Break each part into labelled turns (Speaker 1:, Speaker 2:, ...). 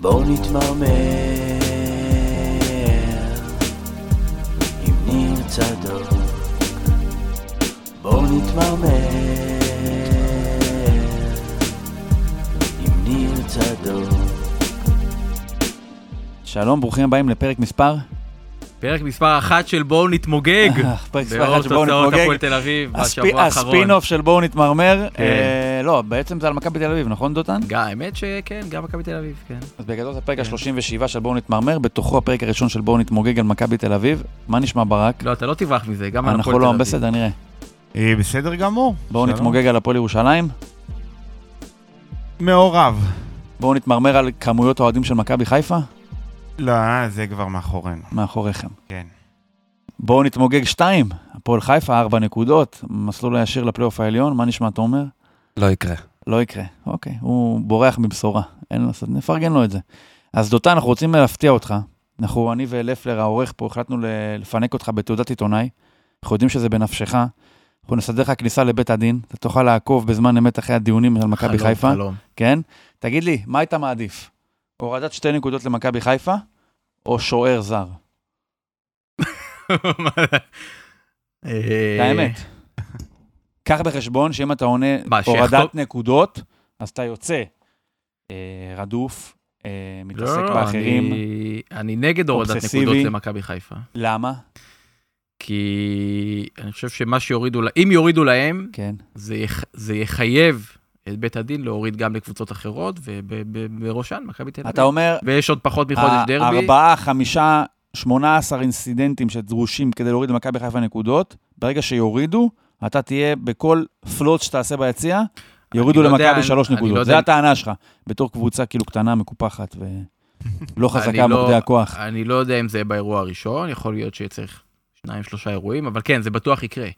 Speaker 1: בואו נתמרמר עם ניר צדוק בואו נתמרמר עם ניר צדוק
Speaker 2: שלום, ברוכים הבאים לפרק מספר.
Speaker 3: פרק מספר אחת של בואו נתמוגג.
Speaker 2: אה, פרק מספר אחת של בואו
Speaker 3: באור תוצאות
Speaker 2: נתמוגג.
Speaker 3: כן. הפועל תל אביב
Speaker 2: הספי-
Speaker 3: בשבוע האחרון.
Speaker 2: הספינוף של בואו נתמרמר.
Speaker 3: כן.
Speaker 2: אה, לא, בעצם זה על מכבי תל אביב, נכון דותן?
Speaker 3: גם, האמת שכן, גם מכבי תל אביב, כן.
Speaker 2: אז בגדול זה הפרק ה-37 של בואו נתמרמר, בתוכו הפרק הראשון של בואו נתמוגג על מכבי תל אביב. מה נשמע ברק?
Speaker 3: לא, אתה לא תברח מזה, גם על הפועל תל
Speaker 2: אנחנו
Speaker 3: אביב.
Speaker 2: לא, בסדר, נראה.
Speaker 4: אה, בסדר גמור.
Speaker 2: בואו
Speaker 4: שלום.
Speaker 2: נתמוגג על הפועל ירושלים.
Speaker 4: מעורב.
Speaker 2: בואו נתמרמר על כמויות האוהדים של מכבי חיפה,
Speaker 4: לא, זה כבר מאחורינו,
Speaker 2: מאחוריכם.
Speaker 4: כן.
Speaker 2: בואו נתמוגג 2, הפועל חיפה, 4 נקודות, מסלול הישיר לפלייאוף העליון, מה נשמע תומר?
Speaker 5: לא יקרה.
Speaker 2: לא יקרה, אוקיי, הוא בורח מבשורה, אין מה לעשות, נפרגן לו את זה. אז דותן, אנחנו רוצים להפתיע אותך. אנחנו, אני ולפלר, העורך פה, החלטנו ל- לפנק אותך בתעודת עיתונאי. אנחנו יודעים שזה בנפשך. אנחנו נסדר לך כניסה לבית הדין, אתה תוכל לעקוב בזמן אמת אחרי הדיונים על מכבי
Speaker 3: חלום,
Speaker 2: חיפה.
Speaker 3: חלום.
Speaker 2: כן? תגיד לי, מה היית מעדיף? הורדת שתי נקודות למכבי חיפה, או שוער זר?
Speaker 3: אה,
Speaker 2: את האמת. קח בחשבון שאם אתה עונה
Speaker 3: מה, שיחתום-
Speaker 2: הורדת נקודות, אז אתה יוצא אה, רדוף, אה,
Speaker 3: לא,
Speaker 2: מתעסק
Speaker 3: לא,
Speaker 2: באחרים.
Speaker 3: אני- אני נגד הורדת
Speaker 2: אובססיבי.
Speaker 3: נקודות למכבי חיפה.
Speaker 2: למה?
Speaker 3: כי אני חושב שמה שיורידו, לה- אם יורידו להם,
Speaker 2: כן.
Speaker 3: זה יח- זה יחייב את בית הדין להוריד גם לקבוצות אחרות, ובראשן מכבי תל
Speaker 2: אתה
Speaker 3: אביב.
Speaker 2: אומר,
Speaker 3: ויש עוד פחות מחודש דרבי.
Speaker 2: ארבעה, חמישה, שמונה עשר אינסিডנטים שדרושים כדי להוריד למכבי חיפה נקודות, ברגע שיורידו, אתה תהיה בכל פלוט שתעשה ביציע, יורידו
Speaker 3: אני לא יודע,
Speaker 2: למכבי
Speaker 3: אני-
Speaker 2: שלוש
Speaker 3: אני לא
Speaker 2: נקודות.
Speaker 3: יודע
Speaker 2: זה
Speaker 3: אם-
Speaker 2: הטענה שלך, בתור קבוצה כאילו קטנה, מקופחת ולא חזקה
Speaker 3: אני לא-
Speaker 2: במוקדי הכוח.
Speaker 3: אני לא יודע אם זה יהיה באירוע הראשון, יכול להיות שצריך שניים, שלושה אירועים, אבל כן, זה בטוח יקרה.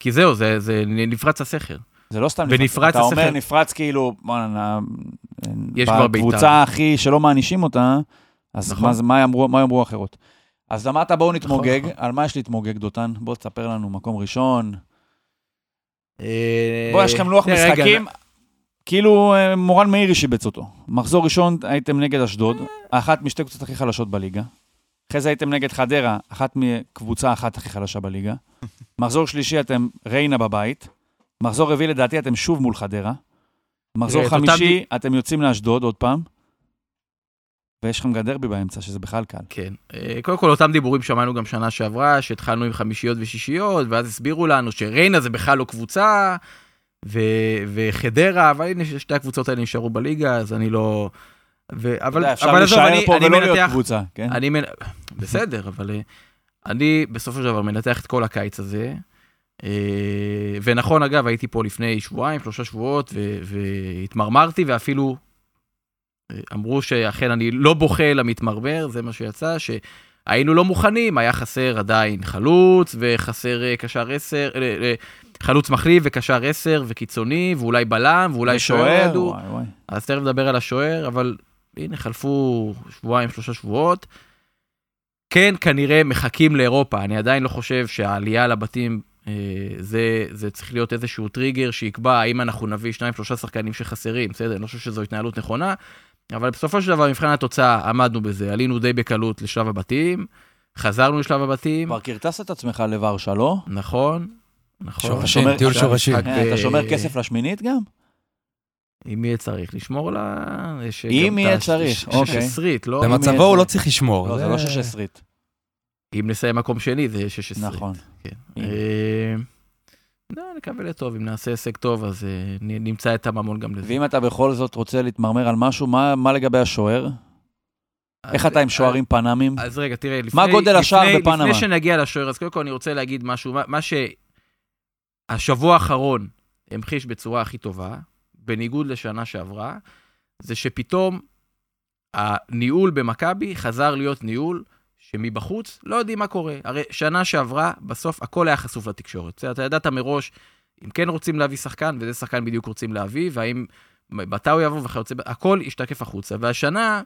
Speaker 3: כי זהו, זה, זה נפרץ הסכר.
Speaker 2: זה לא סתם
Speaker 3: ונפרץ
Speaker 2: אתה אומר
Speaker 3: השכל.
Speaker 2: נפרץ כאילו, בואנה,
Speaker 3: יש כבר
Speaker 2: בקבוצה
Speaker 3: בעיטה.
Speaker 2: הכי שלא מענישים אותה, אז
Speaker 3: נכון.
Speaker 2: מה זה- מה יאמרו- מה יאמרו אחרות? אז אמרת בואו נתמוגג,
Speaker 3: נכון.
Speaker 2: על מה יש להתמוגג דותן? בוא תספר לנו, מקום ראשון. בוא, יש לכם לוח
Speaker 3: אה, רגע,
Speaker 2: משחקים, כאילו אה, מורן מאירי שיבץ אותו. מחזור ראשון הייתם נגד אשדוד, אחת משתי קבוצות הכי חלשות בליגה. אחרי זה הייתם נגד חדרה, אחת מקבוצה אחת הכי חלשה בליגה. מחזור שלישי אתם ריינה בבית. מחזור רביעי לדעתי אתם שוב מול חדרה. מחזור
Speaker 3: את אותם
Speaker 2: חמישי אתם יוצאים לאשדוד עוד פעם. ויש לכם גם דרבי באמצע, שזה בכלל קל.
Speaker 3: כן. אה, קודם כל, אותם דיבורים שמענו גם שנה שעברה, שהתחלנו עם חמישיות ושישיות, ואז הסבירו לנו שריינה זה בכלל לא קבוצה, ו, וחדרה, אבל הנה, שתי הקבוצות האלה נשארו בליגה, אז אני לא... ו,
Speaker 2: אתה
Speaker 3: אבל,
Speaker 2: יודע, אפשר
Speaker 3: אבל עזוב,
Speaker 2: להישאר
Speaker 3: אני,
Speaker 2: פה
Speaker 3: אני
Speaker 2: ולא להיות
Speaker 3: מנתח...
Speaker 2: קבוצה, כן?
Speaker 3: אני מנ... בסדר, אבל אה, אני בסופו של דבר מנתח את כל הקיץ הזה. אה, ונכון, אגב, הייתי פה לפני שבועיים, שלושה שבועות, ו- והתמרמרתי, ואפילו אה, אמרו שאכן אני לא בוכה אלא מתמרמר, זה מה שיצא, שהיינו לא מוכנים, היה חסר עדיין חלוץ, וחסר אה, קשר עשר, אה, אה, חלוץ מחליף וקשר עשר וקיצוני, ואולי בלם, ואולי שוער. ידעו.
Speaker 2: וואי, וואי.
Speaker 3: אז תכף נדבר על השוער, אבל הנה, חלפו שבועיים, שלושה שבועות. כן, כנראה מחכים לאירופה. אני עדיין לא חושב שהעלייה לבתים, אה, זה, זה צריך להיות איזשהו טריגר שיקבע האם אנחנו נביא שניים, שלושה שחקנים שחסרים, בסדר? אני לא חושב שזו התנהלות נכונה, אבל בסופו של דבר, מבחן התוצאה, עמדנו בזה. עלינו די בקלות לשלב הבתים, חזרנו לשלב הבתים,
Speaker 2: כבר קרטסת את עצמך לוורשה, לא?
Speaker 3: נכון, נכון.
Speaker 5: שורשים,
Speaker 2: שומר-
Speaker 5: טיול
Speaker 3: עכשיו
Speaker 5: שורשים.
Speaker 3: משחק
Speaker 2: אה, אתה
Speaker 3: ב-
Speaker 2: שומר כסף לשמינית גם?
Speaker 3: אם יהיה צריך לשמור לה... יש
Speaker 2: אם
Speaker 3: גם את
Speaker 2: יהיה
Speaker 3: הש-
Speaker 2: צריך,
Speaker 3: ש-
Speaker 2: אוקיי.
Speaker 3: ששסרית, לא?
Speaker 2: למה-
Speaker 5: במצבו הוא לא צריך
Speaker 3: אה,
Speaker 5: לשמור.
Speaker 2: לא, זה לא שש עשרית.
Speaker 3: אם נסיים מקום שני זה יהיה 16.
Speaker 2: נכון.
Speaker 3: כן.
Speaker 2: אם.
Speaker 3: אה, לא, נקווה לטוב, אם נעשה הישג טוב, אז אה, נ- נמצא את הממון גם לזה.
Speaker 2: ואם אתה בכל זאת רוצה להתמרמר על משהו, מה, מה לגבי השוער?
Speaker 3: אה, אז- אה,
Speaker 2: איך אתה עם שוערים פנמים?
Speaker 3: אז רגע, תראה, לפני...
Speaker 2: מה גודל השער
Speaker 3: לפני-
Speaker 2: בפנמה?
Speaker 3: לפני שנגיע לשוער, אז קודם כל אני רוצה להגיד משהו, מה- מה שהשבוע האחרון המחיש בצורה הכי טובה, בניגוד לשנה שעברה, זה שפתאום הניהול במכבי חזר להיות ניהול שמבחוץ לא יודעים מה קורה. הרי שנה שעברה, בסוף הכל היה חשוף לתקשורת. בסדר, אתה ידעת מראש אם כן רוצים להביא שחקן, ואיזה שחקן בדיוק רוצים להביא, והאם מתי הוא יבוא וכיוצא, ב- הכל השתקף החוצה. והשנה,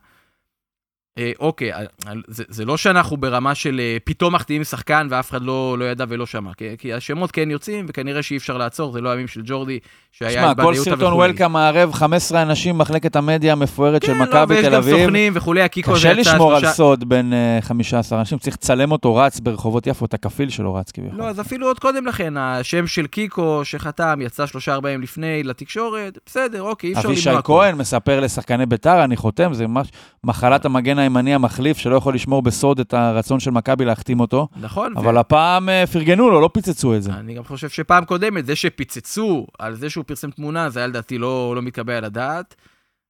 Speaker 3: אה, אוקיי, אה, אה, זה, זה לא שאנחנו ברמה של אה, פתאום מחטיאים שחקן ואף אחד לא, לא ידע ולא שמע, כי, כי השמות כן יוצאים וכנראה שאי אפשר לעצור, זה לא הימים של ג'ורדי, שהיה
Speaker 2: תשמע,
Speaker 3: את
Speaker 2: כל
Speaker 3: בניוטה
Speaker 2: סרטון וולקאם מערב 15 אנשים במחלקת המדיה המפוארת של
Speaker 3: כן, לא,
Speaker 2: מכבי
Speaker 3: ויש
Speaker 2: תל
Speaker 3: גם
Speaker 2: אביב.
Speaker 3: סוכנים וכולי, הקיקו
Speaker 2: קשה
Speaker 3: יצא
Speaker 2: לשמור על
Speaker 3: שלושה-
Speaker 2: סוד בין אה, 15 אנשים, צריך לצלם אותו רץ ברחובות יפו, את הכפיל שלו רץ כביכול.
Speaker 3: לא, אז אפילו עוד קודם לכן, השם של קיקו שחתם יצא שלושה ארבעה ימים לפני לתקשורת, בסדר, אוקיי, אי אפשר למנוע.
Speaker 2: אבישי
Speaker 3: הכל.
Speaker 2: כהן מספר לשחקני ביתר, אני חותם, זה ממש מחלת המגן הימני המחליף, שלא יכול לשמור בסוד את הרצון של מכבי להחתים אותו,
Speaker 3: נכון, ו-
Speaker 2: אבל הפעם אה, פרגנו לו, לא פיצצו את זה.
Speaker 3: אני גם חושב שפעם קודמת, זה שפיצצו על זה שהוא פרסם תמונה, זה היה לדעתי לא, לא מתקבל על הדעת.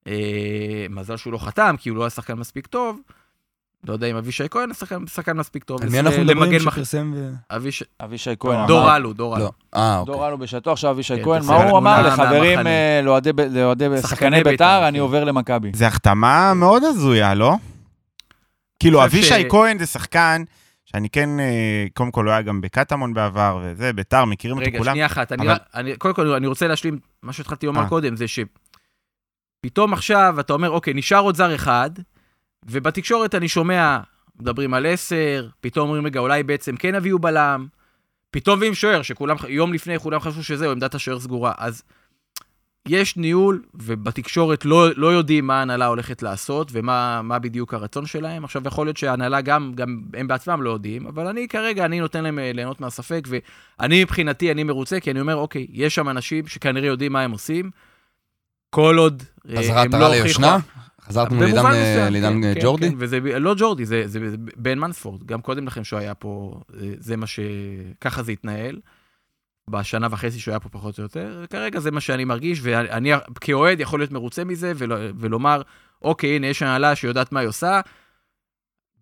Speaker 3: אה, מזל שהוא לא חתם, כי הוא לא היה שחקן מספיק טוב. לא יודע אם אבישי כהן שחקן, שחקן מספיק טוב.
Speaker 5: על מי אנחנו
Speaker 3: למגן
Speaker 5: מדברים
Speaker 3: מח-
Speaker 5: שפרסם ו...
Speaker 3: אבישי...
Speaker 2: אבישי כהן
Speaker 3: דור
Speaker 2: אמר,
Speaker 3: אלו, דור אלו.
Speaker 5: לא. אה, אוקיי.
Speaker 2: דור אלו בשעתו, עכשיו אבישי
Speaker 3: כן,
Speaker 2: כהן,
Speaker 3: תעשה
Speaker 2: מה הוא
Speaker 3: תמונה
Speaker 2: אמר לחברים,
Speaker 3: מהמחנה.
Speaker 2: אה, לאוהדי ב- לאוהדי ב-
Speaker 3: שחקני
Speaker 2: שחקני
Speaker 3: בית"ר,
Speaker 2: ביתר, אני
Speaker 3: כן.
Speaker 2: עובר למכבי.
Speaker 4: זו החתמה מאוד הזויה, לא? כאילו,
Speaker 3: חושב
Speaker 4: אבישי
Speaker 3: ש-
Speaker 4: כהן זה שחקן שאני כן, אה, קודם כל, הוא היה גם בקטמון בעבר, וזה, ביתר, מכירים אותו
Speaker 3: רגע,
Speaker 4: כולם. לא,
Speaker 3: שנייה אחת. אני
Speaker 4: אבל-
Speaker 3: רק- אני- קודם כל, אני רוצה להשלים מה שהתחלתי לומר
Speaker 4: אה.
Speaker 3: קודם, זה שפתאום עכשיו אתה אומר, אוקיי, נשאר עוד זר אחד, ובתקשורת אני שומע, מדברים על עשר, פתאום אומרים, רגע, אולי בעצם כן הביאו בלם, פתאום מביאים שוער, שכולם, יום לפני כולם חשבו שזהו, עמדת השוער סגורה. אז יש ניהול, ובתקשורת לא, לא יודעים מה ההנהלה הולכת לעשות ומה מה בדיוק הרצון שלהם. עכשיו, יכול להיות שההנהלה גם, גם הם בעצמם לא יודעים, אבל אני כרגע, אני נותן להם אה, ליהנות מהספק, ואני מבחינתי, אני מרוצה, כי אני אומר, אוקיי, יש שם אנשים שכנראה יודעים מה הם עושים, כל עוד אה,
Speaker 5: אז
Speaker 3: הם
Speaker 5: עטרה
Speaker 3: לא הוכיחו...
Speaker 5: ליושנה? חזרנו
Speaker 3: במובן
Speaker 5: לעידן אה,
Speaker 3: מסוים,
Speaker 5: לעידן
Speaker 3: כן,
Speaker 5: אה,
Speaker 3: כן,
Speaker 5: ג'ורדי?
Speaker 3: כן, וזה ב- לא ג'ורדי, זה, זה, זה בן מנספורד. גם קודם לכן שהוא היה פה, אה, זה מה ש... ככה זה התנהל. בשנה וחצי שהוא היה פה פחות או יותר, כרגע זה מה שאני מרגיש, ואני כאוהד יכול להיות מרוצה מזה ולא, ולומר, אוקיי, הנה יש הנהלה שיודעת מה היא עושה.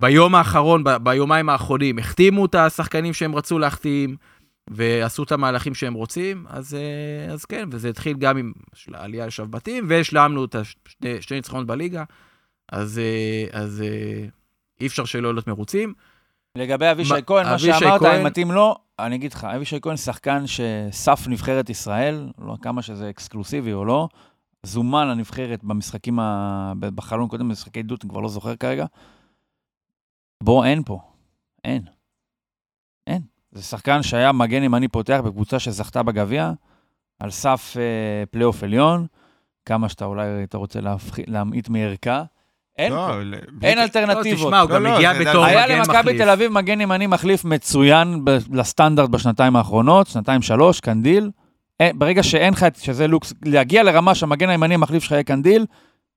Speaker 3: ביום האחרון, ב- ביומיים האחרונים, החתימו את השחקנים שהם רצו להחתים, ועשו את המהלכים שהם רוצים, אז, אה, אז כן, וזה התחיל גם עם של- העלייה לשבתים, והשלמנו את השני שני ניצחונות בליגה, אז, אה, אז אה, אי אפשר שלא להיות מרוצים. לא,
Speaker 2: לגבי אבישי
Speaker 3: מה-
Speaker 2: כהן, מה
Speaker 3: אבישי
Speaker 2: שאמרת,
Speaker 3: כהן-
Speaker 2: אם מתאים לו, אני אגיד לך, אבישי כהן שחקן שסף נבחרת ישראל, לא כמה שזה אקסקלוסיבי או לא, זומן לנבחרת במשחקים, ה... בחלון קודם, במשחקי דוט, אני כבר לא זוכר כרגע. בוא, אין פה. אין. אין. זה שחקן שהיה מגן ימני פותח בקבוצה שזכתה בגביע, על סף אה, פלייאוף עליון, כמה שאתה אולי אתה רוצה להפח... להמעיט מערכה. אין
Speaker 4: לא,
Speaker 2: פה.
Speaker 4: ל-
Speaker 2: אין
Speaker 3: לא,
Speaker 2: אלטרנטיבות.
Speaker 3: תשמע, הוא
Speaker 4: לא,
Speaker 3: גם
Speaker 4: לא,
Speaker 3: הגיע
Speaker 4: זה-
Speaker 3: בתור
Speaker 2: היה
Speaker 3: מגן
Speaker 2: למכבי
Speaker 3: מחליף.
Speaker 2: תל אביב מגן ימני מחליף מצוין ב- לסטנדרט בשנתיים האחרונות, שנתיים שלוש, קנדיל. אין, ברגע שאין לך, את- שזה לוקס, להגיע לרמה שהמגן הימני המחליף שלך יהיה קנדיל,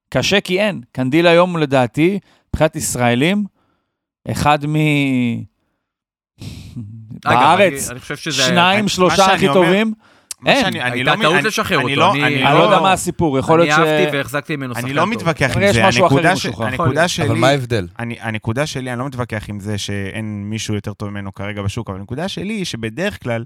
Speaker 2: קשה כי אין. קנדיל היום לדעתי, מבחינת ישראלים, אחד מ...
Speaker 3: אגב,
Speaker 2: בארץ,
Speaker 3: אני- אני חושב שזה...
Speaker 2: שניים,
Speaker 4: מה
Speaker 2: שלושה
Speaker 4: שאני
Speaker 2: הכי
Speaker 4: אומר-
Speaker 2: טובים.
Speaker 4: מה
Speaker 2: אין.
Speaker 4: שאני- אני
Speaker 3: הייתה
Speaker 4: לא-
Speaker 3: טעות
Speaker 4: אני-
Speaker 3: לשחרר
Speaker 4: אני
Speaker 3: אותו,
Speaker 4: לא-
Speaker 3: אני-
Speaker 4: אני
Speaker 2: אני לא יודע
Speaker 4: לא-
Speaker 2: מה הסיפור, יכול
Speaker 3: אני
Speaker 2: להיות ש...
Speaker 3: אהבתי והחזקתי ממנו שחקן
Speaker 4: אני
Speaker 3: טוב.
Speaker 4: לא מתווכח
Speaker 2: אבל יש
Speaker 4: עם זה,
Speaker 2: משהו אחר
Speaker 4: הנקודה
Speaker 2: עם
Speaker 4: ש-
Speaker 2: השוחרר.
Speaker 4: הנקודה שלי...
Speaker 5: אבל מה ההבדל?
Speaker 4: אני, הנקודה שלי, אני לא מתווכח עם זה שאין מישהו יותר טוב ממנו כרגע בשוק, אבל הנקודה שלי היא שבדרך כלל,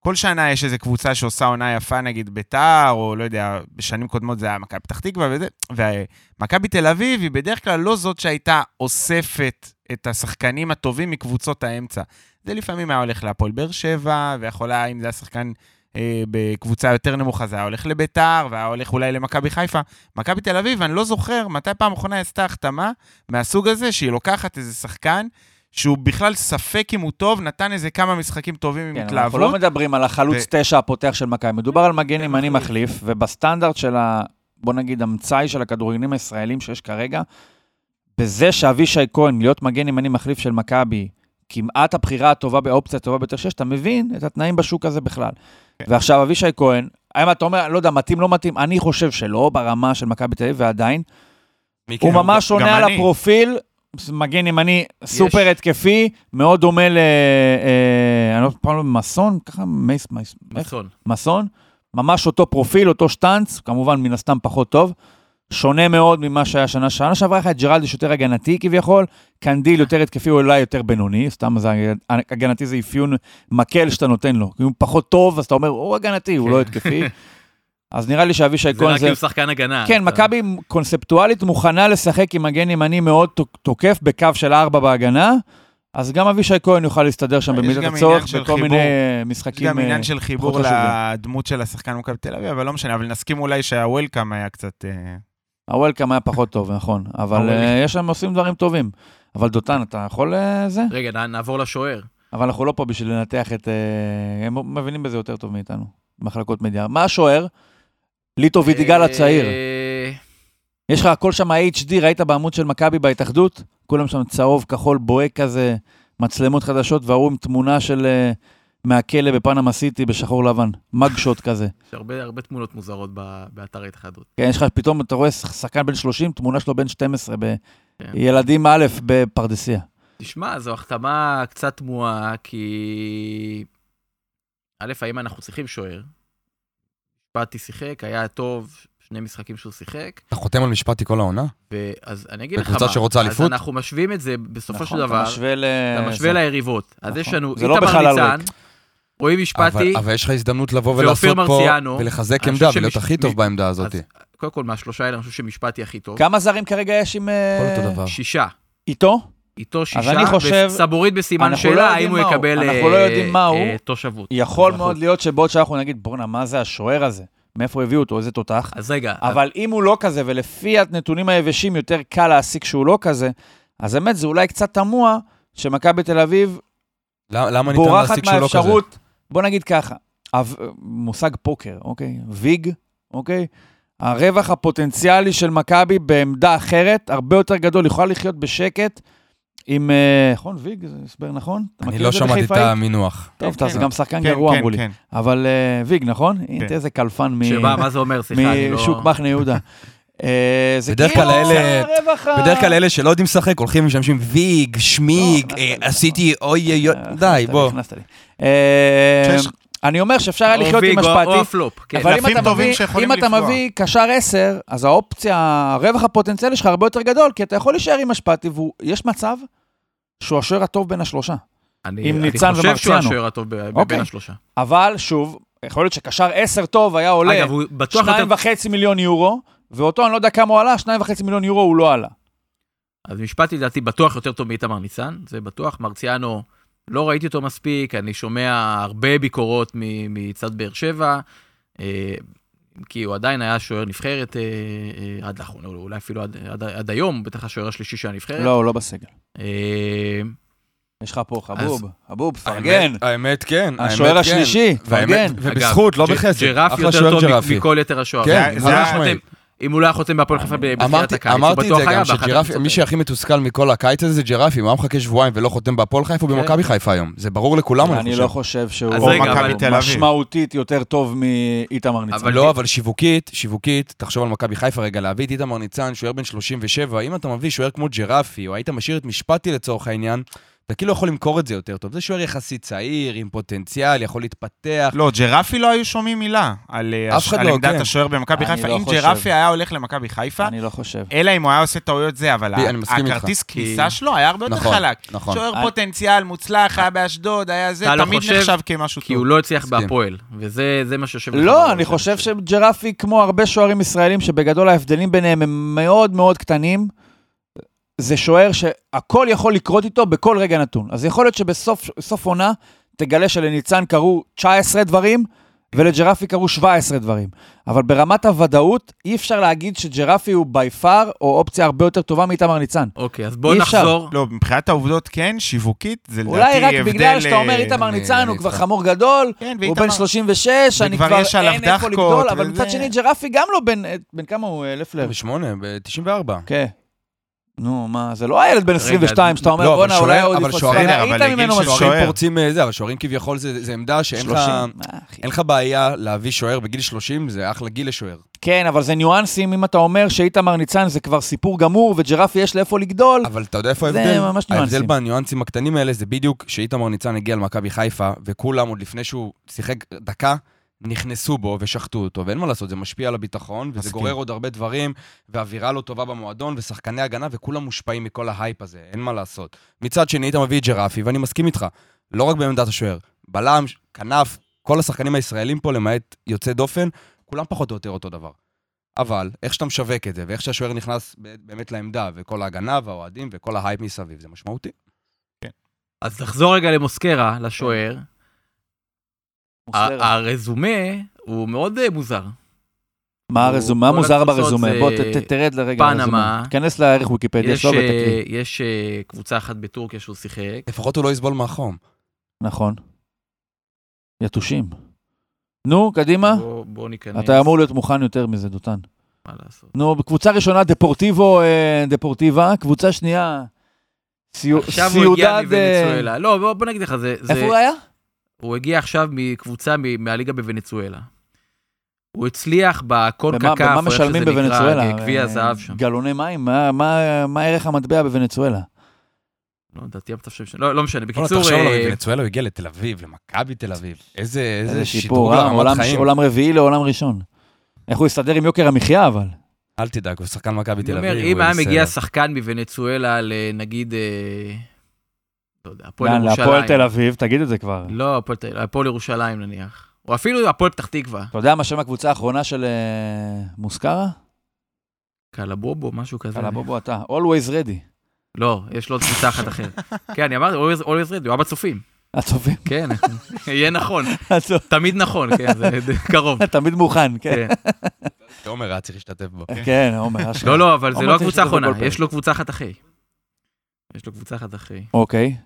Speaker 4: כל שנה יש איזו קבוצה שעושה עונה יפה, נגיד ביתר, או לא יודע, בשנים קודמות זה היה מכבי פתח תקווה וזה, ומכבי תל אביב היא בדרך כלל לא זאת שהייתה אוספת את השחקנים הטובים מקבוצות האמצע. זה לפעמים היה הולך להפועל באר שבע, ויכול היה, אם זה היה שחקן אה, בקבוצה יותר נמוכה, זה היה הולך לביתר, והיה הולך אולי למכבי חיפה. מכבי תל אביב, אני לא זוכר מתי פעם אחרונה היא עשתה החתמה מהסוג הזה, שהיא לוקחת איזה שחקן, שהוא בכלל ספק אם הוא טוב, נתן איזה כמה משחקים טובים עם
Speaker 2: כן, אבל אנחנו
Speaker 4: התלהבות.
Speaker 2: לא מדברים על החלוץ
Speaker 4: ו- כן,
Speaker 2: תשע הפותח של מכבי, מדובר על מגן ימני מחליף, ובסטנדרט של ה... בוא נגיד, המצאי של הכדורגלנים הישראלים שיש כרגע, בזה שאבישי כהן, להיות מגן ימני מחליף של מכבי, כמעט הבחירה הטובה באופציה הטובה ביותר שיש, אתה מבין את התנאים בשוק הזה בכלל.
Speaker 4: כן.
Speaker 2: ועכשיו, אבישי כהן, האם אתה אומר, לא יודע, מתאים, לא מתאים, אני חושב שלא, ברמה של מכבי תל אביב, ועדיין, הוא
Speaker 4: כן,
Speaker 2: ממש
Speaker 4: גם-
Speaker 2: עונה
Speaker 4: גם
Speaker 2: על
Speaker 4: אני.
Speaker 2: הפרופיל, מגן ימני סופר התקפי, מאוד דומה ל... אה, אני לא פעם לא- מסון, ככה מייס, מייס, איך?
Speaker 3: מסון.
Speaker 2: מסון, ממש אותו פרופיל, אותו שטאנץ, כמובן מן הסתם פחות טוב, שונה מאוד ממה שהיה שנה שנה שעברה, היה ג'רלדש יותר הגנתי כביכול, קנדיל יותר התקפי, הוא אולי יותר בינוני, סתם זה הגנתי זה אפיון מקל שאתה נותן לו, כי הוא פחות טוב, אז אתה אומר, הוא הגנתי, הוא לא
Speaker 4: כן.
Speaker 2: התקפי. אז נראה לי שאבישי
Speaker 3: זה
Speaker 2: כהן
Speaker 3: רק
Speaker 2: זה
Speaker 3: עם שחקן הגנה.
Speaker 4: אה,
Speaker 2: כן,
Speaker 3: אתה-
Speaker 2: מכבי קונספטואלית מוכנה לשחק עם מגן ימני מאוד תוק- תוקף בקו של ארבע בהגנה, אז גם אבישי כהן יוכל להסתדר שם
Speaker 4: אה, יש
Speaker 2: במידת
Speaker 4: גם
Speaker 2: הצורך
Speaker 4: עניין של
Speaker 2: בכל מיני
Speaker 4: חיבור.
Speaker 2: אה,
Speaker 4: יש
Speaker 2: משחקים.
Speaker 4: גם
Speaker 2: אה,
Speaker 4: עניין של חיבור
Speaker 2: פחות חשובים. כן,
Speaker 4: לדמות של השחקן מכבי תל אביב, אבל לא משנה, אבל נסכים אולי שהוולקאם היה קצת... אה,
Speaker 2: הוולקאם היה פחות טוב, נכון, אבל
Speaker 3: הוולקאם.
Speaker 2: אה, יש שם עושים דברים טובים. אבל דותן, אתה יכול אה, זה?
Speaker 3: רגע, נע- נעבור לשוער.
Speaker 2: אבל אנחנו לא פה בשביל לנתח את... אה, הם מבינים בזה יותר טוב מאיתנו, מחלקות מדיה. מה השוער? ליטו וידיגל
Speaker 4: אה,
Speaker 2: הצעיר.
Speaker 3: אה,
Speaker 2: יש לך הכל שם HD, ראית בעמוד של מכבי בהתאחדות? כולם שם צהוב, כחול, בוהק כזה, מצלמות חדשות, וההוא עם תמונה של... אה, מהכלא בפנמה סיטי בשחור לבן, מג שוט כזה.
Speaker 3: יש הרבה הרבה תמונות מוזרות ב- באתר ההתאחדות.
Speaker 2: כן, יש לך פתאום, אתה רואה שחקן בן 30, תמונה שלו בן 12, ב...
Speaker 3: כן.
Speaker 2: ילדים א' בפרדסיה.
Speaker 3: תשמע, זו החתמה קצת תמוהה, כי... א', האם אנחנו צריכים שוער? באתי שיחק, היה טוב, שני משחקים שהוא שיחק,
Speaker 5: אתה חותם על משפטי כל העונה?
Speaker 3: ואז אני אגיד לך מה.
Speaker 5: בקבוצה שרוצה
Speaker 3: אז
Speaker 5: אליפות?
Speaker 3: אנחנו משווים את זה בסופו
Speaker 2: נכון,
Speaker 3: של דבר,
Speaker 2: אתה משווה ל...
Speaker 3: אתה משווה ליריבות. אז
Speaker 2: נכון.
Speaker 3: יש לנו
Speaker 2: זה לא
Speaker 3: איתמר
Speaker 2: בחלל
Speaker 3: ניצן, רועי משפטי,
Speaker 5: אבל, אבל יש לך הזדמנות לבוא
Speaker 3: ואופיר
Speaker 5: ולעשות
Speaker 3: מרציאנו.
Speaker 5: פה, ולחזק
Speaker 3: אני
Speaker 5: עמדה,
Speaker 3: חושב
Speaker 5: ולהיות
Speaker 3: שמש-
Speaker 5: הכי
Speaker 3: מ-
Speaker 5: טוב בעמדה הזאת.
Speaker 3: אז- קודם כל מהשלושה האלה, אני חושב שמשפטי הכי טוב.
Speaker 2: כמה זרים כרגע יש עם... אה,
Speaker 5: הכל אותו דבר.
Speaker 3: שישה.
Speaker 2: איתו?
Speaker 3: איתו שישה,
Speaker 2: אני חושב-
Speaker 3: וסבורית בסימן
Speaker 2: אנחנו לא
Speaker 3: שאלה, האם
Speaker 2: יודעים
Speaker 3: הוא
Speaker 2: מה הוא.
Speaker 3: יקבל
Speaker 2: אנחנו לא
Speaker 3: אה,
Speaker 2: יודעים מה הוא.
Speaker 3: אה, תושבות.
Speaker 2: יכול
Speaker 3: אזרחות.
Speaker 2: מאוד להיות שבעוד שאנחנו נגיד, בואנה, מה זה השוער הזה? מאיפה הביאו אותו? איזה תותח?
Speaker 3: אז רגע,
Speaker 2: אבל אם הוא לא כזה, ולפי הנתונים היבשים יותר קל להסיק שהוא לא כזה, אז אמת, זה אולי קצת תמוה שמכבי תל אביב
Speaker 5: למה למה ניתן
Speaker 2: בורחת
Speaker 5: להסיק שהוא לא כזה?
Speaker 2: מהאפשרות, בוא נגיד ככה, הב- מושג פוקר, אוקיי? ויג, אוקיי? הרווח הפוטנציאלי של מכבי בעמדה אחרת, הרבה יותר גדול, היא יכולה לחיות בשקט עם... אה, נכון, ויג, זה הסבר נכון? אתה
Speaker 5: אני
Speaker 2: מכיר
Speaker 5: לא
Speaker 2: זה
Speaker 5: שמעתי את
Speaker 2: בחיפאית?
Speaker 5: המינוח.
Speaker 2: טוב,
Speaker 4: כן,
Speaker 2: אתה זה
Speaker 4: כן.
Speaker 2: גם שחקן
Speaker 4: כן,
Speaker 2: גרוע
Speaker 4: כן,
Speaker 2: מולי.
Speaker 4: כן.
Speaker 2: אבל אה, ויג, נכון? הנה,
Speaker 4: כן.
Speaker 2: איזה קלפן מ-
Speaker 3: שמה, מה זה אומר? סליחה, אני לא...
Speaker 2: משוק מחנה יהודה. אה, זה
Speaker 5: בדרך
Speaker 2: כאילו
Speaker 5: כלל אלה-
Speaker 2: הרווח ה-
Speaker 5: בדרך כלל אלה שלא יודעים לשחק הולכים ומשמשים ויג, שמיג,
Speaker 2: לא,
Speaker 5: אה,
Speaker 2: נכנסת לי.
Speaker 5: עשיתי אוי אוי אוי,
Speaker 2: אה,
Speaker 5: די
Speaker 2: הכנסת לי,
Speaker 5: בוא.
Speaker 2: הכנסת לי. אה,
Speaker 4: שיש-
Speaker 2: אני אומר שאפשר היה
Speaker 3: או
Speaker 2: לחיות עם
Speaker 3: ויגו, או
Speaker 2: השפעתי,
Speaker 3: הפלופ, כן.
Speaker 2: אבל אם
Speaker 4: קלפים
Speaker 2: אתה
Speaker 4: טובים
Speaker 2: מביא,
Speaker 4: שיכולים
Speaker 2: אם אתה
Speaker 4: לפגוע.
Speaker 2: מביא קשר 10, אז האופציה, הרווח הפוטנציאלי שלך הרבה יותר גדול, כי אתה יכול להישאר עם השפעתי, ויש מצב שהוא השוער הטוב בין השלושה.
Speaker 3: אני-
Speaker 2: עם ניצן
Speaker 3: אני חושב שהוא
Speaker 2: ומרציאנו.
Speaker 3: השוער הטוב ב-
Speaker 2: אוקיי.
Speaker 3: בין השלושה.
Speaker 2: אבל שוב, יכול להיות שקשר 10 טוב היה עולה
Speaker 3: אגב, הוא בטוח יותר...
Speaker 2: 2.5 מיליון יורו, ואותו אני לא יודע כמה הוא עלה, 2.5 מיליון יורו הוא לא עלה.
Speaker 3: אז משפטי לדעתי בטוח יותר טוב מאיתמר ניצן, זה בטוח. מרציאנו, לא ראיתי אותו מספיק, אני שומע הרבה ביקורות מ- מצד באר שבע, אה, כי הוא עדיין היה שוער נבחרת אה, אה, עד לאחרונה, אולי אפילו עד, עד, עד היום, בטח השוער השלישי של הנבחרת.
Speaker 2: לא, הוא לא בסגל.
Speaker 3: אה,
Speaker 2: יש לך פה חבוב, חבוב, פרגן.
Speaker 5: האמת- האמת כן, האמת
Speaker 2: השוער
Speaker 5: כן.
Speaker 2: השלישי,
Speaker 5: והאמת-
Speaker 2: פרגן.
Speaker 5: ובזכות, לא
Speaker 3: ג'-
Speaker 5: בחסד.
Speaker 3: ג'רפי
Speaker 5: אחלה
Speaker 3: יותר
Speaker 5: שוער
Speaker 3: טוב
Speaker 5: ג'רפי.
Speaker 3: מכל יתר השוער.
Speaker 5: כן, אה,
Speaker 3: אם
Speaker 4: זה
Speaker 3: הוא לא
Speaker 4: היה-
Speaker 3: היה חותם- אם הוא לא היה חותם בהפועל חיפה במסגרת
Speaker 5: אמרתי,
Speaker 3: הקיץ, הוא
Speaker 5: אמרתי את
Speaker 3: בטוח
Speaker 5: זה
Speaker 3: היה
Speaker 5: גם,
Speaker 3: באחת
Speaker 5: שג'ירפי,
Speaker 3: הקבוצות
Speaker 5: מי
Speaker 3: האלה.
Speaker 5: שהכי מתוסכל מכל הקיץ הזה זה ג'ירפי, מה הוא מחכה שבועיים ולא חותם בהפועל חיפה
Speaker 3: כן.
Speaker 5: ובמכבי חיפה היום? זה ברור לכולם, אני
Speaker 2: אני לא
Speaker 5: חושב.
Speaker 2: חושב שהוא
Speaker 3: אז
Speaker 2: הוא
Speaker 3: רגע,
Speaker 2: מכבי
Speaker 3: אבל-
Speaker 2: תל אביב. משמעותית יותר טוב מאיתמר ניצן.
Speaker 3: אבל-
Speaker 5: לא, אבל שיווקית, שיווקית, תחשוב על מכבי חיפה רגע, להביא את איתמר ניצן, שוער בן 37, אם אתה מביא שוער כמו ג'רפי, או היית משאיר את משפטי לצורך העניין, אתה כאילו יכול למכור את זה יותר טוב. זה שוער יחסית צעיר, עם פוטנציאל, יכול להתפתח.
Speaker 4: לא, ג'רפי לא היו שומעים מילה על אה,
Speaker 5: אף אחד
Speaker 4: על
Speaker 5: לא,
Speaker 4: עמדת
Speaker 5: כן.
Speaker 4: השוער במכבי
Speaker 2: אני
Speaker 4: חיפה.
Speaker 2: לא
Speaker 4: אם
Speaker 2: חושב.
Speaker 4: ג'רפי היה הולך למכבי חיפה,
Speaker 2: אני לא חושב.
Speaker 4: אלא אם הוא היה עושה טעויות זה, אבל
Speaker 5: בי,
Speaker 4: ה-
Speaker 5: אני מסכים
Speaker 4: הכרטיס
Speaker 5: איתך.
Speaker 4: כניסה
Speaker 3: כי-
Speaker 4: שלו היה הרבה
Speaker 3: לא
Speaker 4: יותר
Speaker 5: נכון,
Speaker 4: חלק.
Speaker 5: נכון.
Speaker 4: שוער
Speaker 2: אני-
Speaker 4: פוטנציאל מוצלח, היה באשדוד, היה זה,
Speaker 3: אתה לא
Speaker 4: תמיד
Speaker 3: חושב-
Speaker 4: נחשב כמשהו
Speaker 3: כי
Speaker 4: טוב.
Speaker 3: הוא לא הצליח
Speaker 5: מסכים.
Speaker 3: בהפועל, וזה זה מה שיושב לך בראש,
Speaker 2: לא, אני חושב שג'רפי, כמו הרבה שוערים ישראלים, שבגדול ההבדלים ביניהם הם מאוד מאוד קטנים, זה שוער שהכל יכול לקרות איתו בכל רגע נתון. אז יכול להיות שבסוף סוף עונה תגלה שלניצן קרו 19 דברים, ולג'רפי קרו 17 דברים. אבל ברמת הוודאות, אי אפשר להגיד שג'רפי הוא בי פאר, או אופציה הרבה יותר טובה מאיתמר ניצן.
Speaker 3: אוקיי, אז בואו
Speaker 2: אי אפשר.
Speaker 3: נחזור.
Speaker 4: לא, מבחינת העובדות כן, שיווקית, זה לדעתי
Speaker 2: אולי
Speaker 4: הבדל...
Speaker 2: רק בגלל שאתה אומר,
Speaker 4: אה,
Speaker 2: איתמר
Speaker 5: אני-
Speaker 2: ניצן הוא
Speaker 5: אני
Speaker 2: כבר
Speaker 5: איתך.
Speaker 2: חמור גדול,
Speaker 4: כן,
Speaker 2: הוא
Speaker 4: ואיתמר-
Speaker 2: בן 36, אני
Speaker 4: וכבר
Speaker 2: כבר
Speaker 4: יש עליו
Speaker 2: אין איפה
Speaker 4: דחקות,
Speaker 2: לגדול, אבל
Speaker 4: וזה-
Speaker 2: מצד שני ג'רפי גם לא בן, בן כמה הוא? אה, לפלר.
Speaker 5: ב-8, ב-94.
Speaker 2: כן. נו, מה, זה לא הילד בן 22 שאתה
Speaker 5: לא,
Speaker 2: אומר,
Speaker 5: אבל
Speaker 2: בואנה, אולי
Speaker 5: שוער-
Speaker 2: עוד אה,
Speaker 5: אבל
Speaker 2: יפוצץ.
Speaker 5: שוער,
Speaker 2: אבל
Speaker 4: אבל
Speaker 2: ראית
Speaker 4: לגיל
Speaker 2: ממנו
Speaker 4: של
Speaker 2: משהו.
Speaker 5: שוערים
Speaker 4: שוער.
Speaker 5: פורצים אה, זה, אבל שוערים כביכול זה זה עמדה שאין לך...
Speaker 2: 30. מה, אה, אחי?
Speaker 5: אין לך בעיה להביא שוער בגיל 30, זה אחלה גיל לשוער.
Speaker 2: כן, אבל זה ניואנסים, אם אתה אומר שאיתמר ניצן זה כבר סיפור גמור, וג'רפי יש לאיפה לגדול,
Speaker 5: אבל אתה יודע איפה
Speaker 2: זה
Speaker 5: ההבדל?
Speaker 2: ממש ניואנסים.
Speaker 5: ההבדל בניואנסים הקטנים האלה זה בדיוק שאיתמר ניצן הגיע למכבי חיפה, וכולם עוד לפני שהוא שיחק דקה, נכנסו בו ושחטו אותו, ואין מה לעשות, זה משפיע על הביטחון, וזה
Speaker 4: מסכים.
Speaker 5: גורר עוד הרבה דברים, ואווירה לא טובה במועדון, ושחקני הגנה, וכולם מושפעים מכל ההייפ הזה, אין מה לעשות. מצד שני, היית מביא את ג'רפי, ואני מסכים איתך, לא רק בעמדת השוער, בלם, כנף, כל השחקנים הישראלים פה, למעט יוצא דופן, כולם פחות או יותר אותו דבר. אבל איך שאתה משווק את זה, ואיך שהשוער נכנס ב- באמת לעמדה, וכל ההגנה והאוהדים וכל ההייפ מסביב, זה משמעותי.
Speaker 3: אז נחזור רגע למוסקרה, לשוער.
Speaker 2: מוסטרה.
Speaker 3: ה- הרזומה הוא מאוד אה, מוזר.
Speaker 2: מה הרזו- מה
Speaker 3: כל
Speaker 2: מוזר
Speaker 3: הקבוצות
Speaker 2: ברזומה?
Speaker 3: זה
Speaker 2: בוא ת- ת- תרד לרגע לרזומה.
Speaker 3: פנמה.
Speaker 2: תיכנס לערך ויקיפדיה
Speaker 3: יש,
Speaker 2: שלו
Speaker 3: אה,
Speaker 2: ותקריא.
Speaker 3: יש אה, קבוצה אחת בטורקיה שהוא שיחק.
Speaker 5: לפחות הוא לא יסבול מהחום.
Speaker 2: נכון. יתושים. נו, קדימה.
Speaker 3: בוא- בוא ניכנס.
Speaker 2: אתה אמור להיות מוכן יותר מזה, דותן.
Speaker 3: מה לעשות.
Speaker 2: נו, בקבוצה ראשונה, דפורטיבו אה, דפורטיבה, קבוצה שנייה, סיו-
Speaker 3: עכשיו הוא הגיע
Speaker 2: אה,
Speaker 3: מוונצואלה. לא, בוא- בוא נגיד לך, זה... זה-
Speaker 2: איפה הוא היה?
Speaker 3: הוא הגיע עכשיו מקבוצה מ- מהליגה בוונצואלה. הוא הצליח בקונקה
Speaker 2: במה-
Speaker 3: קאף,
Speaker 2: במה משלמים בוונצואלה?
Speaker 3: גביע
Speaker 2: אה,
Speaker 3: הזהב שם.
Speaker 2: גלוני מים, מה- מה- מה ערך המטבע בוונצואלה?
Speaker 3: לא, לדעתי המצב שם, לא לא משנה,
Speaker 5: בוא'נה,
Speaker 3: בקיצור,
Speaker 5: תחשוב
Speaker 3: אה,
Speaker 5: עליו, בנצואלה הוא הגיע לתל אביב, למכבי תל אביב. איזה איזה שדרוג
Speaker 2: אה?
Speaker 5: לרמת
Speaker 2: עולם-
Speaker 5: חיים.
Speaker 2: עולם רביעי לעולם ראשון. איך הוא יסתדר עם יוקר המחיה, אבל?
Speaker 5: אל תדאג, הוא שחקן מכבי
Speaker 3: אני
Speaker 5: תל
Speaker 3: אומר,
Speaker 5: אביב.
Speaker 3: אם
Speaker 5: הוא
Speaker 3: היה
Speaker 5: בסדר.
Speaker 3: מגיע שחקן מוונצואלה לנגיד, אה, לא יודע, הפועל
Speaker 2: לאן? להפועל תל
Speaker 3: ירושלים.
Speaker 2: אביב, תגיד את זה כבר.
Speaker 3: לא, הפועל תל- הפועל ירושלים נניח. או אפילו הפועל פתח תקווה.
Speaker 2: אתה יודע מה שם הקבוצה האחרונה של אה, מוסקרה?
Speaker 3: קלבובו, משהו כזה.
Speaker 2: יאללה, בוא בוא אתה. Always ready.
Speaker 3: לא, יש לו עוד קבוצה אחת אחרת. כן, אני אמרתי, always- always ready, הוא היה בצופים.
Speaker 2: הצופים,
Speaker 3: כן, יהיה נכון.
Speaker 2: הצופים.
Speaker 3: תמיד נכון, כן, זה קרוב.
Speaker 2: תמיד מוכן, כן.
Speaker 3: כן.
Speaker 5: עומר היה צריך להשתתף בו.
Speaker 3: אה,
Speaker 2: כן, עומר, אשכרה.
Speaker 3: לא, לא, אבל זה
Speaker 2: עומר
Speaker 3: לא
Speaker 2: צריך
Speaker 3: הקבוצה
Speaker 2: להשתתף
Speaker 3: האחרונה,
Speaker 2: בכל פרק.
Speaker 3: יש לו קבוצה אחת אחרי. יש לו קבוצה אחת אחרי.
Speaker 2: אוקיי.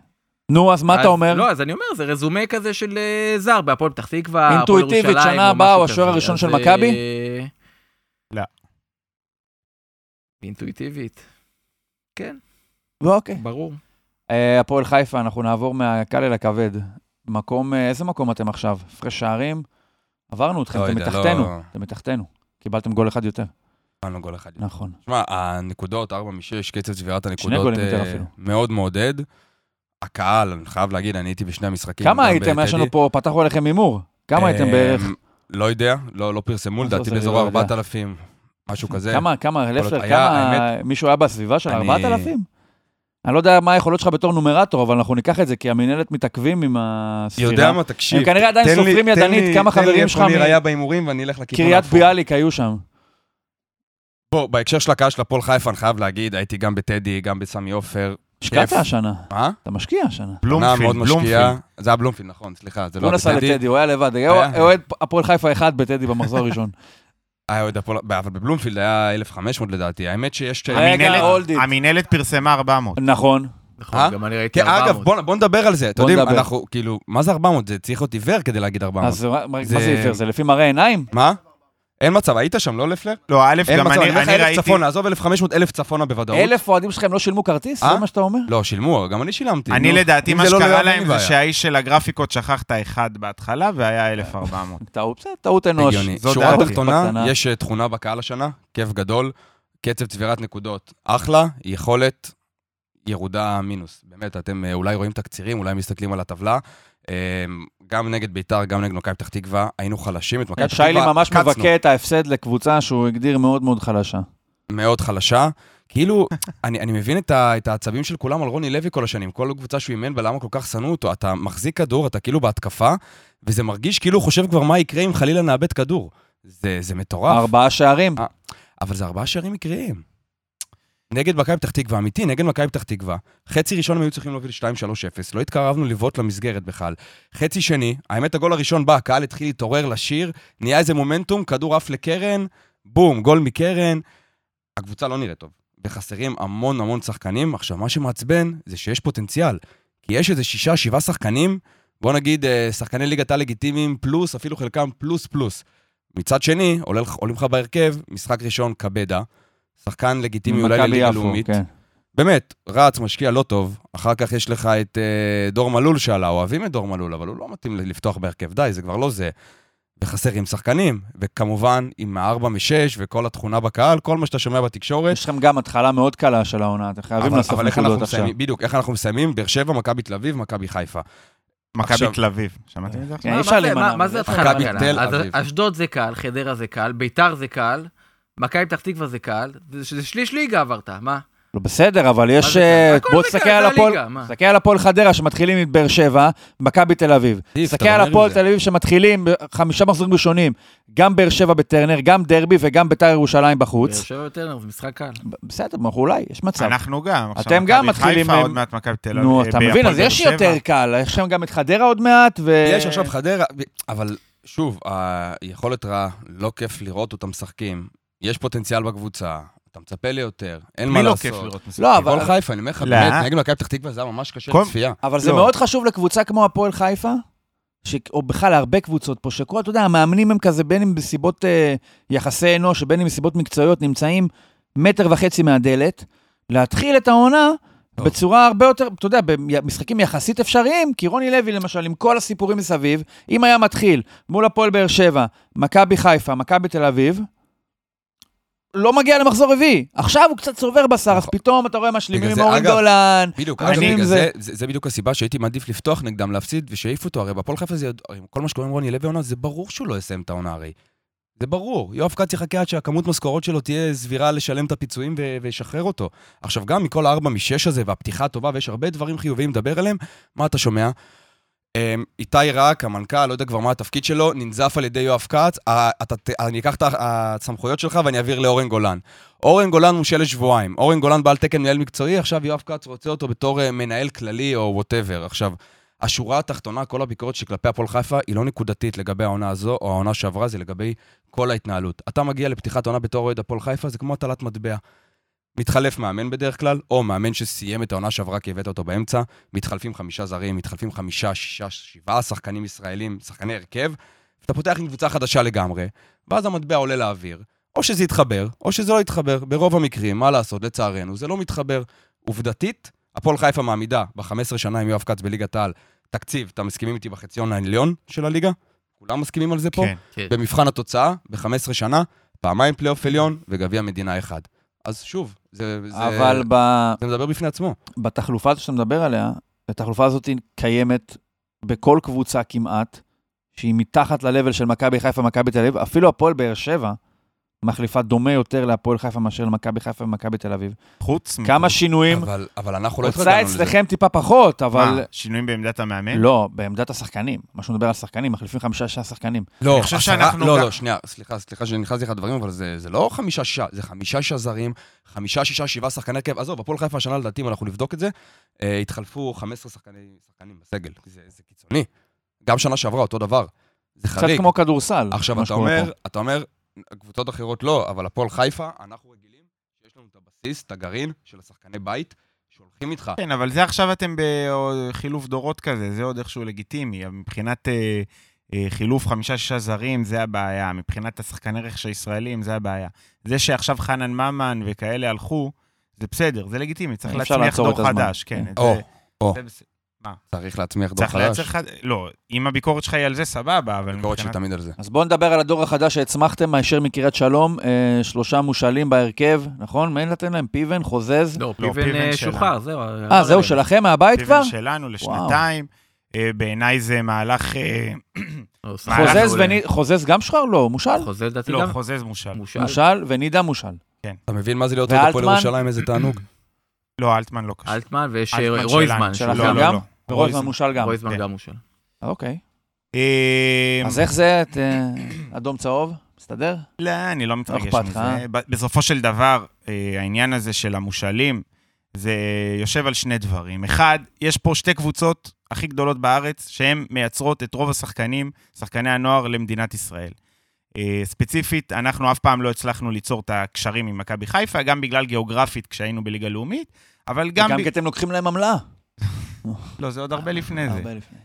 Speaker 2: נו, אז מה
Speaker 3: אז-
Speaker 2: אתה אומר?
Speaker 3: לא, אז אני אומר, זה רזומה כזה של אה, זר, בהפועל פתח תקווה, הפועל
Speaker 2: אינטואיטיבית,
Speaker 3: ירושלים,
Speaker 2: שנה
Speaker 3: או
Speaker 2: הבאה
Speaker 3: משהו
Speaker 2: הוא השוער
Speaker 3: כזה.
Speaker 2: הראשון
Speaker 3: אז,
Speaker 2: של
Speaker 3: אה,
Speaker 2: מכבי?
Speaker 4: לא.
Speaker 3: אינטואיטיבית. כן,
Speaker 2: אוקיי.
Speaker 3: ברור.
Speaker 2: אה, הפועל חיפה, אנחנו נעבור מהקל אל הכבד. מקום, אה, איזה מקום אתם עכשיו? הפרש שערים? עברנו אתכם,
Speaker 5: לא
Speaker 2: אתם
Speaker 5: יודע,
Speaker 2: מתחתנו.
Speaker 5: לא-
Speaker 2: אתם מתחתנו. קיבלתם גול אחד יותר.
Speaker 5: אין לו גול אחד.
Speaker 2: נכון.
Speaker 5: תשמע, הנקודות, 4 מ-6, קצב צבירת הנקודות
Speaker 2: גולים
Speaker 5: אה,
Speaker 2: יותר אפילו.
Speaker 5: מאוד מעודד. הקהל, אני חייב להגיד, אני הייתי בשני המשחקים.
Speaker 2: כמה
Speaker 5: כן, גם
Speaker 2: הייתם? יש לנו
Speaker 5: בטדי.
Speaker 2: פה, פתחנו עליכם הימור. כמה הייתם
Speaker 5: אה,
Speaker 2: בערך?
Speaker 5: לא יודע, לא לא פרסמו,
Speaker 2: מה זה
Speaker 5: לדעתי
Speaker 2: עושה לי
Speaker 5: באזור
Speaker 2: לא יודע?
Speaker 5: 4,000, משהו כזה.
Speaker 2: כמה, כמה, לפלר,
Speaker 5: היה,
Speaker 2: כמה, מישהו היה בסביבה של
Speaker 5: אני-
Speaker 2: 4,000? אני לא יודע מה היכולות שלך בתור נומרטור, אבל אנחנו ניקח את זה, כי המינהלת מתעכבים עם הספירה.
Speaker 5: יודע מה, תקשיב.
Speaker 2: הם כנראה עדיין
Speaker 5: תן לי-
Speaker 2: סופרים
Speaker 5: תן
Speaker 2: ידנית
Speaker 5: לי-
Speaker 2: כמה חברים שלך
Speaker 5: תן לי
Speaker 2: מ-
Speaker 5: איפה ניר היה בהימורים ואני אלך לכיוון
Speaker 2: קריית
Speaker 5: ההפוך.
Speaker 2: ביאליק היו שם.
Speaker 5: בוא, בהקשר של הקהל של הפועל חיפה, אני חייב להגיד, הייתי גם בטדי, גם בסמי עופר.
Speaker 2: השקעת
Speaker 5: כיף.
Speaker 2: השנה,
Speaker 5: מה?
Speaker 2: אתה משקיע השנה.
Speaker 5: עונה מאוד
Speaker 4: בלומפילד,
Speaker 5: משקיעה.
Speaker 4: בלומפילד.
Speaker 5: זה היה בלומפילד, נכון, סליחה, זה לא
Speaker 2: הוא
Speaker 5: היה
Speaker 2: נסע
Speaker 5: בטדי.
Speaker 2: לטדי, הוא היה לבד, היה
Speaker 5: היה.
Speaker 2: אוהד הפועל חיפה אחד בטדי במחזור הראשון.
Speaker 5: היה אוהד הפועל, אבל בבלומפילד היה 1,500 לדעתי. האמת שיש...
Speaker 2: רגע,
Speaker 4: המינהלת-
Speaker 2: הולד it.
Speaker 4: המינהלת פרסמה 400.
Speaker 2: נכון,
Speaker 3: נכון,
Speaker 5: אה?
Speaker 3: גם אני ראיתי
Speaker 5: כן, אגב,
Speaker 3: 400.
Speaker 5: בוא, בוא נדבר על זה. אתה
Speaker 2: בוא
Speaker 5: יודע,
Speaker 2: נדבר.
Speaker 5: אנחנו, כאילו, מה זה 400? זה צריך להיות עיוור כדי להגיד 400.
Speaker 2: אז מה- מה
Speaker 5: זה-
Speaker 2: זה עיוור? זה לפי מראה עיניים?
Speaker 5: מה? אין מצב, היית שם, לא לפלר?
Speaker 4: לא, א',
Speaker 5: אין
Speaker 4: גם
Speaker 5: מצב,
Speaker 4: אני
Speaker 5: אני אומר לך
Speaker 4: אני
Speaker 5: אלף
Speaker 4: ראיתי...
Speaker 5: צפונה, עזוב 1,500, אלף צפונה בוודאות.
Speaker 2: אלף אוהדים שלכם לא שילמו כרטיס?
Speaker 5: אה?
Speaker 2: זה מה שאתה אומר?
Speaker 5: לא, שילמו, גם אני שילמתי.
Speaker 4: אני
Speaker 5: נו.
Speaker 4: לדעתי,
Speaker 5: אם
Speaker 4: מה
Speaker 5: זה לא לא
Speaker 4: שקרה
Speaker 5: יאמן,
Speaker 4: להם
Speaker 5: אין
Speaker 4: זה
Speaker 5: בעיה.
Speaker 4: שהאיש של הגרפיקות שכח את האחד בהתחלה והיה 1400.
Speaker 2: טעות, בסדר, טעות אנוש.
Speaker 5: הגיוני. אוקיי,
Speaker 4: זאת
Speaker 5: שורה
Speaker 4: דעתי.
Speaker 5: תחתונה,
Speaker 2: בקטנה.
Speaker 5: יש אה, תכונה בקהל השנה, כיף גדול, קצב צבירת נקודות אחלה, יכולת ירודה מינוס. באמת, אתם אה, אולי רואים תקצירים, אולי מסתכלים על הטבלה. אה, גם נגד ביתר, גם נגד מכבי פתח תקווה, היינו חלשים. את מכבי פתח
Speaker 2: אה, שיילי
Speaker 5: תקווה,
Speaker 2: כן, ממש
Speaker 5: קצנו.
Speaker 2: מבכה את ההפסד לקבוצה שהוא הגדיר מאוד מאוד חלשה.
Speaker 5: מאוד חלשה. כאילו, אני, אני מבין את, ה, את העצבים של כולם על רוני לוי כל השנים, כל קבוצה שהוא אימן ולמה כל כך שנאו אותו. אתה מחזיק כדור, אתה כאילו בהתקפה, וזה מרגיש כאילו הוא חושב כבר מה יקרה אם חלילה נאבד כדור. זה, זה מטורף.
Speaker 2: ארבעה שערים.
Speaker 5: אה. אבל זה ארבעה שערים מקריים. נגד מכבי פתח תקווה, אמיתי, נגד מכבי פתח תקווה. חצי ראשון הם היו צריכים להוביל 2-3-0, לא התקרבנו לבעוט למסגרת בכלל. חצי שני, האמת, הגול הראשון בא, הקהל התחיל להתעורר לשיר, נהיה איזה מומנטום, כדור עף לקרן, בום, גול מקרן. הקבוצה לא נראית טוב, וחסרים המון המון שחקנים. עכשיו, מה שמעצבן זה שיש פוטנציאל, כי יש איזה שישה, שבעה שחקנים, בוא נגיד, אה, שחקני ליגת הלגיטימיים פלוס, אפילו חלקם פלוס פלוס. מצד שני, עולה לך- עולים לך בהרכב, משחק ראשון, קבדה, שחקן לגיטימי אולי
Speaker 2: ממכבי
Speaker 5: לליגה
Speaker 2: יפו,
Speaker 5: לאומית.
Speaker 2: כן.
Speaker 5: באמת, רץ, משקיע לא טוב, אחר כך יש לך את אה, דור מלול שעלה, אוהבים את דור מלול, אבל הוא לא מתאים ל- לפתוח בהרכב, די, זה כבר לא זה. וחסר עם שחקנים, וכמובן עם הארבע משש וכל התכונה בקהל, כל מה שאתה שומע בתקשורת.
Speaker 2: יש לכם גם התחלה מאוד קלה של העונה, אתם חייבים
Speaker 5: אבל-
Speaker 2: לאסוף
Speaker 5: אבל איך אנחנו
Speaker 2: נקודות עכשיו.
Speaker 5: מסיימים, בדיוק, איך אנחנו מסיימים? באר שבע, מכבי תל אביב, מכבי חיפה.
Speaker 4: מכבי
Speaker 5: עכשיו-
Speaker 4: תל אביב. שמעתם את זה
Speaker 2: כן,
Speaker 4: עכשיו?
Speaker 2: אי
Speaker 3: מה-
Speaker 2: אפשר
Speaker 3: מה זה-
Speaker 2: להימנע
Speaker 3: מה- מה
Speaker 2: מזה.
Speaker 3: זה התחלה
Speaker 5: מכבי
Speaker 3: קלה?
Speaker 5: תל
Speaker 3: אז
Speaker 5: אביב.
Speaker 3: אשדוד זה קל, חדרה זה קל, ביתר זה קל, מכבי פתח תקווה זה קל, זה זה שליש ליגה עברת, מה?
Speaker 2: לא, בסדר, אבל יש...
Speaker 3: זה
Speaker 2: אה,
Speaker 3: קל? הכל
Speaker 2: בוא
Speaker 3: זה
Speaker 2: תסתכל
Speaker 3: קל,
Speaker 2: על
Speaker 3: זה
Speaker 2: הפועל...
Speaker 3: הליגה, מה?
Speaker 2: תסתכל על הפועל חדרה שמתחילים עם באר שבע, מכבי תל אביב.
Speaker 5: טיב,
Speaker 2: תסתכל
Speaker 5: אתה
Speaker 2: על
Speaker 5: אומר עם
Speaker 2: הפועל
Speaker 5: זה.
Speaker 2: תל אביב שמתחילים חמישה מחזורים ראשונים, גם באר שבע בטרנר, גם דרבי וגם ביתר ירושלים
Speaker 3: באר
Speaker 2: בחוץ.
Speaker 3: שבע וטרנר זה משחק קל.
Speaker 2: בסדר, אנחנו אולי, יש מצב.
Speaker 4: אנחנו גם. עכשיו
Speaker 2: אתם גם
Speaker 4: מכבי
Speaker 2: מתחילים
Speaker 4: חיפה,
Speaker 2: עם-
Speaker 4: עוד מעט מכבי תל אביב.
Speaker 2: נו,
Speaker 4: אה,
Speaker 2: אתה
Speaker 4: בהפועל
Speaker 2: מבין, אז
Speaker 4: באר
Speaker 2: יש
Speaker 4: שבע.
Speaker 2: יותר קל, יש שם גם את חדרה עוד מעט, ו...
Speaker 5: יש עכשיו חדרה, אבל שוב, היכולת רעה, לא כיף לראות אותם משחקים. יש פוטנציאל בקבוצה, אתה מצפה לי יותר, אין מה
Speaker 4: מי לא
Speaker 5: לעשות.
Speaker 4: כיף לראות משחק?
Speaker 2: לא, אבל-
Speaker 5: אבל חיפה, אני אומר לך,
Speaker 4: לא.
Speaker 5: באמת, נגד מכבי פתח תקווה זה היה ממש קשה
Speaker 4: כל-
Speaker 5: לצפייה.
Speaker 2: אבל זה
Speaker 4: לא.
Speaker 2: מאוד חשוב לקבוצה כמו הפועל חיפה, ש... או בכלל להרבה קבוצות פה, שכל, אתה יודע, המאמנים הם כזה, בין אם בסיבות אה, יחסי אנוש, בין אם מסיבות מקצועיות, נמצאים מטר וחצי מהדלת, להתחיל את העונה
Speaker 5: טוב.
Speaker 2: בצורה הרבה יותר, אתה יודע, במשחקים יחסית אפשריים, כי רוני לוי למשל, עם כל הסיפורים מסביב, אם היה מתחיל מול הפועל באר שבע, מכבי חיפה, מכבי תל אביב, לא מגיע למחזור רביעי. עכשיו הוא קצת צובר בשר, אז
Speaker 5: נכון.
Speaker 2: פתאום אתה רואה משלימים
Speaker 5: בגלל
Speaker 2: עם
Speaker 5: זה,
Speaker 2: אורן
Speaker 5: אגב,
Speaker 2: גולן,
Speaker 5: בדיוק,
Speaker 2: אני-
Speaker 5: אגב,
Speaker 2: אם
Speaker 5: בגלל
Speaker 2: זה-
Speaker 5: זה, זה, זה בדיוק הסיבה שהייתי מעדיף לפתוח נגדם, להפסיד, ושיעיפו אותו, הרי בהפועל חיפה זה, ידוע- עם כל מה שקורה עם רוני לוי עונה, זה ברור שהוא לא יסיים את העונה הרי. זה ברור, יואב כץ יחכה עד שהכמות משכורות שלו תהיה סבירה לשלם את הפיצויים ו- וישחרר אותו. עכשיו, גם מכל הארבע משש הזה, והפתיחה הטובה, ויש הרבה דברים חיוביים לדבר עליהם, מה אתה שומע? אמ, איתי רק, המנכ"ל, לא יודע כבר מה התפקיד שלו, ננזף על ידי יואב כץ. אה, אתה ת- אני אקח את הסמכויות שלך ואני אעביר לאורן גולן. אורן גולן מושל לשבועיים. אורן גולן בעל תקן מנהל מקצועי, עכשיו יואב כץ רוצה אותו בתור אה, מנהל כללי או וואטאבר. עכשיו, השורה התחתונה, כל הביקורת שכלפי הפועל חיפה היא לא נקודתית לגבי העונה הזו או העונה שעברה, זה לגבי כל ההתנהלות. אתה מגיע לפתיחת עונה בתור אוהד הפועל חיפה, זה כמו הטלת מטבע. מתחלף מאמן בדרך כלל, או מאמן שסיים את העונה שעברה כי הבאת אותו באמצע, מתחלפים חמישה זרים, מתחלפים חמישה, שישה, שבעה שחקנים ישראלים, שחקני הרכב, ואתה פותח עם קבוצה חדשה לגמרי, ואז המטבע עולה לאוויר. או שזה יתחבר, או שזה לא יתחבר. ברוב המקרים, מה לעשות, לצערנו, זה לא מתחבר. עובדתית, הפועל חיפה מעמידה ב-15 שנה עם יואב כץ בליגת העל תקציב, אתם מסכימים איתי בחציון העליון של הליגה? כולם מסכימים על זה פה?
Speaker 4: כן.
Speaker 5: במבחן התוצאה, ב-15 שנה, פעמיים פלייאוף עליון וגביע מדינה אחד. אז שוב, זה, זה,
Speaker 2: אבל ב...
Speaker 5: זה מדבר בפני עצמו.
Speaker 2: בתחלופה הזו שאתה מדבר עליה, התחלופה הזאת היא קיימת בכל קבוצה כמעט, שהיא מתחת ל-level של מכבי חיפה ומכבי תל אביב. אפילו הפועל באר שבע מחליפה דומה יותר להפועל חיפה מאשר למכבי חיפה ומכבי תל אביב.
Speaker 4: חוץ מ...
Speaker 2: כמה שינויים,
Speaker 5: אוקיי. אבל, אבל אנחנו לא
Speaker 2: הוצאה
Speaker 5: התרגלנו לזה. אה?
Speaker 2: אצלכם טיפה פחות, אבל...
Speaker 4: מה, שינויים בעמדת המאמן?
Speaker 2: לא, בעמדת השחקנים. מה שהוא מדבר על שחקנים, מחליפים חמישה-שישה שחקנים.
Speaker 5: לא,
Speaker 4: אני חושב
Speaker 5: עשרה-
Speaker 4: שאנחנו
Speaker 5: לא,
Speaker 4: גם-
Speaker 5: לא, שנייה, סליחה, סליחה שנכנסתי לך לדברים, אבל זה, זה לא חמישה שישה, זה חמישה שישה זרים, חמישה, שישה, שבעה שחקני הרכב. עזוב, הפועל חיפה השנה, לדעתי, אם אנחנו נבדוק את זה, אה, התחלפו 15 שחקני, שחקנים בסגל. זה, זה קיצוני. גם שנה שעברה, אותו דבר. זה
Speaker 2: קצת
Speaker 5: חריג.
Speaker 2: כמו כדורסל.
Speaker 5: עכשיו,
Speaker 2: מה
Speaker 5: אתה
Speaker 2: שקורה
Speaker 5: אומר,
Speaker 2: פה.
Speaker 5: אתה אומר, קבוצות אחרות לא, אבל הפועל חיפה, אנחנו רגילים שיש לנו את הבסיס, את הגרעין של השחקני בית, שהולכים איתך.
Speaker 4: כן, אבל זה עכשיו אתם בחילוף דורות כזה, זה עוד איכשהו לגיטימי. אבל מבחינת אה, אה, חילוף חמישה-שישה זרים, זה הבעיה. מבחינת השחקני רכש הישראלים, זה הבעיה. זה שעכשיו חנן ממן וכאלה הלכו, זה בסדר, זה לגיטימי. צריך
Speaker 2: אפשר
Speaker 4: להצמיח
Speaker 2: לעצור
Speaker 4: דור
Speaker 2: את הזמן.
Speaker 4: חדש, כן. את
Speaker 5: או,
Speaker 4: זה-
Speaker 5: או.
Speaker 4: זה בסדר.
Speaker 5: צריך להצמיח דור
Speaker 4: צריך
Speaker 5: חדש.
Speaker 4: לייצר חד... לא, אם הביקורת שלך היא על זה, סבבה, אבל
Speaker 5: ביקורת שלי
Speaker 4: מבחינת...
Speaker 5: תמיד על זה.
Speaker 2: אז בואו נדבר על הדור החדש שהצמחתם, הישר מקריית שלום, אה, שלושה מושאלים בהרכב, נכון? מי נתן להם? פיבן, חוזז.
Speaker 3: לא,
Speaker 4: פיבן
Speaker 3: פיבן אה,
Speaker 4: שלנו.
Speaker 3: שוחרר, זהו.
Speaker 2: אה, זהו, שלכם מהבית כבר?
Speaker 4: פיבן שלנו לשנתיים. אה, בעיניי זה מהלך... אה,
Speaker 3: לא, סליחה,
Speaker 4: מהלך
Speaker 2: חוזז,
Speaker 4: מעולה.
Speaker 2: וני... חוזז גם שוחרר? לא, הוא מושל?
Speaker 3: חוזה לדעתי
Speaker 4: לא,
Speaker 3: גם.
Speaker 4: חוזז מושל.
Speaker 3: מושל.
Speaker 2: מושל, ונידה מושל.
Speaker 5: אתה מבין מה זה להיות אוהד הפועל
Speaker 2: ואלטמן?
Speaker 5: ירושלים, איזה תענוג?
Speaker 4: לא, אלטמן לא קשור.
Speaker 3: אלטמן ויש
Speaker 4: אלטמן
Speaker 3: אה,
Speaker 4: שלנו.
Speaker 3: רויזמן.
Speaker 4: שלכם
Speaker 3: שלנו.
Speaker 4: לא,
Speaker 2: גם?
Speaker 4: לא.
Speaker 2: ורויזמן
Speaker 4: רויזמן.
Speaker 2: מושל גם.
Speaker 3: רויזמן
Speaker 4: כן.
Speaker 3: גם מושל.
Speaker 2: אוקיי.
Speaker 4: אה,
Speaker 2: אז איך זה, את, אה, אדום צהוב? מסתדר?
Speaker 4: לא, אני לא מתרגש
Speaker 2: אכפת לך, אה?
Speaker 4: מזה. ב- בסופו של דבר, אה, העניין הזה של המושאלים, זה יושב על שני דברים. אחד, יש פה שתי קבוצות הכי גדולות בארץ, שהן מייצרות את רוב השחקנים, שחקני הנוער, למדינת ישראל. אה, ספציפית, אנחנו אף פעם לא הצלחנו ליצור את הקשרים עם מכבי חיפה, גם בגלל גיאוגרפית כשהיינו בליגה לאומית, אבל גם...
Speaker 2: גם
Speaker 4: ב-
Speaker 2: כי אתם לוקחים להם עמלה.
Speaker 4: לא, זה עוד הרבה לפני זה.
Speaker 2: הרבה לפני.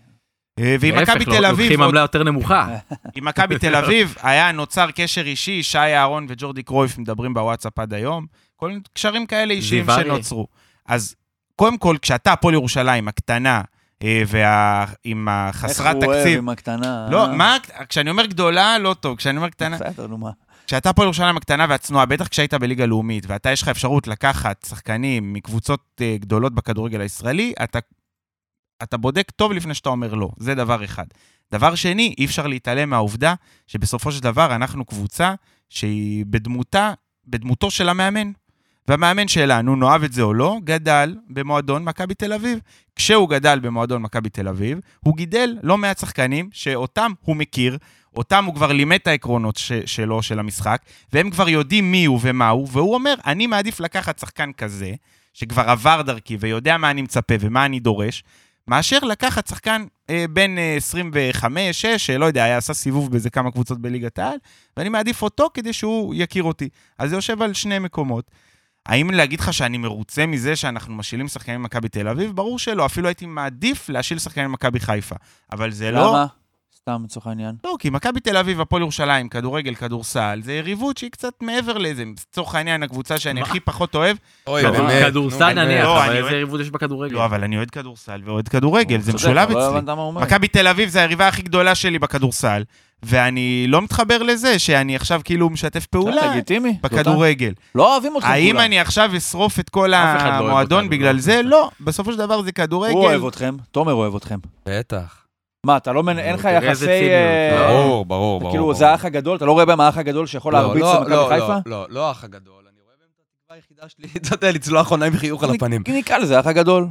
Speaker 4: אה, ועם
Speaker 3: להפך,
Speaker 4: מכבי
Speaker 3: לא,
Speaker 4: תל אביב,
Speaker 3: לוקחים
Speaker 4: עוד
Speaker 3: עמלה יותר נמוכה.
Speaker 4: עם מכבי תל אביב, היה נוצר קשר אישי, שי אהרון וג'ורדי קרויף מדברים בוואטסאפ עד היום, כל מיני קשרים כאלה אישיים
Speaker 3: זיו אריה.
Speaker 4: שנוצרו. אז קודם כל, כשאתה הפועל ירושלים הקטנה, אה, וה- עם החסרת
Speaker 2: איך הוא אוהב
Speaker 4: תקציב,
Speaker 2: עם הקטנה.
Speaker 4: לא,
Speaker 2: אה?
Speaker 4: מה, כשאני אומר גדולה, לא טוב, כשאני אומר קטנה,
Speaker 2: בסדר, נו מה.
Speaker 4: כשאתה הפועל ירושלים הקטנה והצנועה, בטח כשהיית בליגה לאומית, ואתה יש לך אפשרות לקחת שחקנים מקבוצות אה, גדולות בכדורגל הישראלי, אתה, אתה בודק טוב לפני שאתה אומר לא. זה דבר אחד. דבר שני, אי אפשר להתעלם מהעובדה שבסופו של דבר אנחנו קבוצה שהיא בדמותה, בדמותו של המאמן. והמאמן שלנו, נאהב את זה או לא, גדל במועדון מכבי תל אביב. כשהוא גדל במועדון מכבי תל אביב, הוא גידל לא מעט שחקנים שאותם הוא מכיר, אותם הוא כבר לימד את העקרונות ש- שלו, של המשחק, והם כבר יודעים מי הוא ומה הוא, והוא אומר, אני מעדיף לקחת שחקן כזה, שכבר עבר דרכי ויודע מה אני מצפה ומה אני דורש, מאשר לקחת שחקן אה, בן אה, 25, 6, שלא יודע, היה עשה סיבוב באיזה כמה קבוצות בליגת העל, ואני מעדיף אותו כדי שהוא יכיר אותי. אז זה יושב על שני מקומות. האם להגיד לך שאני מרוצה מזה שאנחנו משילים שחקנים ממכבי תל אביב? ברור שלא, אפילו הייתי מעדיף להשיל שחקנים ממכבי חיפה. אבל זה לא...
Speaker 2: למה? סתם, לצורך העניין.
Speaker 4: לא, כי מכבי תל אביב, הפועל ירושלים, כדורגל, כדורסל, זה יריבות שהיא קצת מעבר לזה. לצורך העניין, הקבוצה שאני
Speaker 3: מה?
Speaker 4: הכי פחות אוהב.
Speaker 2: אוקיי.
Speaker 5: אוי,
Speaker 4: לא,
Speaker 5: באמת.
Speaker 3: כדורסל
Speaker 5: אה,
Speaker 4: נו,
Speaker 3: נניח,
Speaker 4: לא,
Speaker 3: אבל
Speaker 4: אני
Speaker 3: איזה
Speaker 4: אוהב-
Speaker 3: יריבות יש בכדורגל.
Speaker 4: לא, אבל אני אוהד כדורסל ואוהד כדורגל, זה משולב
Speaker 2: הוא צודק, אבל לא
Speaker 4: אצלי.
Speaker 2: הבנת מה הוא אומר.
Speaker 4: מכבי תל אביב זה היריבה הכי גדולה שלי בכדורסל, ואני לא מתחבר לזה שאני עכשיו כאילו משתף
Speaker 2: בסדר,
Speaker 4: פעולה
Speaker 2: לגיטימי.
Speaker 4: בכדורגל.
Speaker 2: לא אוהבים אותך
Speaker 4: האם
Speaker 2: כולם.
Speaker 4: אני עכשיו אשרוף את כל
Speaker 3: אף אחד לא אוהב
Speaker 4: המועדון
Speaker 3: אותנו,
Speaker 4: בגלל
Speaker 3: לא.
Speaker 4: זה? לא, בסופו של דבר זה כדורגל.
Speaker 2: הוא אוהב אתכם, תומר אוהב אתכם.
Speaker 5: בטח.
Speaker 2: מה, אתה לא, מנ- אין לך
Speaker 3: תראה איזה
Speaker 2: יחסי...
Speaker 3: ציניות,
Speaker 2: אה,
Speaker 4: לא,
Speaker 5: ברור, ברור, ברור.
Speaker 2: כאילו,
Speaker 5: ברור.
Speaker 2: זה האח הגדול, אתה לא רואה בהם האח הגדול שיכול
Speaker 5: לא,
Speaker 2: להרביץ
Speaker 5: לא,
Speaker 2: למכבי
Speaker 5: לא,
Speaker 2: חיפה?
Speaker 5: לא, לא, לא האח הגדול. אני רואה בהם את התקווה היחידה שלי, אתה יודע, לצלוח עונה עם חיוך על הפנים.
Speaker 2: נ- נקרא לזה האח הגדול.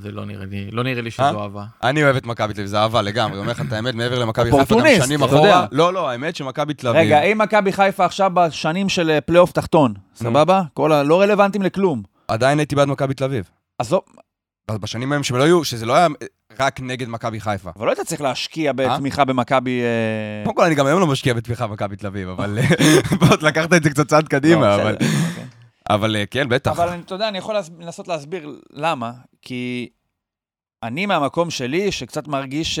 Speaker 3: זה לא נראה לי, לא נראה לי
Speaker 5: אה?
Speaker 3: שזו אהבה.
Speaker 5: אני אוהב את מכבי תל אביב, זה אהבה לגמרי, אומר לך את האמת, מעבר למכבי חיפה, גם
Speaker 2: אופורטוניסט,
Speaker 5: שנים
Speaker 2: אתה
Speaker 5: אחורה.
Speaker 2: יודע.
Speaker 5: לא, לא, האמת שמכבי תל אביב.
Speaker 2: רגע, אה- אם מכבי חיפה עכשיו בשנים של אה, פלייאוף תחתון,
Speaker 5: Mm.
Speaker 2: סבבה? כל ה... לא רלוונטיים לכלום.
Speaker 5: עדיין הייתי בעד מכבי תל אביב.
Speaker 2: עזוב,
Speaker 5: אז בשנים ההם שלא היו, שזה לא היה רק נגד מכבי חיפה.
Speaker 2: אבל לא היית צריך
Speaker 5: אה?
Speaker 2: להשקיע בתמיכה במכבי... אה,
Speaker 5: קודם כל, אני גם היום לא משקיע בתמיכה במכבי תל אביב, אבל אה, בוא, לקחת את זה קצת צעד
Speaker 2: לא,
Speaker 5: קדימה,
Speaker 2: בסדר,
Speaker 5: אבל...
Speaker 2: אוקיי.
Speaker 5: אבל אה, כן, בטח.
Speaker 2: אבל אני- אתה יודע, אני יכול להס- לנסות להסביר למה, כי אני מהמקום שלי, שקצת מרגיש ש...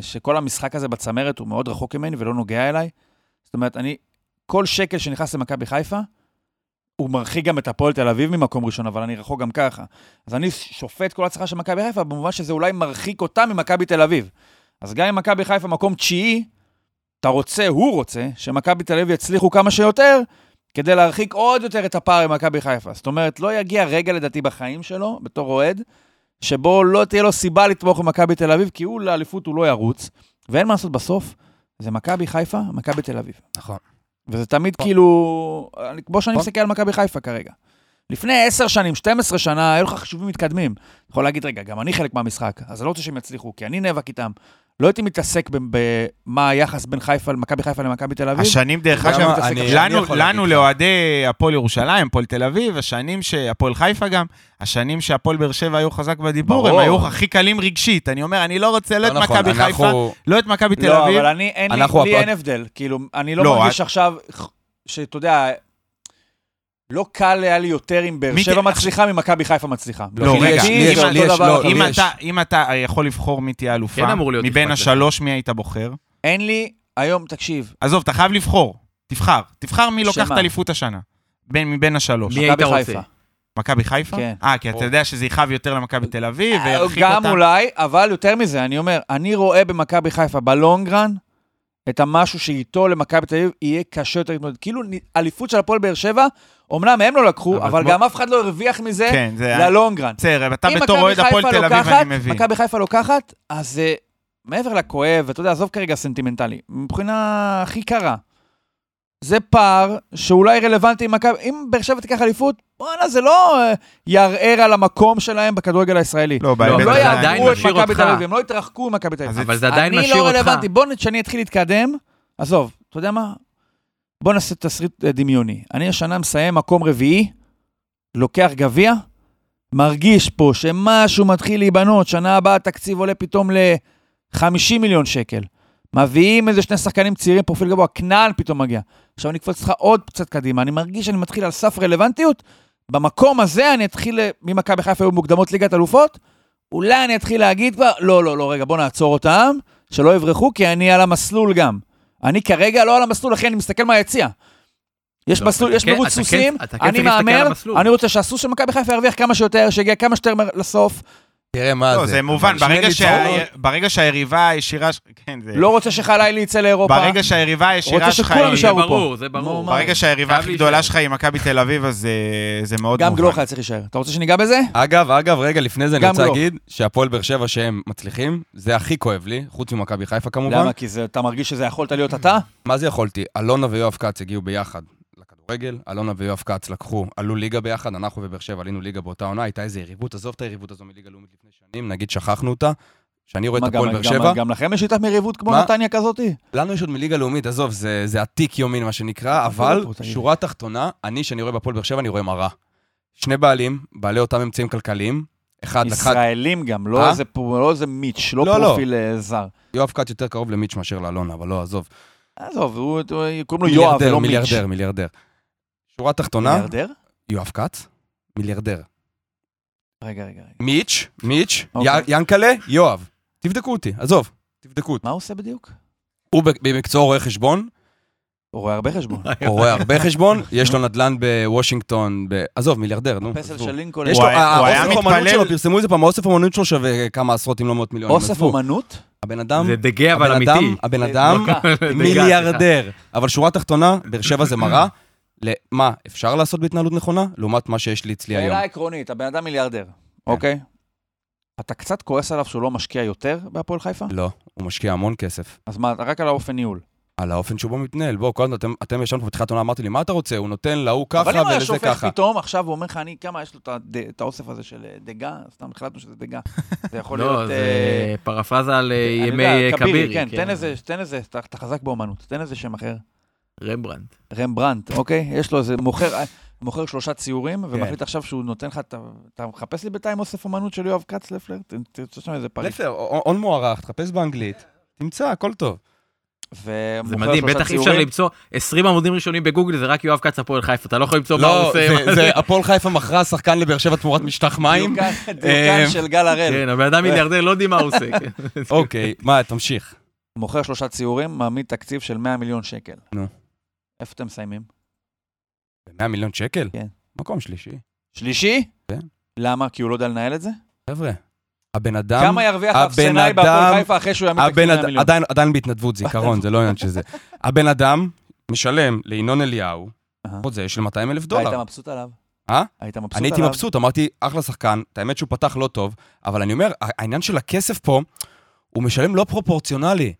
Speaker 2: שכל המשחק הזה בצמרת הוא מאוד רחוק ממני ולא נוגע אליי. זאת אומרת, אני, כל שקל שנכנס למכבי חיפה, הוא מרחיק גם את הפועל תל אביב ממקום ראשון, אבל אני רחוק גם ככה. אז אני שופט כל הצלחה של מכבי חיפה, במובן שזה אולי מרחיק אותה ממכבי תל אביב. אז גם אם מכבי חיפה מקום תשיעי, אתה רוצה, הוא רוצה, שמכבי תל אביב יצליחו כמה שיותר, כדי להרחיק עוד יותר את הפער עם מכבי חיפה. זאת אומרת, לא יגיע רגע לדעתי בחיים שלו, בתור אוהד, שבו לא תהיה לו סיבה לתמוך במכבי תל אביב, כי הוא לאליפות הוא לא ירוץ, ואין מה לעשות בסוף, זה מכבי חיפה, מכבי תל אביב.
Speaker 5: נכון.
Speaker 2: וזה תמיד כאילו, אני- כמו שאני
Speaker 5: פה.
Speaker 2: מסתכל על מכבי חיפה כרגע. לפני 10 שנים, 12 שנה, היו לך חישובים מתקדמים. אתה יכול להגיד, רגע, גם אני חלק מהמשחק, אז אני לא רוצה שהם יצליחו, כי אני נאבק איתם. לא הייתי מתעסק ב- במה היחס בין חיפה, מכבי חיפה למכבי תל אביב.
Speaker 4: השנים, דרך
Speaker 5: אתה יודע
Speaker 4: אגב,
Speaker 5: מה, אני- אני
Speaker 4: לנו-
Speaker 5: יכול להגיד
Speaker 4: לנו
Speaker 5: לך.
Speaker 4: לאוהדי הפועל ירושלים, הפועל תל אביב, השנים שהפועל חיפה גם, השנים שהפועל באר שבע היו חזק בדיבור, הם
Speaker 2: ברור.
Speaker 4: היו הכי קלים רגשית. אני אומר, אני לא רוצה לא את
Speaker 5: לא נכון,
Speaker 4: מכבי חיפה,
Speaker 5: אנחנו-
Speaker 4: לא את מכבי תל
Speaker 2: לא,
Speaker 4: אביב.
Speaker 2: אבל אני, אין לי,
Speaker 5: אנחנו
Speaker 2: לי
Speaker 5: הפרט-
Speaker 2: אין הבדל. כאילו, אני לא
Speaker 4: לא,
Speaker 2: מרגיש עכשיו, ח- שאתה יודע, לא קל היה לי יותר אם באר
Speaker 4: מי
Speaker 2: שבע
Speaker 4: ת-
Speaker 2: מצליחה ממכבי חיפה מצליחה. כאילו,
Speaker 5: לא,
Speaker 4: רגע,
Speaker 5: רגע,
Speaker 4: לי
Speaker 5: לי יש,
Speaker 4: אם
Speaker 5: לי
Speaker 4: אותו
Speaker 5: יש,
Speaker 2: דבר
Speaker 5: לא,
Speaker 2: אחר.
Speaker 5: לי
Speaker 4: אם
Speaker 5: יש.
Speaker 4: אתה- אם אתה אה, יכול לבחור מי תהיה
Speaker 3: כן
Speaker 4: אלופה,
Speaker 3: אמור להיות
Speaker 4: מבין
Speaker 3: אכפת לך.
Speaker 4: השלוש מי היית בוחר?
Speaker 2: אין לי, היום, תקשיב,
Speaker 4: עזוב, אתה חייב לבחור. תבחר. תבחר מי לוקח את
Speaker 2: שמה?
Speaker 4: אליפות השנה. בין, מבין השלוש.
Speaker 3: מי היית
Speaker 2: מכבי
Speaker 3: רוצה?
Speaker 2: חיפה.
Speaker 4: מכבי חיפה?
Speaker 2: כן. אה,
Speaker 4: אה, כי אתה
Speaker 5: ברור.
Speaker 4: יודע שזה יכאב יותר למכבי תל אביב, וירחיק
Speaker 2: גם
Speaker 4: אותם.
Speaker 2: אולי, אבל יותר מזה, אני אומר, אני רואה במכבי חיפה בלונגרן את המשהו שאיתו למכבי תל אביב יהיה קשה יותר להתמודד. כאילו, נ- אליפות של הפועל באר שבע, אמנם הם לא לקחו,
Speaker 3: אבל
Speaker 2: אבל
Speaker 3: כמו-
Speaker 2: גם אף אחד לא הרוויח מזה
Speaker 4: כן, זה...
Speaker 2: ללונגרן.
Speaker 4: בסדר, אתה
Speaker 2: אם
Speaker 4: בתור
Speaker 2: מכבי
Speaker 4: אוהד הפועל
Speaker 2: חיפה
Speaker 4: תל אביב,
Speaker 2: לוקחת-
Speaker 4: אני מבין.
Speaker 2: מכבי חיפה לוקחת, אז אה, מעבר לכואב, אתה יודע, עזוב כרגע סנטימנטלי, מבחינה הכי קרה, זה פער שאולי רלוונטי עם מכבי, אם באר שבע תיקח אליפות, וואלה, זה לא אה, יערער על המקום שלהם בכדורגל הישראלי.
Speaker 4: לא,
Speaker 3: לא,
Speaker 2: הם
Speaker 4: בהיבט
Speaker 2: לא
Speaker 3: אבל
Speaker 4: הזה-
Speaker 3: זה עדיין
Speaker 2: יעברו את
Speaker 3: משאיר
Speaker 2: מכבי
Speaker 3: אותך.
Speaker 2: תל אביב, הם לא יתרחקו ממכבי תל אביב.
Speaker 4: אז
Speaker 3: אבל זה עדיין
Speaker 2: אני
Speaker 3: משאיר
Speaker 2: לא
Speaker 3: אותך.
Speaker 2: רלוונטי, בוא נ- שאני אתחיל להתקדם, עזוב, אתה יודע מה? בוא נעשה תסריט אה, דמיוני. אני השנה מסיים מקום רביעי, לוקח גביע, מרגיש פה שמשהו מתחיל להיבנות, שנה הבאה התקציב עולה פתאום ל-50 מיליון שקל. מביאים איזה שני שחקנים צעירים, פרופיל גבוה, כנען פתאום מגיע. עכשיו אני אקפוץ לך עוד קצת קדימה, אני מרגיש שאני מתחיל על סף רלוונטיות. במקום הזה אני אתחיל, אה, ממכבי חיפה היו מוקדמות ליגת אלופות, אולי אני אתחיל להגיד כבר, לא, לא, לא, רגע, בוא נעצור אותם, שלא יברחו, כי אני על המסלול גם. אני כרגע לא על המסלול, אחי, אני מסתכל מהיציע. יש
Speaker 3: לא,
Speaker 2: מסלול,
Speaker 3: אתה
Speaker 2: יש
Speaker 3: כן-
Speaker 2: מירוץ
Speaker 3: אתה כן-
Speaker 2: סוסים,
Speaker 3: אתה כן
Speaker 2: אני
Speaker 3: צריך להסתכל על
Speaker 2: מהמר,
Speaker 3: המסלול.
Speaker 2: אני רוצה שהסוס של מכבי חיפה ירוויח כמה שיותר, שיגיע כמה שיותר מר- לסוף.
Speaker 5: תראה מה זה.
Speaker 4: לא, זה מובן,
Speaker 5: שני
Speaker 4: ברגע שה-
Speaker 5: ניצחונות.
Speaker 4: ברגע שהיריבה הישירה... ש- כן, זה...
Speaker 2: לא רוצה שחלילי יצא לאירופה.
Speaker 4: ברגע שהיריבה הישירה
Speaker 2: רוצה
Speaker 4: שלך
Speaker 2: שכולם
Speaker 4: היא...
Speaker 3: זה
Speaker 2: יישארו
Speaker 3: ברור,
Speaker 2: פה.
Speaker 3: זה ברור.
Speaker 2: נו, מה?
Speaker 4: ברגע שהיריבה
Speaker 3: חייב
Speaker 4: הכי
Speaker 3: להישאר.
Speaker 4: גדולה שלך היא מכבי תל אביב, אז אה, זה מאוד
Speaker 2: גם
Speaker 4: מובן.
Speaker 2: גלוך היה צריך להישאר. אתה רוצה שניגע בזה?
Speaker 5: אגב, אגב, רגע, לפני זה אני
Speaker 2: גם
Speaker 5: רוצה
Speaker 2: לא.
Speaker 5: להגיד שהפועל באר שבע שהם מצליחים, זה הכי כואב לי, חוץ ממכבי חיפה כמובן.
Speaker 2: למה? כי זה- אתה מרגיש שזה יכולת להיות אתה?
Speaker 5: מה זה יכולתי? אלונה ויואב כץ הגיעו ביחד לכדורגל, אלונה ויואב כץ לקחו, עלו ליגה ביחד, אנחנו ובאר שבע עלינו ליגה באותה עונה, הייתה איזו יריבות, עזוב את היריבות הזו מליגה לאומית לפני שנים, נגיד שכחנו אותה. כשאני רואה את
Speaker 2: מה, גם-
Speaker 5: הפועל באר
Speaker 2: גם-
Speaker 5: שבע,
Speaker 2: גם לכם יש איתך מריבות כמו
Speaker 5: מה?
Speaker 2: נתניה כזאתי?
Speaker 5: לנו יש עוד מליגה לאומית, עזוב, זה, זה עתיק יומין מה
Speaker 2: איפה
Speaker 5: שנקרא, אבל
Speaker 2: פה, תגיד?
Speaker 5: שורה תחתונה, אני, שאני רואה בהפועל באר שבע, אני רואה מראה. שני בעלים, בעלי אותם אמצעים כלכליים, אחד, לקחה...
Speaker 2: ישראלים גם, לא
Speaker 5: אה?
Speaker 2: איזה פרו- לא איזה מיץ', לא
Speaker 5: לא, לא.
Speaker 2: פרופיל אה, זר.
Speaker 5: יואב כץ יותר קרוב למיץ' מאשר לאלונה, אבל לא, עזוב.
Speaker 2: עזוב, הוא- הוא- קוראים לו יואב,
Speaker 5: מיליארדר,
Speaker 2: לא מיץ'.
Speaker 5: מיליארדר, מיליארדר. שורה תחתונה,
Speaker 2: מיליארדר?
Speaker 5: יואב כץ, מיליארדר.
Speaker 2: רגע, רגע, רגע.
Speaker 5: מיץ', מיץ',
Speaker 2: אוקיי.
Speaker 5: י- ינקלה, יואב. תבדקו אותי, עזוב, תבדקו אותי.
Speaker 2: מה הוא עושה בדיוק?
Speaker 5: הוא ב- במקצוע רואה חשבון,
Speaker 2: הוא רואה הרבה חשבון.
Speaker 5: הוא רואה הרבה חשבון, יש לו נדל"ן בוושינגטון, ב- עזוב, מיליארדר, נו.
Speaker 2: פסל
Speaker 5: עזבו.
Speaker 2: של לינקולן. אה,
Speaker 5: יש לו, אה,
Speaker 4: היה- הוא היה
Speaker 5: האוסף האומנות
Speaker 4: מתפלל-
Speaker 5: שלו, פרסמו את זה פעם, האוסף האומנות שלו שווה כמה עשרות אם לא מאות מיליונים.
Speaker 2: אוסף
Speaker 5: עזבו.
Speaker 2: אומנות?
Speaker 5: הבן אדם,
Speaker 3: זה דגה אבל
Speaker 5: הבן אדם,
Speaker 3: אמיתי.
Speaker 5: הבן אדם,
Speaker 2: דקה.
Speaker 5: מיליארדר. אבל שורה תחתונה, באר שבע זה מראה. למה אפשר לעשות בהתנהלות נכונה, לעומת מה שיש לי אצלי היום. כן.
Speaker 2: שאלה עקרונית, הבן אדם מיליארדר, אוקיי? אתה קצת כועס עליו שהוא לא משקיע יותר בהפועל חיפה?
Speaker 5: לא, הוא משקיע המון כסף.
Speaker 2: אז מה, רק על האופן ניהול.
Speaker 5: על האופן שבו הוא מתנהל. בואו, קודם אתם- אתם ישבנו פה בתחילת העונה, אמרתי לי, מה אתה רוצה? הוא נותן להוא ככה
Speaker 2: אבל אם היה
Speaker 5: ולזה
Speaker 2: שופך
Speaker 5: ככה.
Speaker 2: פתאום, עכשיו הוא אומר לך, אני, כמה יש לו את הד- את האוסף הזה של אה, דגה? סתם החלטנו שזה דגה. זה יכול
Speaker 3: לא,
Speaker 2: להיות... אה,
Speaker 3: זה פרפרזה על אה,
Speaker 2: אני
Speaker 3: ימי
Speaker 2: יודע,
Speaker 3: אה, כבירי.
Speaker 2: כן, תן איזה, תן איזה, אתה אתה חזק באומנות, תן איזה שם אחר.
Speaker 3: רמברנט.
Speaker 2: רמברנט, אוקיי? יש לו איזה מוכר... אה, מוכר שלושה ציורים,
Speaker 5: כן.
Speaker 2: ומחליט עכשיו שהוא נותן לך, את ה- אתה מחפש לי בינתיים אוסף אומנות של יואב כץ לפלר? ת- תרצה שם איזה פריט.
Speaker 5: לפלר, הון מוערך, תחפש באנגלית, תמצא, הכל טוב.
Speaker 3: זה מדהים, בטח אי אפשר למצוא 20 עמודים ראשונים בגוגל, זה רק יואב כץ הפועל חיפה, אתה לא יכול למצוא מה הוא
Speaker 5: לא,
Speaker 3: עושה.
Speaker 5: זה- זה הפועל חיפה מכרה שחקן לבאר שבע תמורת משטח מים.
Speaker 2: דיוקן של גל הראל.
Speaker 3: כן, הבן אדם מיליארדר לא יודעים מה הוא עושה. כן.
Speaker 5: אוקיי, מה, תמשיך.
Speaker 2: מוכר שלושה ציורים, מעמיד תקציב של 100 מיליון שקל.
Speaker 5: נו.
Speaker 2: איפה אתם מסיימים?
Speaker 5: 100 מיליון שקל?
Speaker 2: כן.
Speaker 5: מקום שלישי.
Speaker 2: שלישי?
Speaker 5: כן.
Speaker 2: למה? כי הוא לא יודע לנהל את זה?
Speaker 5: חבר'ה, הבן אדם...
Speaker 2: כמה ירוויח
Speaker 5: הבן
Speaker 2: האפסנאי בהפועל
Speaker 5: אדם-
Speaker 2: חיפה אחרי שהוא יעמיד תקציב
Speaker 5: הבן
Speaker 2: 100
Speaker 5: אדם,
Speaker 2: מיליון?
Speaker 5: עדיין, עדיין בהתנדבות, זה עיקרון, זה לא עניין של זה. הבן אדם משלם לינון אליהו
Speaker 2: אהה.
Speaker 5: חוזה של 200 אלף
Speaker 2: היית
Speaker 5: דולר.
Speaker 2: מבסוט עליו?
Speaker 5: אה?
Speaker 2: היית מבסוט עליו?
Speaker 5: אני הייתי מבסוט, אמרתי, אחלה שחקן, את האמת שהוא פתח לא טוב, אבל אני אומר, העניין של הכסף פה, הוא משלם לא פרופורציונלי.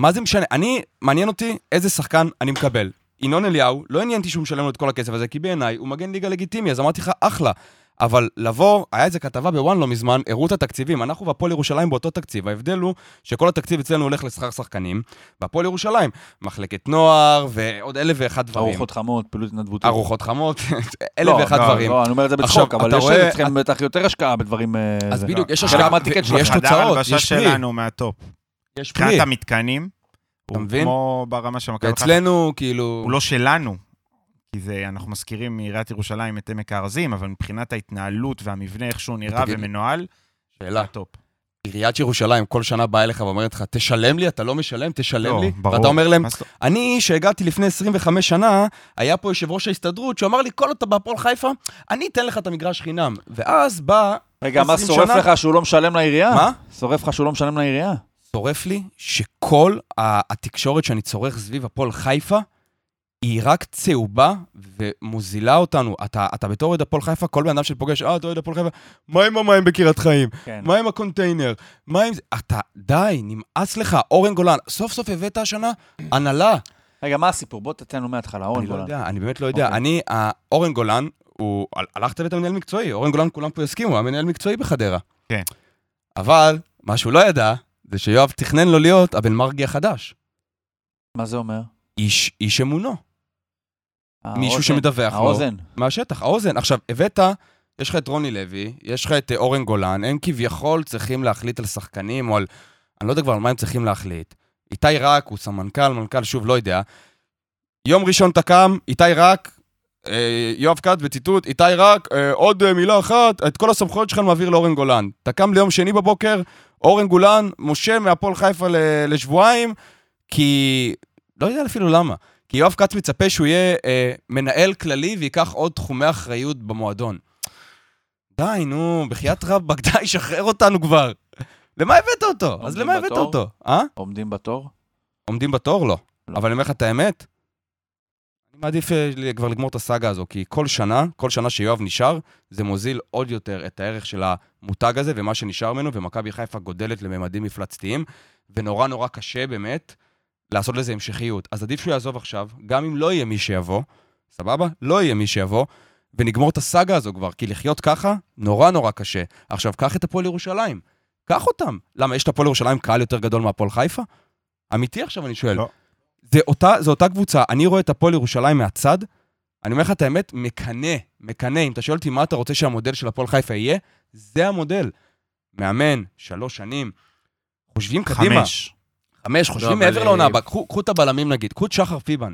Speaker 5: מה זה משנה? אני, מעניין אותי איזה שחקן אני מקבל. ינון אליהו, לא עניין אותי שהוא משלם לו את כל הכסף הזה, כי בעיניי הוא מגן ליגה לגיטימי, אז אמרתי לך, אחלה. אבל לבוא, היה איזה כתבה בוואן לא מזמן, הראו את התקציבים, אנחנו והפועל ירושלים באותו תקציב, ההבדל הוא שכל התקציב אצלנו הולך לשכר שחקנים, והפועל ירושלים, מחלקת נוער ועוד אלף ואחד דברים.
Speaker 2: ארוחות חמות, פעילות התנדבותית.
Speaker 5: ארוחות חמות, אלף ואחד
Speaker 4: לא,
Speaker 5: דברים.
Speaker 2: לא, אני אומר את זה
Speaker 5: עכשיו,
Speaker 2: בצחוק, אבל
Speaker 5: אתה
Speaker 2: יש
Speaker 5: רואה-
Speaker 2: אצלכם בטח יותר השקעה בדברים... אה,
Speaker 5: אז
Speaker 2: זה.
Speaker 5: בדיוק, יש
Speaker 2: חלק
Speaker 5: השקעה,
Speaker 2: מהטיקט
Speaker 5: ו-
Speaker 2: שלך.
Speaker 5: ויש
Speaker 4: חדר
Speaker 5: תוצאות,
Speaker 4: הלבשה
Speaker 5: יש פרי,
Speaker 4: לא. שלנו מהטופ.
Speaker 5: יש פרי.
Speaker 4: מבחינת המתקנים, כן,
Speaker 5: אתה
Speaker 4: הוא
Speaker 5: מבין?
Speaker 4: כמו ברמה של מכבי חיפה.
Speaker 5: ואצלנו, כאילו...
Speaker 4: הוא לא שלנו, כי זה, אנחנו מזכירים מעיריית ירושלים את עמק הארזים, אבל מבחינת ההתנהלות והמבנה, איך שהוא נראה
Speaker 5: תגיד לי.
Speaker 4: ומנוהל,
Speaker 5: שאלה.
Speaker 4: הטופ.
Speaker 5: עיריית ירושלים כל שנה באה אליך ואומרת לך, תשלם לי, אתה לא משלם, תשלם
Speaker 4: לא,
Speaker 5: לי.
Speaker 4: ברור.
Speaker 5: ואתה אומר להם,
Speaker 4: מה זאת-
Speaker 5: אני, שהגעתי לפני 25 שנה, היה פה יושב ראש ההסתדרות שאמר לי, כל אתה בהפועל חיפה, אני אתן לך את המגרש חינם. ואז בא,
Speaker 2: רגע, מה
Speaker 5: 20
Speaker 2: שורף
Speaker 5: שנה?
Speaker 2: לך שהוא לא משלם
Speaker 4: אה.
Speaker 2: לעירייה?
Speaker 5: מה?
Speaker 2: שורף לך שהוא לא משלם לעירייה?
Speaker 5: שורף לי שכל ה- התקשורת שאני צורך סביב הפועל חיפה, היא רק צהובה ומוזילה אותנו. אתה, אתה בתור אוהד הפועל חיפה, כל בן אדם שפוגש, אה, אתה אוהד הפועל חיפה, מה עם המים בקריית חיים?
Speaker 2: כן.
Speaker 5: מה עם הקונטיינר? מה עם זה? אתה, די, נמאס לך, אורן גולן. סוף סוף הבאת השנה הנהלה.
Speaker 2: רגע, מה הסיפור? בוא תתן לנו מההתחלה, אורן
Speaker 5: אני לא
Speaker 2: גולן.
Speaker 5: יודע, אני באמת לא יודע.
Speaker 2: אוקיי.
Speaker 5: אני, אה, אורן גולן, הוא... הל- הלכת לבית המנהל מקצועי, אורן גולן, כולם פה יסכימו, הוא היה מנהל מקצועי בחדרה.
Speaker 4: כן.
Speaker 5: אבל, מה שהוא לא ידע, זה שיואב תכנן לו להיות הבן מרגי החדש.
Speaker 2: מה זה אומר?
Speaker 5: איש, איש אמונו, מישהו
Speaker 2: האוזן.
Speaker 5: שמדווח לו.
Speaker 2: האוזן.
Speaker 5: מהשטח, האוזן. עכשיו, הבאת, יש לך את רוני לוי, יש לך את אה, אורן גולן, הם כביכול צריכים להחליט על שחקנים או על... אני לא יודע כבר על מה הם צריכים להחליט. איתי רק, הוא סמנכ"ל, מנכ"ל, שוב, לא יודע. יום ראשון אתה קם, איתי רק, אה, יואב כץ בציטוט, איתי רק, אה, עוד אה, מילה אחת, את כל הסמכויות שלך אני מעביר לאורן גולן. אתה קם ליום שני בבוקר, אורן גולן, משה מהפועל חיפה ל- לשבועיים, כי... לא יודע אפילו למה. כי יואב כץ מצפה שהוא יהיה אה, מנהל כללי וייקח עוד תחומי אחריות במועדון. די, נו, בחייאת רבאק, די, שחרר אותנו כבר. למה הבאת אותו? אז
Speaker 2: עומדים
Speaker 5: למה הבאת
Speaker 2: בתור?
Speaker 5: אותו? אה?
Speaker 2: עומדים בתור?
Speaker 5: עומדים בתור? לא.
Speaker 2: לא.
Speaker 5: אבל אני אומר לך את האמת, אני מעדיף אה, ל- כבר לגמור את הסאגה הזו, כי כל שנה, כל שנה שיואב נשאר, זה מוזיל עוד יותר את הערך של המותג הזה ומה שנשאר ממנו, ומכבי חיפה גודלת לממדים מפלצתיים, ונורא נורא קשה באמת לעשות לזה המשכיות. אז עדיף שהוא יעזוב עכשיו, גם אם לא יהיה מי שיבוא, סבבה? לא יהיה מי שיבוא, ונגמור את הסאגה הזו כבר, כי לחיות ככה, נורא נורא קשה. עכשיו, קח את הפועל ירושלים, קח אותם. למה, יש את הפועל ירושלים קהל יותר גדול מהפועל חיפה? אמיתי עכשיו אני שואל.
Speaker 4: לא.
Speaker 5: זה אותה, זה אותה קבוצה, אני רואה את הפועל ירושלים מהצד, אני אומר לך את האמת, מקנא, מקנא. אם אתה שואל אותי מה אתה רוצה שהמודל של הפועל חיפה יהיה, זה המודל. מאמן, שלוש שנים, חושבים קדימה.
Speaker 4: חמש.
Speaker 2: לא,
Speaker 5: חמש, חושבים
Speaker 3: אבל,
Speaker 5: מעבר
Speaker 3: אה,
Speaker 5: לעונה הבאה. קחו קחו את הבלמים נגיד, קחו את שחר פיבן.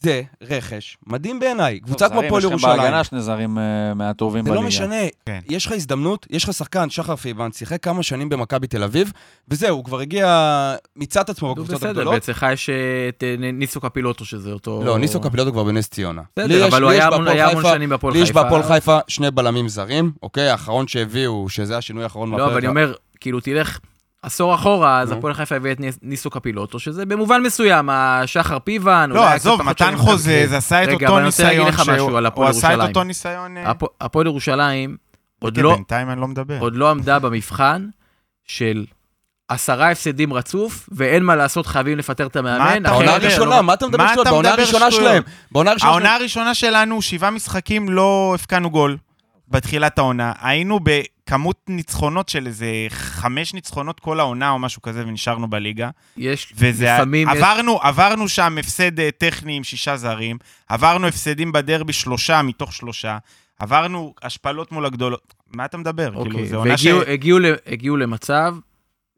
Speaker 5: זה רכש מדהים בעיניי. קבוצה כמו
Speaker 2: זרים,
Speaker 5: הפועל
Speaker 2: יש לכם
Speaker 5: ירושלים.
Speaker 2: בהגנה שני זרים אה, מהטובים
Speaker 5: זה
Speaker 2: בליגה.
Speaker 5: לא משנה,
Speaker 4: כן.
Speaker 5: יש לך הזדמנות, יש לך שחקן, שחר פיבן, שיחק כמה שנים במכבי תל אביב, וזהו, הוא כבר הגיע, מיצה את עצמו
Speaker 3: נו,
Speaker 5: בקבוצות
Speaker 3: בסדר,
Speaker 5: הגדולות.
Speaker 3: ואצלך יש את אה, ניסו קפילוטו, שזה אותו...
Speaker 5: לא, ניסו קפילוטו כבר בנס ציונה. לי
Speaker 3: בסדר,
Speaker 5: יש-
Speaker 3: אבל הוא
Speaker 5: לי יש
Speaker 3: היה המון
Speaker 5: בהפועל
Speaker 3: היה המון
Speaker 5: חיפה-
Speaker 3: שנים בהפועל
Speaker 5: לי יש
Speaker 3: חיפה.
Speaker 5: בהפועל חיפה שני בלמים זרים, אוקיי? האחרון שהביאו, שזה השינוי האחרון
Speaker 3: לא, אבל אני
Speaker 5: ה-
Speaker 3: אומר, כאילו, תלך עשור אחורה, אז
Speaker 5: נו.
Speaker 3: הפועל חיפה הביא את ניס- ניסו קפילוטו, שזה במובן מסוים, השחר פיבן... אולי
Speaker 4: לא,
Speaker 3: היה
Speaker 4: עזוב,
Speaker 3: קצת פחות
Speaker 4: מתן
Speaker 3: שנים כן.
Speaker 4: חוזה,
Speaker 3: במקרה.
Speaker 4: זה עשה את
Speaker 3: רגע,
Speaker 4: אותו
Speaker 3: אבל אני רוצה להגיד
Speaker 4: ניסיון
Speaker 3: לך משהו
Speaker 4: שהוא-
Speaker 3: על
Speaker 4: הוא
Speaker 3: הפועל
Speaker 4: עשה את
Speaker 3: ירושלים.
Speaker 4: אותו ניסיון... אה,
Speaker 3: הפוע- הפועל ירושלים עוד
Speaker 4: כן,
Speaker 3: לא-
Speaker 4: בינתיים אני לא מדבר.
Speaker 3: עוד לא עמדה במבחן של עשרה הפסדים רצוף, ואין מה לעשות, חייבים לפטר את המאמן.
Speaker 4: אתה
Speaker 5: העונה
Speaker 3: אחרת-
Speaker 4: מדבר?
Speaker 5: הראשונה, מה אתה מדבר
Speaker 4: מה
Speaker 5: שטויות?
Speaker 4: אתה
Speaker 5: בעונה
Speaker 4: מדבר
Speaker 5: הראשונה
Speaker 4: שטויות?
Speaker 5: שלהם. בעונה הראשונה שלהם.
Speaker 4: העונה הראשונה שלנו, שבעה משחקים, לא הבקענו גול בתחילת העונה. היינו בכמות ניצחונות של איזה חמש ניצחונות כל העונה או משהו כזה, ונשארנו בליגה.
Speaker 3: יש
Speaker 4: וזה...
Speaker 3: לפעמים... יש-
Speaker 4: עברנו, עברנו שם הפסד אה, טכני עם שישה זרים, עברנו הפסדים בדרבי שלושה מתוך שלושה, עברנו השפלות מול הגדולות. מה אתה מדבר? כאילו,
Speaker 3: אוקיי,
Speaker 4: זו עונה ש...
Speaker 3: והגיעו- הגיעו ל- הגיעו למצב,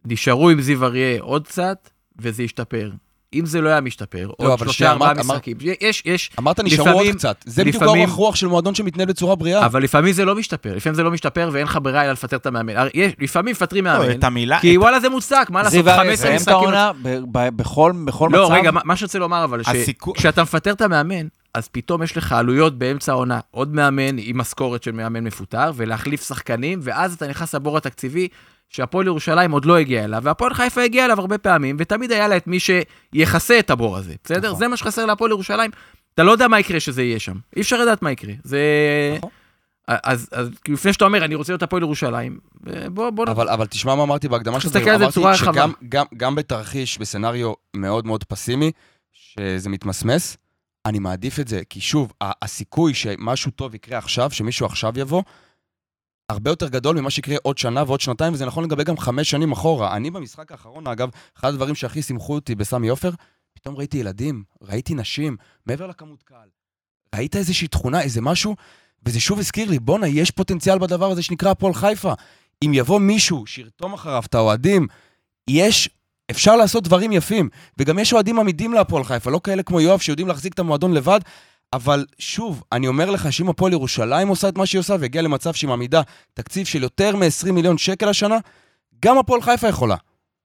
Speaker 3: נשארו עם זיו אריה עוד קצת, וזה השתפר. אם זה לא היה משתפר, עוד
Speaker 5: אבל
Speaker 3: שלושה
Speaker 5: שנייה,
Speaker 3: ארבעה
Speaker 5: אמרת- אמרת-
Speaker 3: משחקים. יש, יש,
Speaker 5: אמרת נשארו
Speaker 3: לפעמים-
Speaker 5: עוד קצת. זה בדיוק האורך
Speaker 3: לפעמים-
Speaker 5: רוח של מועדון שמתנהל בצורה בריאה.
Speaker 3: אבל לפעמים זה לא משתפר. לפעמים זה לא משתפר ואין לך ברירה אלא לפטר את המאמן. הרי יש- לפעמים מפטרים
Speaker 4: לא,
Speaker 3: מאמן,
Speaker 4: את המילה...
Speaker 3: אה, כי וואלה זה מוצדק, מה לעשות,
Speaker 2: זיו הרי
Speaker 3: 15
Speaker 2: יסיים את
Speaker 3: משחקים.
Speaker 2: העונה ב- ב- בכל בכל מצב.
Speaker 3: לא, רגע, מה מה שאני רוצה לומר אבל, ש-
Speaker 4: הסיכו-
Speaker 3: כשאתה מפטר את המאמן, אז פתאום יש לך עלויות באמצע העונה. עוד מאמן עם משכורת של מאמן מפוטר, ולהחליף שחקנים, ואז אתה נכנס לבור התקציבי שהפועל ירושלים עוד לא הגיע אליו, והפועל חיפה הגיע אליו הרבה פעמים, ותמיד היה לה את מי שיכסה את הבור הזה, בסדר?
Speaker 5: נכון.
Speaker 3: זה מה שחסר להפועל ירושלים. אתה לא יודע מה יקרה שזה יהיה שם. אי אפשר לדעת מה יקרה. זה...
Speaker 5: נכון.
Speaker 3: אז, אז כאילו, לפני שאתה אומר, אני רוצה להיות הפועל ירושלים, בוא, בוא,
Speaker 5: אבל, אבל תשמע מה אמרתי בהקדמה שלך,
Speaker 3: תסתכל על זה בצורה רחבה.
Speaker 5: שגם גם, גם בתרחיש, בסצנריו מאוד מאוד פסימי, שזה מתמסמס, אני מעדיף את זה, כי שוב, ה- הסיכוי שמשהו טוב יקרה עכשיו, שמישהו עכשיו יבוא, הרבה יותר גדול ממה שיקרה עוד שנה ועוד שנתיים, וזה נכון לגבי גם חמש שנים אחורה. אני במשחק האחרון, אגב, אחד הדברים שהכי שימחו אותי בסמי עופר, פתאום ראיתי ילדים, ראיתי נשים, מעבר לכמות קהל. ראית איזושהי תכונה, איזה משהו, וזה שוב הזכיר לי, בואנה, יש פוטנציאל בדבר הזה שנקרא הפועל חיפה. אם יבוא מישהו שירתום אחריו את האוהדים, יש, אפשר לעשות דברים יפים. וגם יש אוהדים עמידים להפועל חיפה, לא כאלה כמו יואב שיודעים להחזיק את המועדון לבד. אבל שוב, אני אומר לך שאם הפועל ירושלים עושה את מה שהיא עושה והגיעה למצב שהיא מעמידה תקציב של יותר מ-20 מיליון שקל השנה, גם הפועל חיפה יכולה.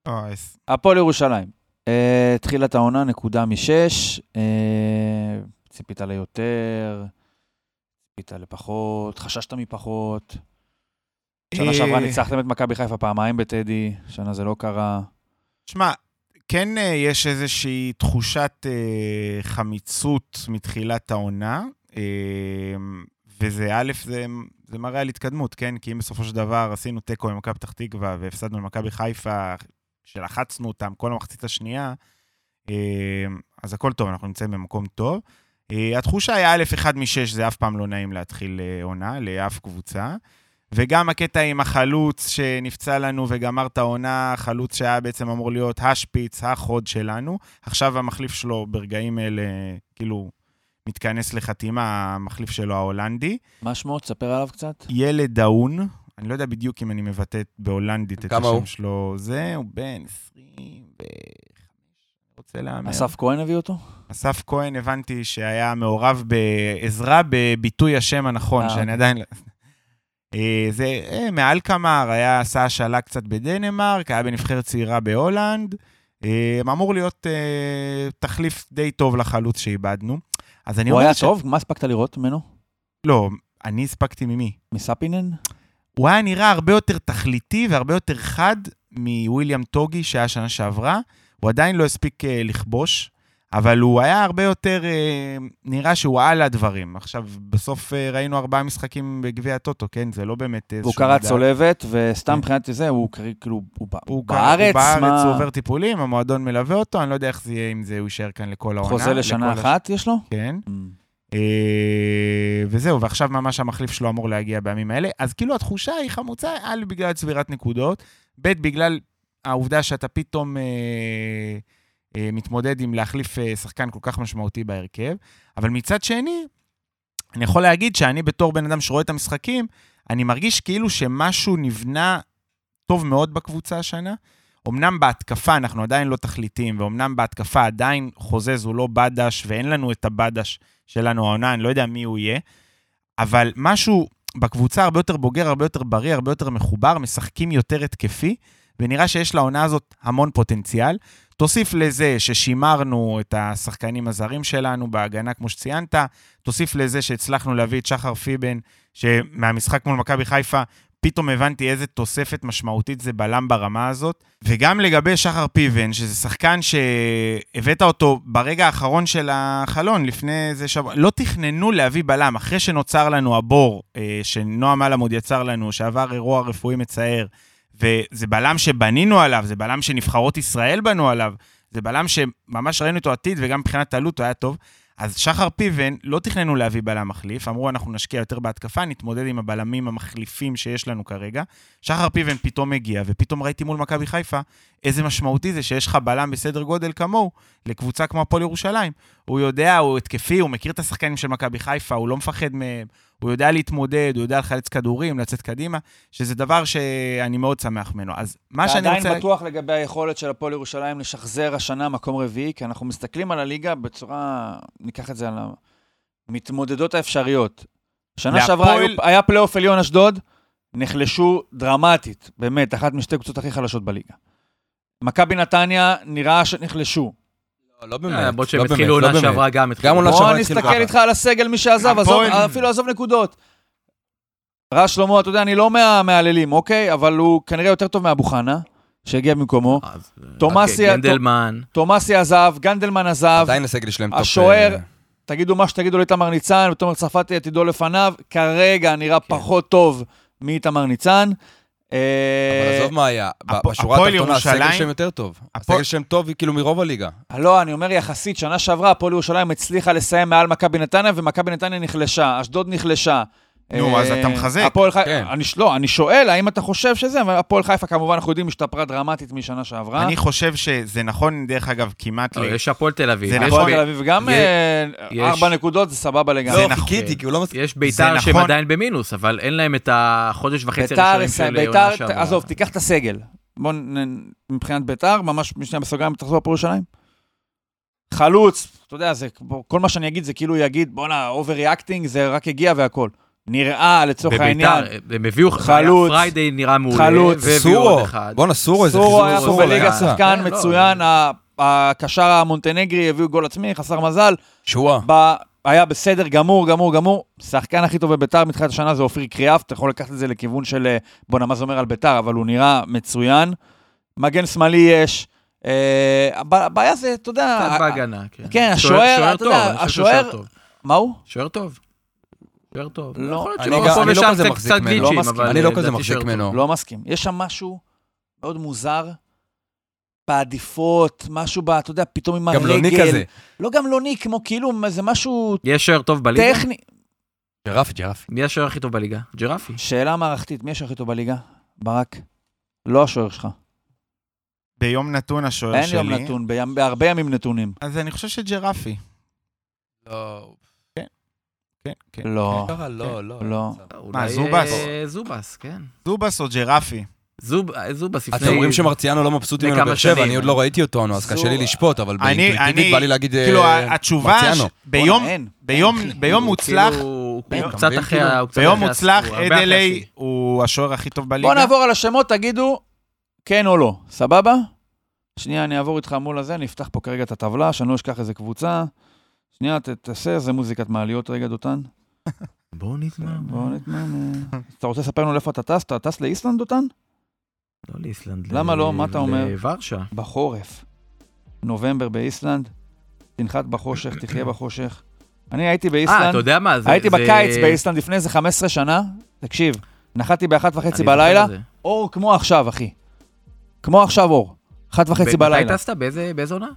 Speaker 4: אוי, אז-
Speaker 2: הפועל ירושלים. אה, תחילת העונה, נקודה משש. אה, ציפית ליותר, ציפית לפחות, חששת מפחות. שנה שעברה
Speaker 4: אה,
Speaker 2: ניצחתם את מכבי חיפה פעמיים בטדי, שנה זה לא קרה.
Speaker 4: שמע, כן אה, יש איזושהי תחושת אה, חמיצות מתחילת העונה, אה, וזה א', זה, זה מראה על התקדמות, כן? כי אם בסופו של דבר עשינו תיקו עם מכבי פתח תקווה והפסדנו למכבי חיפה, שלחצנו אותם כל המחצית השנייה, אה, אז הכל טוב, אנחנו נמצאים במקום טוב. אה, התחושה היא א', אחד משש, זה אף פעם לא נעים להתחיל אה, עונה לאף קבוצה. וגם הקטע עם החלוץ שנפצע לנו וגמר את העונה, חלוץ שהיה בעצם אמור להיות השפיץ, החוד שלנו. עכשיו המחליף שלו ברגעים אלה, כאילו, מתכנס לחתימה, המחליף שלו ההולנדי.
Speaker 2: מה שמו? תספר עליו קצת.
Speaker 4: ילד דאון, אני לא יודע בדיוק אם אני מבטא בהולנדית את
Speaker 5: כמה
Speaker 4: השם
Speaker 5: הוא?
Speaker 4: שלו, זה, הוא בן 25, רוצה להמר.
Speaker 2: אסף כהן הביא אותו?
Speaker 4: אסף כהן, הבנתי שהיה מעורב בעזרה בביטוי השם הנכון,
Speaker 2: אה,
Speaker 4: שאני
Speaker 2: אוקיי.
Speaker 4: עדיין... לא- אה, זה אה, מעל קמר, היה עשה השאלה קצת בדנמרק, היה בנבחרת צעירה בהולנד. אה, אמור להיות אה, תחליף די טוב לחלוץ שאיבדנו. אז אני
Speaker 2: הוא
Speaker 4: אומר
Speaker 2: היה
Speaker 4: ש-
Speaker 2: טוב? מה הספקת לראות ממנו?
Speaker 4: לא, אני הספקתי ממי.
Speaker 2: מספינן?
Speaker 4: הוא היה נראה הרבה יותר תכליתי והרבה יותר חד מוויליאם טוגי שהיה שנה שעברה. הוא עדיין לא הספיק אה, לכבוש, אבל הוא היה הרבה יותר, אה, נראה שהוא על הדברים. עכשיו, בסוף אה, ראינו ארבעה משחקים בגביע הטוטו, כן? זה לא באמת איזשהו...
Speaker 2: הוא קרא
Speaker 4: מדד.
Speaker 2: צולבת, וסתם מבחינת זה, הוא קרי- כאילו, הוא ב-
Speaker 4: כן. הוא קרא-
Speaker 2: בארץ,
Speaker 4: הוא בארץ, הוא
Speaker 2: מה?
Speaker 4: עובר טיפולים, המועדון מלווה אותו, אני לא יודע איך זה יהיה, אם זה הוא יישאר כאן לכל העונה.
Speaker 2: חוזה
Speaker 4: לכל
Speaker 2: לשנה
Speaker 4: הש-
Speaker 2: אחת יש לו?
Speaker 4: כן.
Speaker 2: Mm.
Speaker 4: אה, וזהו, ועכשיו ממש המחליף שלו אמור להגיע בימים האלה. אז כאילו התחושה היא חמוצה, א', בגלל צבירת נקודות, ב', בגלל העובדה שאתה פתאום אה, אה, מתמודד עם להחליף אה, שחקן כל כך משמעותי בהרכב, אבל מצד שני, אני יכול להגיד שאני בתור בן אדם שרואה את המשחקים, אני מרגיש כאילו שמשהו נבנה טוב מאוד בקבוצה השנה. אמנם בהתקפה אנחנו עדיין לא תכליתיים, ואומנם בהתקפה עדיין חוזז הוא לא בדש, ואין לנו את הבדש שלנו העונה, אני לא יודע מי הוא יהיה, אבל משהו בקבוצה הרבה יותר בוגר, הרבה יותר בריא, הרבה יותר מחובר, משחקים יותר התקפי, ונראה שיש לעונה הזאת המון פוטנציאל. תוסיף לזה ששימרנו את השחקנים הזרים שלנו בהגנה, כמו שציינת, תוסיף לזה שהצלחנו להביא את שחר פיבן, שמהמשחק מול מכבי חיפה, פתאום הבנתי איזה תוספת משמעותית זה בלם ברמה הזאת. וגם לגבי שחר פיבן, שזה שחקן שהבאת אותו ברגע האחרון של החלון, לפני איזה שבוע, לא תכננו להביא בלם, אחרי שנוצר לנו הבור, אה, שנועם אלעמוד יצר לנו, שעבר אירוע רפואי מצער, וזה בלם שבנינו עליו, זה בלם שנבחרות ישראל בנו עליו, זה בלם שממש ראינו איתו עתיד, וגם מבחינת עלות הוא היה טוב. אז שחר פיבן, לא תכננו להביא בלם מחליף, אמרו אנחנו נשקיע יותר בהתקפה, נתמודד עם הבלמים המחליפים שיש לנו כרגע. שחר פיבן פתאום הגיע, ופתאום ראיתי מול מכבי חיפה איזה משמעותי זה שיש לך בלם בסדר גודל כמוהו לקבוצה כמו הפועל ירושלים. הוא יודע, הוא התקפי, הוא מכיר את השחקנים של מכבי חיפה, הוא לא מפחד מהם, הוא יודע להתמודד, הוא יודע לחלץ כדורים, לצאת קדימה, שזה דבר שאני מאוד שמח ממנו. אז מה שאני רוצה...
Speaker 2: אתה עדיין בטוח לגבי היכולת של הפועל ירושלים לשחזר השנה מקום רביעי, כי אנחנו מסתכלים על הליגה בצורה, ניקח את זה על המתמודדות האפשריות. שנה
Speaker 4: להפועל-
Speaker 2: שעברה היו- היה פלייאוף עליון אשדוד, נחלשו דרמטית, באמת, אחת משתי קבוצות הכי חלשות בליגה. מכבי נתניה, נראה שנחלשו.
Speaker 5: לא, לא
Speaker 3: אה,
Speaker 5: באמת,
Speaker 3: למרות
Speaker 5: לא
Speaker 3: שהם
Speaker 5: באמת,
Speaker 3: התחילו
Speaker 5: לא
Speaker 3: עונה
Speaker 5: באמת.
Speaker 3: שעברה גם, התחילו.
Speaker 5: גם עונה
Speaker 2: בוא
Speaker 5: שעברה התחיל
Speaker 2: נסתכל
Speaker 5: ככה.
Speaker 2: איתך על הסגל, מי שעזב, עזוב,
Speaker 4: הפועל-
Speaker 2: אפילו עזוב נקודות. רז שלמה, אתה יודע, אני לא מהמהללים, אוקיי? אבל הוא כנראה יותר טוב מאבו חנה, שהגיע במקומו.
Speaker 3: אז,
Speaker 2: תומאסי-
Speaker 3: אוקיי, גנדלמן.
Speaker 2: תומאסי עזב, גנדלמן עזב,
Speaker 5: עדיין הסגל שלהם טופ...
Speaker 2: השוער,
Speaker 5: אה,
Speaker 2: תגידו מה שתגידו לאיתמר ניצן, ותומר צרפתי עתידו לפניו, כרגע נראה פחות טוב מאיתמר ניצן. אה,
Speaker 5: אבל עזוב מה היה, ב-
Speaker 4: הפועל
Speaker 5: בשורה התחתונה הסגל
Speaker 4: ירושלים-
Speaker 5: שלהם יותר טוב.
Speaker 4: הפועל-
Speaker 5: הסגל שלהם טוב כאילו מרוב הליגה.
Speaker 2: לא, אני אומר יחסית, שנה שעברה הפועל ירושלים הצליחה לסיים מעל מכבי נתניה, ומכבי נתניה נחלשה, אשדוד נחלשה.
Speaker 4: נו,
Speaker 2: אה,
Speaker 4: אז אתה מחזק.
Speaker 2: הפועל חיפה,
Speaker 5: כן.
Speaker 2: אני ש- לא, אני שואל, האם אתה חושב שזה, אבל הפועל חיפה כמובן, אנחנו יודעים, השתפרה דרמטית משנה שעברה.
Speaker 4: אני חושב שזה נכון, דרך אגב, כמעט...
Speaker 3: לא,
Speaker 4: ל-
Speaker 3: יש הפועל תל אביב.
Speaker 4: זה
Speaker 3: יש
Speaker 2: הפועל
Speaker 3: ב-
Speaker 2: תל אביב גם
Speaker 3: יש-
Speaker 2: אה,
Speaker 3: יש-
Speaker 2: ארבע נקודות, זה סבבה לגמרי.
Speaker 4: זה
Speaker 5: לא,
Speaker 4: נכון.
Speaker 5: חיכיתי, כי הוא לא מספיק.
Speaker 3: יש ביתר שהם
Speaker 4: נכון.
Speaker 3: עדיין במינוס, אבל אין להם את החודש וחצי
Speaker 2: ביתר,
Speaker 3: הראשונים של
Speaker 2: ביתר-
Speaker 3: עונה שעברה.
Speaker 2: עזוב, תיקח את הסגל. בוא, נ- מבחינת ביתר, ממש משנייה בסוגריים, תחזור לפה ירושלים. חלוץ, אתה יודע, זה, כמו- כל מה שאני אגיד זה כאילו יגיד, בואנה, overreacting, זה רק הגיע והכל. נראה, לצורך העניין.
Speaker 3: בביתר, הם הביאו,
Speaker 2: חלוץ.
Speaker 3: חלוץ, פריידי נראה מעולה,
Speaker 2: חלוץ.
Speaker 3: והביאו
Speaker 5: סורו,
Speaker 3: עוד אחד.
Speaker 5: בואנה סורו, איזה
Speaker 2: סורו היה פה
Speaker 3: סורו
Speaker 2: בליגה
Speaker 3: היה.
Speaker 2: שחקן
Speaker 3: כן, לא,
Speaker 2: מצוין, ה- הקשר המונטנגרי הביאו גול עצמי, חסר מזל.
Speaker 5: שואה.
Speaker 2: ב- היה בסדר גמור, גמור, גמור. שחקן הכי טוב בביתר מתחילת השנה זה אופיר קריאף, אתה יכול לקחת את זה לכיוון של, אה, בואנה, מה זה אומר על ביתר, אבל הוא נראה מצוין. מגן שמאלי יש. אה, הב- הבעיה זה, אתה יודע...
Speaker 3: קצת
Speaker 2: ה-
Speaker 3: בהגנה, כן.
Speaker 2: אה, כן,
Speaker 3: שוער-
Speaker 2: השוער,
Speaker 3: שוער
Speaker 2: אתה
Speaker 3: טוב,
Speaker 2: יודע,
Speaker 3: אני חושב שהוא
Speaker 2: השוער-
Speaker 3: שוער טוב.
Speaker 2: מה הוא?
Speaker 3: שוער טוב. שוער טוב.
Speaker 2: לא,
Speaker 3: יכול להיות
Speaker 5: אני
Speaker 3: שלא
Speaker 5: גם-
Speaker 3: פה
Speaker 5: אני לא
Speaker 3: ושם
Speaker 5: כזה
Speaker 3: קצת-
Speaker 5: מחזיק
Speaker 3: קצת
Speaker 5: ממנו.
Speaker 3: גליצ'ים,
Speaker 2: לא מסכים.
Speaker 3: אבל אה,
Speaker 5: אני לא
Speaker 3: לדעתי
Speaker 5: כזה
Speaker 3: שוער
Speaker 5: מחזיק
Speaker 3: טוב.
Speaker 5: ממנו.
Speaker 2: לא מסכים. יש שם משהו מאוד מוזר. בעדיפות, משהו, ב- אתה יודע, פתאום עם הרגל.
Speaker 5: גם לוני כזה.
Speaker 2: לא גמלוני, כמו כאילו, זה משהו
Speaker 3: יש שוער טוב בליגה?
Speaker 2: טכני.
Speaker 5: ג'רפי, ג'רפי.
Speaker 3: מי השוער הכי טוב בליגה? ג'רפי.
Speaker 2: שאלה מערכתית, מי השוער הכי טוב בליגה? ברק. לא השוער שלך.
Speaker 4: ביום נתון השוער
Speaker 2: אין
Speaker 4: שלי.
Speaker 2: יום נתון, בים- בהרבה ימים נתונים.
Speaker 4: אז אני חושב שג'רפי. כן, כן.
Speaker 2: לא.
Speaker 5: לא, לא.
Speaker 2: לא.
Speaker 3: אולי,
Speaker 4: זובס?
Speaker 3: אה, זובס, כן.
Speaker 4: זובס או ג'רפי?
Speaker 3: זוב- אה, זובס לפני...
Speaker 5: אתם אומרים שמרציאנו לא מבסוט
Speaker 3: לפני
Speaker 5: ממנו
Speaker 3: כמה
Speaker 5: באר שבע,
Speaker 3: שנים.
Speaker 5: אני עוד לא ראיתי אותו, נו, אז
Speaker 2: זו-
Speaker 5: קשה לי לשפוט, אבל
Speaker 4: אני- אני-
Speaker 5: באינטואיטיבית בא לי להגיד... אה,
Speaker 4: כאילו, ה- התשובה, ש-
Speaker 5: מרציאנו.
Speaker 4: ביום-
Speaker 2: בואנה, אין.
Speaker 4: ביום-
Speaker 2: אין, אחי.
Speaker 4: ביום
Speaker 3: הוא
Speaker 4: מוצלח,
Speaker 3: כאילו- הוא
Speaker 2: ביום-
Speaker 3: קצת
Speaker 5: אתה
Speaker 3: אחרי
Speaker 5: מבין, כאילו,
Speaker 3: ה... הוא קצת
Speaker 4: ביום
Speaker 3: אחרי
Speaker 4: מוצלח,
Speaker 3: הסוף, הוא הרבה אחרי
Speaker 4: אדלי
Speaker 3: השיא.
Speaker 4: הוא השוער הכי טוב בליגה.
Speaker 2: בואו נעבור על השמות, תגידו כן או לא, סבבה? שנייה, אני אעבור איתך מול הזה, אני אפתח פה כרגע את הטבלה, שאני לא אשכח איזה קבוצה. שנייה, ת- תעשה איזה מוזיקת מעליות רגע, דותן.
Speaker 3: בואו נתמר.
Speaker 2: בואו נתמן. אה. אתה רוצה לספר לנו לאיפה אתה טס? אתה טס לאיסלנד, דותן?
Speaker 3: לא לאיסלנד.
Speaker 2: למה
Speaker 3: ל-
Speaker 2: לא? מה אתה אומר?
Speaker 3: לוורשה.
Speaker 2: בחורף. נובמבר באיסלנד, תנחת בחושך, תחיה בחושך. אני הייתי
Speaker 3: אה,
Speaker 2: באיסלנד,
Speaker 3: אתה יודע מה? זה-
Speaker 2: הייתי
Speaker 3: זה-
Speaker 2: בקיץ באיסלנד לפני איזה 15 שנה, תקשיב, נחתי באחת
Speaker 3: אני
Speaker 2: וחצי
Speaker 3: זוכר
Speaker 2: בלילה,
Speaker 3: את זה.
Speaker 2: אור כמו עכשיו, אחי. כמו עכשיו אור. אחת וחצי
Speaker 3: ב-
Speaker 2: בלילה.
Speaker 3: מתי טסת? באיזה באיזה עונה?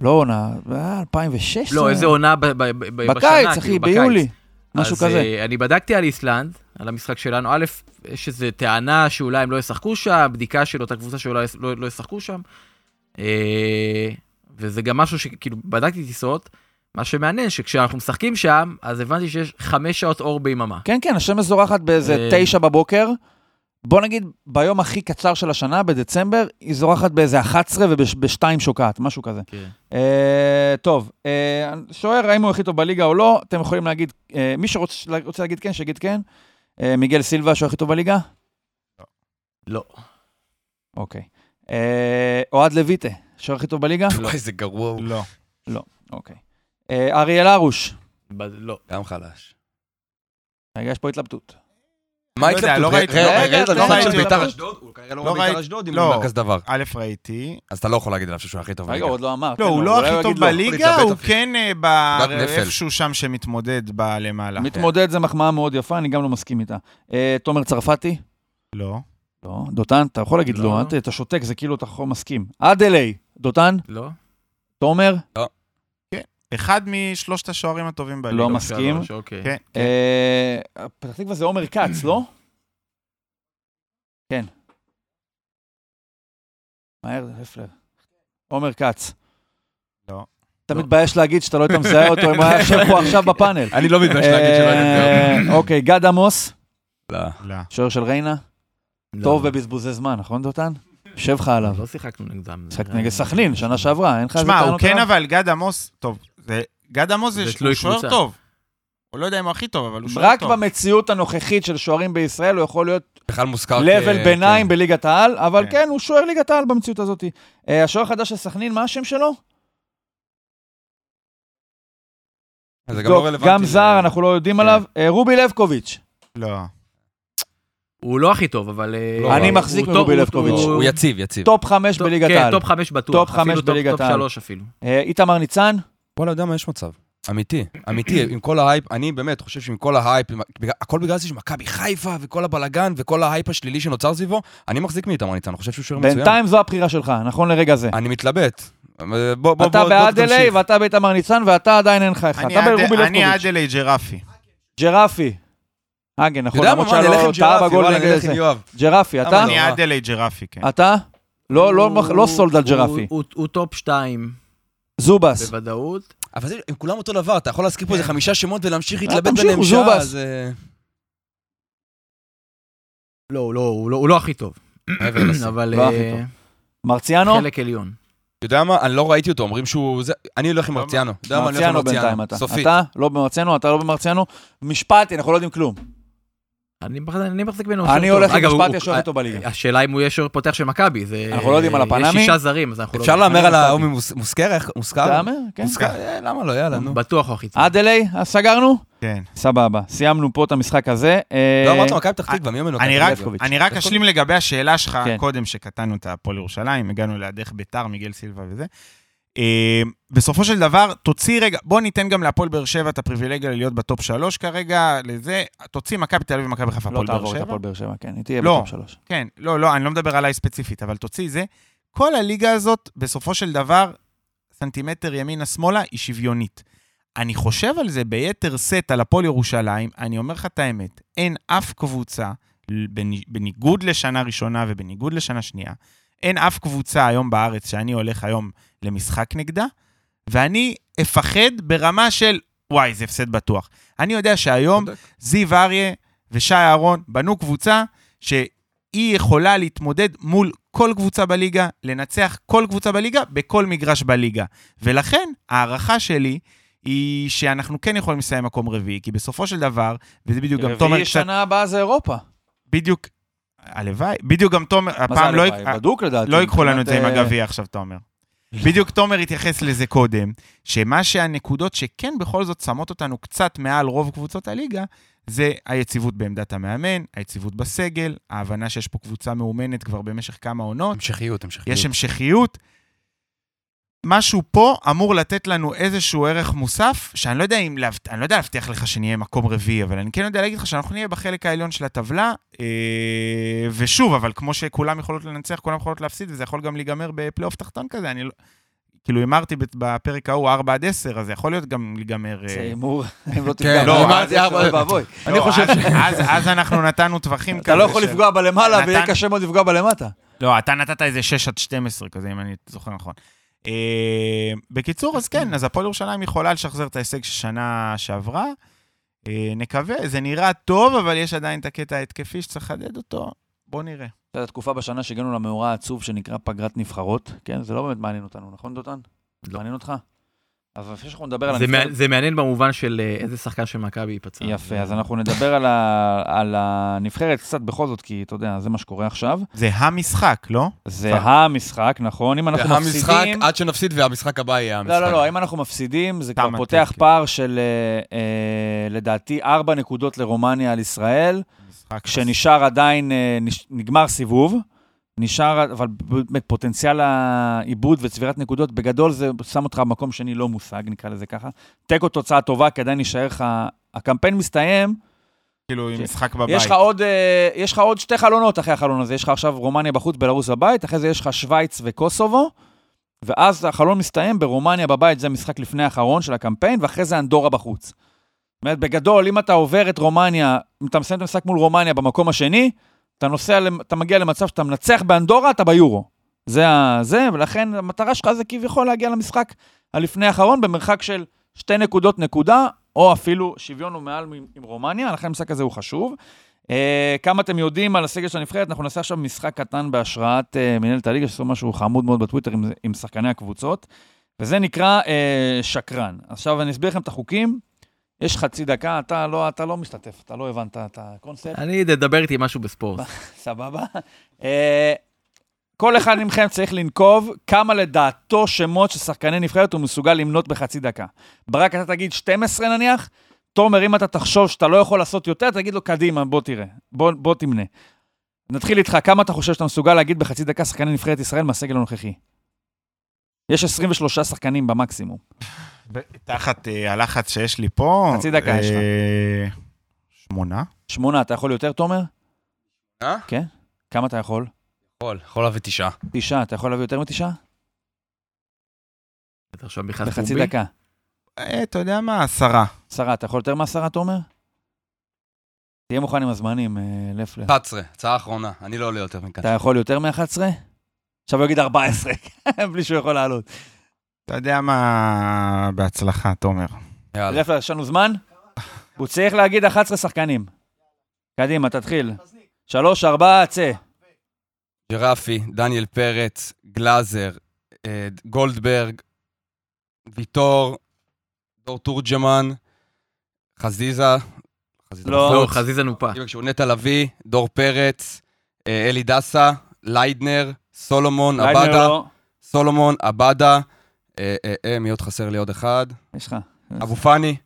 Speaker 2: לא עונה, אה, 2016.
Speaker 3: לא, איזה עונה ב- ב- ב- בשנה.
Speaker 2: בקיץ, אחי,
Speaker 3: כאילו,
Speaker 2: ביולי. משהו
Speaker 3: אז,
Speaker 2: כזה.
Speaker 3: אה, אני בדקתי על איסלנד, על המשחק שלנו. א', יש איזו טענה שאולי הם לא ישחקו שם, בדיקה של אותה קבוצה שאולי לא, לא ישחקו שם. אה, וזה גם משהו שכאילו כאילו, בדקתי טיסות, מה שמעניין שכשאנחנו משחקים שם, אז הבנתי שיש חמש שעות אור ביממה.
Speaker 2: כן, כן, השמש זורחת באיזה
Speaker 3: אה.
Speaker 2: תשע בבוקר. בוא נגיד, ביום הכי קצר של השנה, בדצמבר, היא זורחת באיזה 11 ובשתיים שוקעת, משהו כזה.
Speaker 3: כן.
Speaker 2: אה, טוב, אה, שוער, האם הוא הכי טוב בליגה או לא, אתם יכולים להגיד, אה, מי שרוצה רוצה להגיד כן, שיגיד כן. אה, מיגל סילבה, שהוא הכי טוב בליגה?
Speaker 3: לא.
Speaker 2: אוקיי. אה, אוהד לויטה, שוער הכי טוב
Speaker 3: לא.
Speaker 2: בליגה?
Speaker 5: וואי, זה גרוע, הוא
Speaker 4: לא.
Speaker 2: אוקיי. אה, אריאל הרוש,
Speaker 3: ב- לא.
Speaker 5: גם חלש.
Speaker 2: רגע, יש פה התלבטות.
Speaker 5: מה
Speaker 4: לא יודע,
Speaker 5: ההתלבטות?
Speaker 4: לא
Speaker 5: ר-
Speaker 4: ראיתי,
Speaker 5: ר-
Speaker 4: לא
Speaker 5: ר-
Speaker 2: ראיתי,
Speaker 5: רד
Speaker 2: לא
Speaker 5: למשחק של
Speaker 2: ראיתי.
Speaker 5: ביתר אשדוד, הוא כנראה לא
Speaker 4: לא
Speaker 5: רואה ביתר
Speaker 4: ראיתי,
Speaker 5: אשדוד אם
Speaker 4: לא.
Speaker 5: הוא אומר כזה דבר.
Speaker 4: א', ראיתי.
Speaker 5: אז אתה לא יכול להגיד עליו שהוא הכי טוב
Speaker 2: רגע,
Speaker 5: בליגה.
Speaker 2: הוא עוד לא אמר.
Speaker 4: לא,
Speaker 2: תן
Speaker 4: הוא
Speaker 2: לו,
Speaker 4: לא
Speaker 2: אולי
Speaker 4: הכי
Speaker 2: יגיד
Speaker 4: טוב
Speaker 2: לא.
Speaker 4: בליגה,
Speaker 5: להתלבט
Speaker 4: הוא
Speaker 5: אפילו.
Speaker 4: כן אה, ב-
Speaker 5: נפל.
Speaker 4: איפשהו שם שמתמודד בלמעלה.
Speaker 2: מתמודד זה מחמאה מאוד יפה, אני גם לא מסכים איתה. אה, תומר צרפתי?
Speaker 4: לא.
Speaker 2: לא. דותן, אתה יכול להגיד
Speaker 3: לא.
Speaker 2: לא, אתה- אתה שותק, זה כאילו אתה יכול- מסכים. אדלי, דותן?
Speaker 3: לא.
Speaker 2: תומר?
Speaker 4: אחד משלושת השוערים הטובים בליגה.
Speaker 2: לא
Speaker 3: טוב,
Speaker 2: מסכים.
Speaker 3: שלוש, אוקיי.
Speaker 4: כן.
Speaker 2: אה, פתח תקווה זה עומר כץ, לא? כן. מהר, הפלר. עומר כץ.
Speaker 4: לא.
Speaker 2: אתה
Speaker 3: לא.
Speaker 2: מתבייש להגיד שאתה לא היית מזהה אותו אם הוא היה יושב פה עכשיו בפאנל.
Speaker 5: אני לא מתבייש להגיד שלא
Speaker 2: אה,
Speaker 5: הייתי
Speaker 2: אוקיי, גד עמוס,
Speaker 5: לא.
Speaker 4: לא.
Speaker 2: שוער של ריינה,
Speaker 3: לא.
Speaker 2: טוב בבזבוזי זמן, נכון דותן? יושב לך עליו.
Speaker 3: לא שיחקנו נגדם. זה
Speaker 2: משחק
Speaker 3: נראה-
Speaker 2: נגד סכנין, שנה שעברה, אין לך איזה
Speaker 4: שמע, הוא
Speaker 2: טענות
Speaker 4: כן
Speaker 2: עליו?
Speaker 4: אבל גד עמוס, טוב, זה- גד עמוס זה
Speaker 3: זה
Speaker 4: הוא
Speaker 3: תלוי
Speaker 4: שוער
Speaker 3: קבוצה.
Speaker 4: טוב. הוא לא יודע אם הוא הכי טוב, אבל הוא שוער
Speaker 2: רק
Speaker 4: טוב.
Speaker 2: במציאות הנוכחית של שוערים בישראל הוא יכול להיות
Speaker 5: בכלל מוזכר כ- כן.
Speaker 2: לבל ביניים בליגת העל, אבל
Speaker 4: כן.
Speaker 2: כן, הוא שוער ליגת העל במציאות הזאת. אה, השוער החדש של סכנין, מה השם שלו?
Speaker 5: כן. זה גם
Speaker 2: טוב,
Speaker 5: לא רלוונטי.
Speaker 2: גם זר, אנחנו לא יודעים
Speaker 5: כן.
Speaker 2: עליו. אה, רובי לבקוביץ'.
Speaker 4: לא.
Speaker 3: הוא לא הכי טוב, אבל... אה,
Speaker 5: לא, אני
Speaker 3: הוא
Speaker 2: מחזיק
Speaker 3: טוב,
Speaker 2: מרובי
Speaker 3: הוא-
Speaker 2: לבקוביץ'.
Speaker 5: לא, הוא יציב, יציב.
Speaker 2: טופ חמש
Speaker 3: טופ-
Speaker 2: בליגת
Speaker 3: כן,
Speaker 2: העל.
Speaker 3: טופ חמש בטוח.
Speaker 2: טופ חמש
Speaker 3: אפילו טופ-
Speaker 2: בליגת
Speaker 3: טופ
Speaker 2: העל.
Speaker 3: שלוש אפילו.
Speaker 2: אה, איתמר ניצן?
Speaker 5: וואלה, יודע מה, יש מצב. אמיתי, אמיתי, עם כל ההייפ, אני באמת חושב שעם כל ההייפ, עם- בגלל- הכל בגלל זה שמכבי חיפה וכל הבלגן וכל ההייפ השלילי שנוצר סביבו, אני מחזיק מאיתמר ניצן, אני חושב שהוא שוער מצוין.
Speaker 2: בינתיים זו הבחירה שלך, נכון לרגע זה.
Speaker 5: אני מתלבט. אבל בוא, בוא,
Speaker 2: אתה
Speaker 5: בוא, בוא
Speaker 2: בעד אליי
Speaker 5: תמשיך.
Speaker 2: ואתה באיתמר ניצן ואתה עדיין אין לך אחד.
Speaker 4: אני
Speaker 2: אתה
Speaker 4: עד-
Speaker 2: ברובי
Speaker 4: אני
Speaker 2: לבקוביץ'.
Speaker 4: אדלי ג'רפי.
Speaker 2: ג'רפי. אגן,
Speaker 5: אתה
Speaker 2: נכון,
Speaker 5: יודע מה,
Speaker 2: למרות
Speaker 5: מה, אני
Speaker 2: שהיה
Speaker 5: אלך עם
Speaker 2: לו טעה
Speaker 5: ג'רפי,
Speaker 2: בגול
Speaker 5: וואלה, אני
Speaker 2: נגד
Speaker 5: אלך עם
Speaker 2: זה.
Speaker 5: יואב.
Speaker 2: ג'רפי, אתה?
Speaker 5: אבל
Speaker 4: אני
Speaker 5: לא.
Speaker 4: אדלי ג'רפי, כן.
Speaker 2: אתה? לא, לא,
Speaker 3: הוא-
Speaker 2: לא סולד על
Speaker 3: הוא-
Speaker 2: ג'רפי.
Speaker 3: הוא- הוא טופ שתיים
Speaker 2: זובס.
Speaker 3: בוודאות.
Speaker 5: אבל זה, הם כולם אותו דבר, אתה יכול להזכיר
Speaker 2: כן.
Speaker 5: פה איזה חמישה שמות ולהמשיך להתלבט
Speaker 2: תמשיכו,
Speaker 5: ביניהם שעה,
Speaker 2: זובס.
Speaker 5: אז... אה,
Speaker 3: לא, הוא לא, הוא לא- הוא לא הכי טוב.
Speaker 5: מעבר לזה.
Speaker 3: אבל
Speaker 2: לא הכי
Speaker 3: אה,
Speaker 2: טוב. מרציאנו?
Speaker 3: חלק עליון.
Speaker 5: אתה יודע מה? אני לא ראיתי אותו, אומרים שהוא... זה- אני הולך עם מרציאנו. אתה יודע מה? אני הולך עם
Speaker 2: מרציאנו בינתיים אתה.
Speaker 5: סופית.
Speaker 2: אתה לא במרציאנו, אתה לא במרציאנו. משפטי, אנחנו לא יודעים כלום.
Speaker 3: אני מחזיק- אני מחזיק ממנו.
Speaker 2: אני הולך עם משפטי,
Speaker 3: השוער
Speaker 2: השוער
Speaker 3: הכי
Speaker 2: איתו בליגה.
Speaker 3: אה,
Speaker 4: אה,
Speaker 3: השאלה אם הוא יהיה שוער פותח של מכבי, זה...
Speaker 2: אנחנו לא יודעים על הפנמי.
Speaker 3: יש שישה זרים, אז אנחנו לא
Speaker 5: אפשר
Speaker 3: יודעים.
Speaker 5: להמר על
Speaker 2: אני
Speaker 5: ההוא ממוסקר? איך- מוסקר?
Speaker 2: תאמר, כן.
Speaker 5: מוסקר? אה, למה לא? יאללה, נו.
Speaker 3: בטוח הוא הכי טוב.
Speaker 2: אדלי, אז סגרנו?
Speaker 4: כן.
Speaker 2: סבבה, סיימנו פה את המשחק הזה. אה,
Speaker 5: לא, אמרת מכבי פתח תקווה, מי ממנו?
Speaker 4: אני רק-
Speaker 2: לבקוביץ'.
Speaker 4: אני רק אשלים לגבי השאלה שלך
Speaker 2: כן.
Speaker 4: קודם, שקטענו את הפועל ירושלים, הגענו לידך ביתר, מיגל סילבה וזה. אה, בסופו של דבר, תוציא רגע, בוא ניתן גם להפועל באר שבע את הפריבילגיה להיות בטופ שלוש כרגע, לזה, תוציא מכבי תל אביב ומכבי
Speaker 2: לא
Speaker 4: חיפה, הפועל באר
Speaker 2: תעבור את
Speaker 4: שבע.
Speaker 2: הפועל באר שבע, כן, היא תהיה
Speaker 4: לא.
Speaker 2: בטופ שלוש.
Speaker 4: כן, לא, לא, אני לא מדבר עליי ספציפית, אבל תוציא זה. כל הליגה הזאת, בסופו של דבר, סנטימטר ימינה-שמאלה, היא שוויונית. אני חושב על זה ביתר סט על הפועל ירושלים, אני אומר לך את האמת, אין אף קבוצה, בנ- בניגוד לשנה ראשונה ובניגוד לשנה שנייה, אין אף קבוצה היום בארץ שאני הולך היום למשחק נגדה, ואני אפחד ברמה של, וואי, זה הפסד בטוח. אני יודע שהיום
Speaker 5: צודק.
Speaker 4: זיו אריה ושי אהרון בנו קבוצה שהיא יכולה להתמודד מול כל קבוצה בליגה, לנצח כל קבוצה בליגה, בכל מגרש בליגה. ולכן, ההערכה שלי היא שאנחנו כן יכולים לסיים מקום רביעי, כי בסופו של דבר, וזה בדיוק גם תומר
Speaker 2: רביעי שנה הבאה זה אירופה.
Speaker 4: בדיוק, הלוואי, בדיוק גם תומר,
Speaker 2: מה זה
Speaker 4: הפעם לא...
Speaker 2: הלוואי? בדוק לדעתי.
Speaker 4: לא ייקחו לנו את זה עם
Speaker 2: מבחינת, אה,
Speaker 4: הגביע עכשיו, תומר. בדיוק תומר התייחס לזה קודם, שמה שהנקודות שכן בכל זאת שמות אותנו קצת מעל רוב קבוצות הליגה, זה היציבות בעמדת המאמן, היציבות בסגל, ההבנה שיש פה קבוצה מאומנת כבר במשך כמה עונות,
Speaker 5: המשכיות, המשכיות.
Speaker 4: יש המשכיות. משהו פה אמור לתת לנו איזשהו ערך מוסף, שאני לא יודע אם, להבט... אני לא יודע להבטיח לך שנהיה מקום רביעי, אבל אני כן יודע להגיד לך שאנחנו נהיה בחלק העליון של הטבלה, אה, ושוב, אבל כמו שכולם יכולות לנצח, כולם יכולות להפסיד, וזה יכול גם להיגמר בפלייאוף תחתון כזה, אני לא... כאילו, הימרתי ב- בפרק ההוא 4 עד 10, אז זה יכול להיות גם להיגמר... אה,
Speaker 2: זה הימור, אם לא
Speaker 5: כן,
Speaker 2: תפגע.
Speaker 5: לא,
Speaker 2: אבל
Speaker 5: אמרתי
Speaker 2: זה
Speaker 5: ארבע-
Speaker 2: אוי ואבוי.
Speaker 4: לא, אז, אז, אז אנחנו נתנו טווחים
Speaker 2: אתה לא יכול
Speaker 4: של-
Speaker 2: לפגוע בלמעלה, ויהיה
Speaker 4: נתן-
Speaker 2: קשה מאוד לפגוע בלמטה.
Speaker 4: לא, אתה נתת איזה 6 עד 12 כזה, אם אני זוכר נכון. אה, בקיצור, אז כן, אז הפועל ירושלים יכולה לשחזר את ההישג של שנה שעברה. אה, נקווה, זה נראה טוב, אבל יש עדיין את הקטע ההתקפי שצריך לחדד אותו. בוא נראה.
Speaker 2: הייתה תקופה בשנה שהגענו למאורע העצוב שנקרא פגרת נבחרות. כן, זה לא באמת מעניין אותנו, נכון, דותן?
Speaker 3: לא.
Speaker 2: מעניין אותך? אבל לפני שאנחנו נדבר על
Speaker 3: זה
Speaker 2: הנבחרת...
Speaker 3: מע- זה מעניין במובן של אה, איזה שחקן של מכבי ייפצע.
Speaker 2: יפה, אז אנחנו נדבר על ה- על הנבחרת קצת בכל זאת, כי אתה יודע, זה מה שקורה עכשיו.
Speaker 4: זה המשחק, לא?
Speaker 2: זה המשחק, נכון? אם אנחנו
Speaker 5: והמשחק,
Speaker 2: מפסידים...
Speaker 5: עד שנפסיד והמשחק הבא יהיה המשחק.
Speaker 2: לא, לא, לא, אם אנחנו מפסידים, זה
Speaker 4: תם
Speaker 2: כבר
Speaker 4: הטקס.
Speaker 2: פותח פער של, אה, אה, לדעתי, ארבע נקודות לרומניה על ישראל,
Speaker 4: משחק
Speaker 2: כשנשאר עדיין, אה, נש- נגמר סיבוב, נשאר, אבל באמת פוטנציאל העיבוד וצבירת נקודות, בגדול זה שם אותך במקום שני לא מושג, נקרא לזה ככה. תיקו תוצאה טובה, כי עדיין נשאר לך... הקמפיין מסתיים,
Speaker 4: כאילו, עם
Speaker 2: כן.
Speaker 4: משחק בבית.
Speaker 2: יש לך, עוד, אה, יש לך עוד שתי חלונות אחרי החלון הזה, יש לך עכשיו רומניה בחוץ, בלרוס בבית, אחרי זה יש לך שווייץ וקוסובו, ואז החלון מסתיים ברומניה בבית, זה משחק לפני האחרון של הקמפיין, ואחרי זה אנדורה בחוץ. זאת אומרת, בגדול, אם אתה עובר את רומניה, אם אתה מסיים את המשחק מול רומניה במקום השני, אתה, נוסע, למ- אתה מגיע למצב שאתה מנצח באנדורה, אתה ביורו. זה, ה- זה, ולכן המטרה שלך זה כביכול להגיע למשחק הלפני האחרון במרחק של שתי נקודות נקודה, או אפילו שוויון הוא מעל עם, עם רומניה, לכן המשחק הזה הוא חשוב. אה, כמה אתם יודעים על הסגל של הנבחרת, אנחנו נעשה עכשיו משחק קטן בהשראת אה, מנהלת הליגה, שעשו משהו חמוד מאוד בטוויטר עם, עם שחקני הקבוצות, וזה נקרא אה, שקרן. עכשיו אני אסביר לכם את החוקים, יש חצי דקה, אתה לא, אתה לא משתתף, אתה לא הבנת את הקונספט.
Speaker 3: אני אדבר איתי משהו בספורט.
Speaker 2: סבבה? אה, כל אחד מכם צריך לנקוב כמה לדעתו שמות של שחקני נבחרת הוא מסוגל למנות בחצי דקה. ברק, אתה תגיד 12 נניח, תומר, אם אתה תחשוב שאתה לא יכול לעשות יותר, תגיד לו, קדימה, בוא תראה, בוא, בוא תמנה. נתחיל איתך, כמה אתה חושב שאתה מסוגל להגיד בחצי דקה שחקני נבחרת ישראל מהסגל הנוכחי? יש 23 שחקנים במקסימום.
Speaker 4: ב- תחת אה, הלחץ שיש לי פה...
Speaker 2: חצי דקה יש לך.
Speaker 4: אה, שמונה?
Speaker 2: שמונה, אתה יכול יותר, תומר?
Speaker 5: אה?
Speaker 2: כן. כמה אתה יכול?
Speaker 5: יכול, יכול להביא תשעה.
Speaker 2: תשעה, אתה יכול להביא יותר מתשעה?
Speaker 3: אתה עכשיו נכנס
Speaker 2: בחצי
Speaker 3: פומבי?
Speaker 2: דקה.
Speaker 4: אה, אתה יודע מה? עשרה.
Speaker 2: עשרה, אתה יכול יותר מעשרה, תומר? תהיה מוכן עם הזמנים, אה, לפלר.
Speaker 5: 11, הצעה אחרונה, אני לא עולה יותר מכאן.
Speaker 2: אתה יכול יותר מ-11? עכשיו הוא יגיד 14, בלי שהוא יכול לעלות.
Speaker 4: אתה יודע מה? בהצלחה, תומר.
Speaker 5: יאללה.
Speaker 2: לפלר, יש לנו זמן? הוא צריך להגיד 11 שחקנים. קדימה, תתחיל. שלוש, ארבע, צא.
Speaker 5: ג'רפי, דניאל פרץ, גלאזר, אה, גולדברג, ויטור, דור תורג'מן, חזיזה, חזיזה
Speaker 2: לא.
Speaker 3: לא,
Speaker 5: בחוץ.
Speaker 3: חזיזה נופה.
Speaker 5: בדיוק, שהוא נטע לביא, דור פרץ, אה, אלי דסה, ליידנר, סולומון,
Speaker 2: ליידנר
Speaker 5: עבדה,
Speaker 2: לא.
Speaker 5: סולומון, עבדה, אה, אה, אה, מי עוד חסר לי עוד אחד?
Speaker 2: יש לך.
Speaker 5: אבו פאני.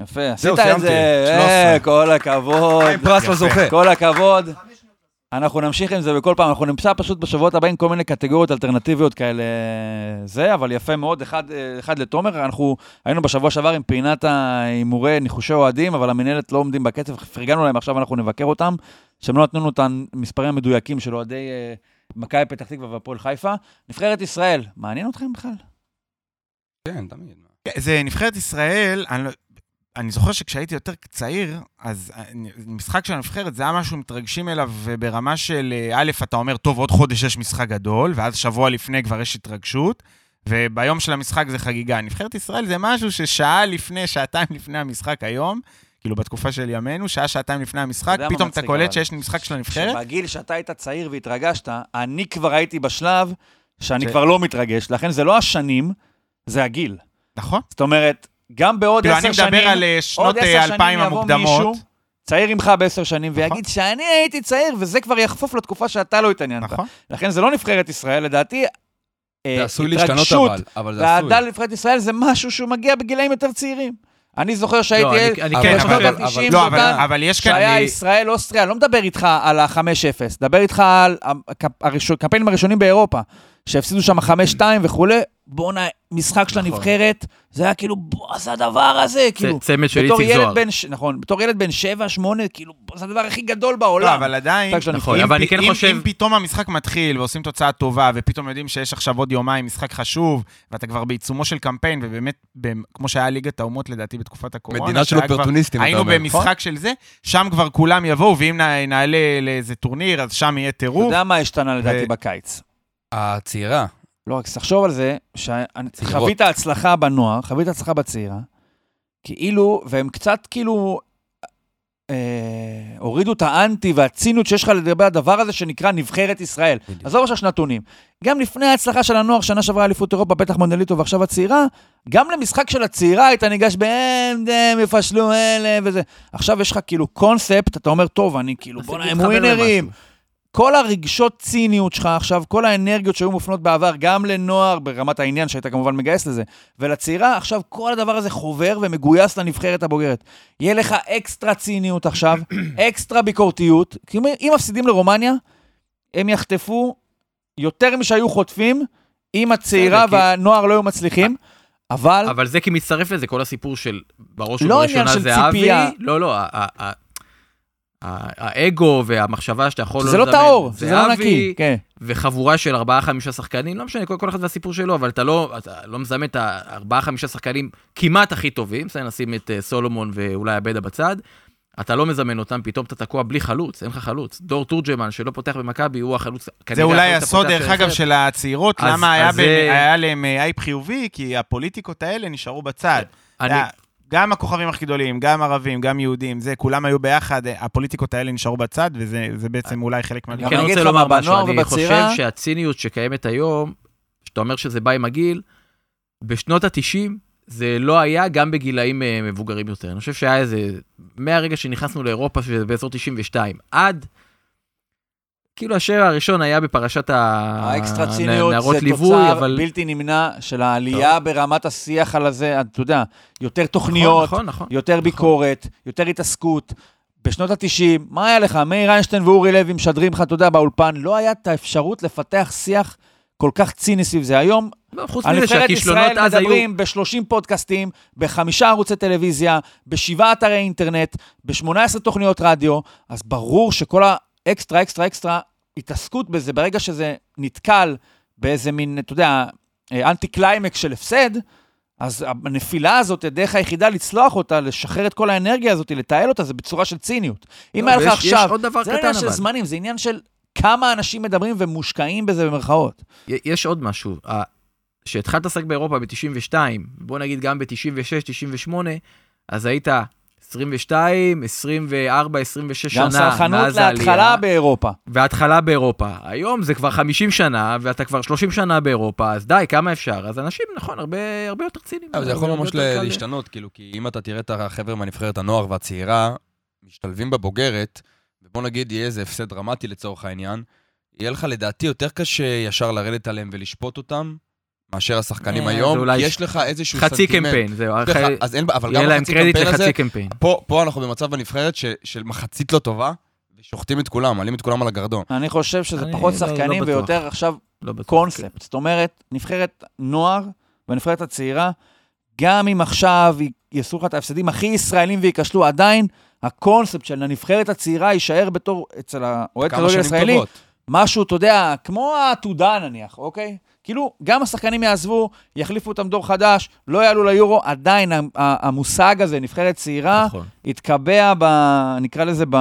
Speaker 2: יפה, עשית
Speaker 5: זהו,
Speaker 2: את
Speaker 5: סיימתי.
Speaker 2: זה. אה, כל הכבוד.
Speaker 5: אה, עם פרס לזוכה.
Speaker 2: כל הכבוד. אנחנו נמשיך עם זה בכל פעם, אנחנו נמצא פשוט בשבועות הבאים כל מיני קטגוריות אלטרנטיביות כאלה, זה, אבל יפה מאוד, אחד, אה, אחד לתומר, אנחנו היינו בשבוע שעבר עם פינת ההימורי ניחושי אוהדים, אבל המנהלת לא עומדים בקצב, פרגנו להם, עכשיו אנחנו נבקר אותם, שהם לא נתנו לנו את המספרים המדויקים של אוהדי אה, מכבי פתח תקווה והפועל חיפה. נבחרת ישראל, מעניין אתכם בכלל?
Speaker 5: כן, תמיד.
Speaker 4: כן, זה נבחרת ישראל, אני, לא- אני זוכר שכשהייתי יותר צעיר, אז אני- משחק של הנבחרת זה היה משהו מתרגשים אליו אה, ברמה של אה, א', אתה אומר, טוב, עוד חודש יש משחק גדול, ואז שבוע לפני כבר יש התרגשות, וביום של המשחק זה חגיגה. נבחרת ישראל זה משהו ששעה לפני, שעתיים לפני המשחק היום, כאילו בתקופה של ימינו, שעה, שעתיים לפני המשחק,
Speaker 2: יודע מה
Speaker 4: פתאום אתה
Speaker 2: מצחיק,
Speaker 4: קולט
Speaker 2: אבל?
Speaker 4: שיש משחק של הנבחרת.
Speaker 2: שבגיל שאתה היית צעיר והתרגשת, אני כבר הייתי בשלב שאני
Speaker 4: ש-
Speaker 2: כבר לא מתרגש, לכן זה לא השנים, זה הגיל.
Speaker 4: נכון.
Speaker 2: זאת אומרת, גם בעוד
Speaker 4: כאילו,
Speaker 2: עשר
Speaker 4: אני
Speaker 2: שנים,
Speaker 4: מדבר על אה, שנות
Speaker 2: עוד עשר
Speaker 4: אה,
Speaker 2: שנים
Speaker 4: אלפיים
Speaker 2: יבוא
Speaker 4: המוקדמות.
Speaker 2: מישהו, צעיר ממך בעשר שנים,
Speaker 4: נכון.
Speaker 2: ויגיד שאני הייתי צעיר, וזה כבר יחפוף לתקופה שאתה לא התעניינת.
Speaker 4: נכון.
Speaker 2: לכן זה לא נבחרת ישראל, לדעתי, אה,
Speaker 5: זה עשוי להשתנות אבל, אבל זה עשוי.
Speaker 2: והאהדה לנבחרת ישראל זה משהו שהוא מגיע בגילאים יותר צעירים. אני זוכר
Speaker 3: לא,
Speaker 2: שהייתי ילד,
Speaker 3: אני- אני
Speaker 5: אבל-
Speaker 3: כן,
Speaker 2: בשנות
Speaker 3: אבל-
Speaker 2: ה- ה-90
Speaker 4: לא, אבל-
Speaker 2: דותן,
Speaker 4: אבל יש כאן...
Speaker 2: שהיה
Speaker 4: אה,
Speaker 2: ישראל אוסטריה, לא מדבר איתך על ה-5-0, דבר איתך על הקמפ- הראשון- הקמפיינים הראשונים באירופה, שהפסידו שם 5-2 וכולי, בואנה, משחק של
Speaker 3: נכון.
Speaker 2: הנבחרת, זה היה כאילו, בוא, זה הדבר הזה, כאילו,
Speaker 3: צ- צמד של
Speaker 2: בתור
Speaker 3: איציק
Speaker 2: ילד
Speaker 3: זוהר.
Speaker 2: בן, ש- נכון, בתור ילד בן 7-8, כאילו, בוא, זה הדבר הכי גדול
Speaker 4: לא,
Speaker 2: בעולם.
Speaker 4: אבל עדיין...
Speaker 2: משחק של
Speaker 3: נכון,
Speaker 2: הנבחרת.
Speaker 3: אבל
Speaker 4: אם-
Speaker 3: אני כן
Speaker 4: אם-
Speaker 3: חושב-
Speaker 4: אם פתאום המשחק מתחיל ועושים תוצאה טובה, ופתאום יודעים שיש עכשיו עוד יומיים משחק חשוב, ואתה כבר בעיצומו של קמפיין, ובאמת, במ- כמו שהיה ליגת האומות לדעתי בתקופת הקורונה,
Speaker 5: מדינה של
Speaker 4: שהיה כבר-
Speaker 5: אופרטוניסטים, אתה
Speaker 4: היינו
Speaker 5: אומר.
Speaker 4: במשחק של זה, שם כבר כולם יבואו, ואם נע- נעלה לאיזה טורניר, אז שם יהיה
Speaker 2: אתה
Speaker 4: טירוף.
Speaker 2: יודע מה השתנה לדעתי
Speaker 4: ו-
Speaker 2: בקיץ?
Speaker 5: הצעירה,
Speaker 2: לא רק, תחשוב על זה, שחווית הצלחה בנוער, חווית הצלחה בצעירה, כאילו, והם קצת כאילו אה, הורידו את האנטי והצינות שיש לך לגבי הדבר הזה שנקרא נבחרת ישראל.
Speaker 5: בדיוק.
Speaker 2: עזוב עכשיו שנתונים. גם לפני ההצלחה של הנוער, שנה שעברה אליפות אירופה, בטח מונדליטו ועכשיו הצעירה, גם למשחק של הצעירה היית ניגש בהם, הם יפשלו אלה וזה. עכשיו יש לך כאילו קונספט, אתה אומר, טוב, אני כאילו, בוא'נה, הם ווינרים. כל הרגשות ציניות שלך עכשיו, כל האנרגיות שהיו מופנות בעבר, גם לנוער ברמת העניין, שהיית כמובן מגייס לזה, ולצעירה, עכשיו כל הדבר הזה חובר ומגויס לנבחרת הבוגרת. יהיה לך אקסטרה ציניות עכשיו, אקסטרה ביקורתיות, כי אם- אם מפסידים לרומניה, הם יחטפו יותר משהיו חוטפים, אם הצעירה
Speaker 3: בסדר, כי-
Speaker 2: והנוער לא היו מצליחים, אבל...
Speaker 3: אבל זה כי מצטרף לזה כל הסיפור של בראש
Speaker 2: לא
Speaker 3: ובראשונה
Speaker 2: עניין של
Speaker 3: זה אבי.
Speaker 2: ציפייה.
Speaker 3: לא, לא, ה- ה- ה- האגו והמחשבה שאתה יכול
Speaker 2: שזה לא
Speaker 3: לזמן,
Speaker 2: טהור, שזה לא
Speaker 3: אבי,
Speaker 2: נקי, כן.
Speaker 3: וחבורה של 4-5 שחקנים, לא משנה, כל, כל אחד והסיפור שלו, אבל אתה לא, אתה לא מזמן את ה-4-5 שחקנים כמעט הכי טובים, בסדר, נשים את אה, סולומון ואולי עבדה בצד, אתה לא מזמן אותם, פתאום אתה תקוע בלי חלוץ, אין לך חלוץ. דור תורג'מן שלא פותח במכבי, הוא החלוץ,
Speaker 4: זה
Speaker 3: כנראה
Speaker 4: אולי
Speaker 3: החלוץ
Speaker 4: הסוד,
Speaker 3: הפותח
Speaker 4: דרך
Speaker 3: של
Speaker 4: אגב,
Speaker 3: הנבחרת.
Speaker 4: של הצעירות,
Speaker 3: אז-
Speaker 4: למה היה
Speaker 3: אז
Speaker 4: בהם-
Speaker 3: זה-
Speaker 4: היה להם אה, אייפ חיובי, כי הפוליטיקות האלה נשארו בצד.
Speaker 3: אני-
Speaker 4: אתה יודע, גם הכוכבים הכי גדולים, גם ערבים, גם יהודים, זה, כולם היו ביחד, אה, הפוליטיקות האלה נשארו בצד, וזה זה
Speaker 5: אה,
Speaker 4: בעצם אולי חלק
Speaker 2: אני
Speaker 4: מהדברים.
Speaker 3: אני
Speaker 2: גם
Speaker 3: כן
Speaker 2: אגיד
Speaker 3: רוצה
Speaker 2: לך
Speaker 3: לומר
Speaker 2: מה,
Speaker 3: משהו,
Speaker 2: בנוער
Speaker 3: אני חושב
Speaker 2: ובצעירה-
Speaker 3: שהציניות שקיימת היום, שאתה אומר שזה בא עם הגיל, בשנות ה-90 זה לא היה גם בגילאים אה, מבוגרים יותר. אני חושב שהיה איזה, מהרגע שנכנסנו לאירופה, שזה באזור 92, עד, כאילו השיר הראשון היה בפרשת ה-
Speaker 2: האקסטרה
Speaker 3: הנ-
Speaker 2: ציניות
Speaker 3: אה, נערות
Speaker 2: זה
Speaker 3: ליווי,
Speaker 2: תוצר
Speaker 3: אבל-
Speaker 2: בלתי נמנע של העלייה ברמת השיח על הזה, אתה יודע, יותר
Speaker 3: נכון,
Speaker 2: תוכניות,
Speaker 3: נכון, נכון.
Speaker 2: יותר ביקורת, יותר התעסקות. בשנות ה-90, מה היה לך? מאיר איינשטיין ואורי לוי משדרים לך, אתה יודע, באולפן, לא היה את האפשרות לפתח שיח כל כך ציני סביב זה. היום,
Speaker 3: לא, חוץ
Speaker 2: על
Speaker 3: מזה
Speaker 2: נבחרת
Speaker 3: שהכישלונות
Speaker 2: ישראל
Speaker 3: אז היו...
Speaker 2: מדברים ב-30 פודקאסטים, בחמישה ערוצי טלוויזיה, בשבעה אתרי אינטרנט, ב-18 תוכניות רדיו, אז ברור שכל האקסטרה, אקסטרה, אקסטרה, התעסקות בזה, ברגע שזה נתקל באיזה מין, אתה יודע, אה, אנטי קליימקס של הפסד, אז הנפילה הזאת, הדרך היחידה לצלוח אותה, לשחרר את כל האנרגיה הזאת, לתעל אותה, זה בצורה של ציניות. אם
Speaker 3: לא,
Speaker 2: היה לך
Speaker 3: ויש- יש
Speaker 2: עכשיו,
Speaker 3: עוד דבר
Speaker 2: זה
Speaker 3: קטן,
Speaker 2: לא עניין של
Speaker 3: אבל.
Speaker 2: זמנים, זה עניין של כמה אנשים מדברים ומושקעים בזה במרכאות.
Speaker 3: יש עוד משהו, ה- כשהתחלת לשחק באירופה ב-92, בוא נגיד גם ב-96, 98, אז היית 22, 24, 26 שנה
Speaker 2: גם
Speaker 3: מאז
Speaker 2: סלחנות להתחלה
Speaker 3: העלייה,
Speaker 2: באירופה.
Speaker 3: והתחלה באירופה. היום זה כבר 50 שנה, ואתה כבר 30 שנה באירופה, אז די, כמה אפשר? אז אנשים, נכון, הרבה, הרבה יותר ציניים.
Speaker 5: אבל זה יכול
Speaker 3: הרבה
Speaker 5: ממש
Speaker 3: יותר קל-
Speaker 5: ל- להשתנות, כאילו, כי אם אתה תראה את החבר'ה מהנבחרת הנוער והצעירה, משתלבים בבוגרת, ובוא נגיד יהיה איזה הפסד דרמטי לצורך העניין, יהיה לך לדעתי יותר קשה ישר לרדת עליהם ולשפוט אותם, מאשר השחקנים
Speaker 2: אה,
Speaker 5: היום,
Speaker 3: זה אולי
Speaker 5: כי יש לך איזשהו
Speaker 3: חצי
Speaker 5: סנטימנט.
Speaker 3: קמפיין, זהו,
Speaker 5: יש לך-
Speaker 3: אחרי-
Speaker 5: אז אין, אבל
Speaker 3: יהיה
Speaker 5: גם
Speaker 3: להם
Speaker 5: החצי
Speaker 3: קרדיט
Speaker 5: קמפיין הזה,
Speaker 3: לחצי קמפיין.
Speaker 5: פה, פה אנחנו במצב בנבחרת ש, של מחצית לא טובה, ושוחטים את כולם, מעלים את כולם על הגרדום.
Speaker 2: אני חושב שזה
Speaker 3: אני
Speaker 2: פחות
Speaker 3: לא-
Speaker 2: שחקנים
Speaker 3: לא בטוח.
Speaker 2: ויותר עכשיו
Speaker 3: לא בטוח.
Speaker 2: קונספט. זאת אומרת, נבחרת נוער והנבחרת הצעירה, גם אם עכשיו י- יעשו לך את ההפסדים הכי ישראלים וייכשלו, עדיין הקונספט של הנבחרת הצעירה יישאר בתור, אצל האוהד
Speaker 5: כמה
Speaker 2: הכדורגל
Speaker 5: שנים
Speaker 2: הישראלי,
Speaker 5: טובות.
Speaker 2: משהו, אתה יודע, כמו העתודה נניח, אוקיי? כאילו, גם השחקנים יעזבו, יחליפו אותם דור חדש, לא יעלו ליורו, עדיין ה- ה- המושג הזה, נבחרת
Speaker 5: אה,
Speaker 2: צעירה,
Speaker 3: נכון.
Speaker 2: התקבע ב... נקרא לזה ב...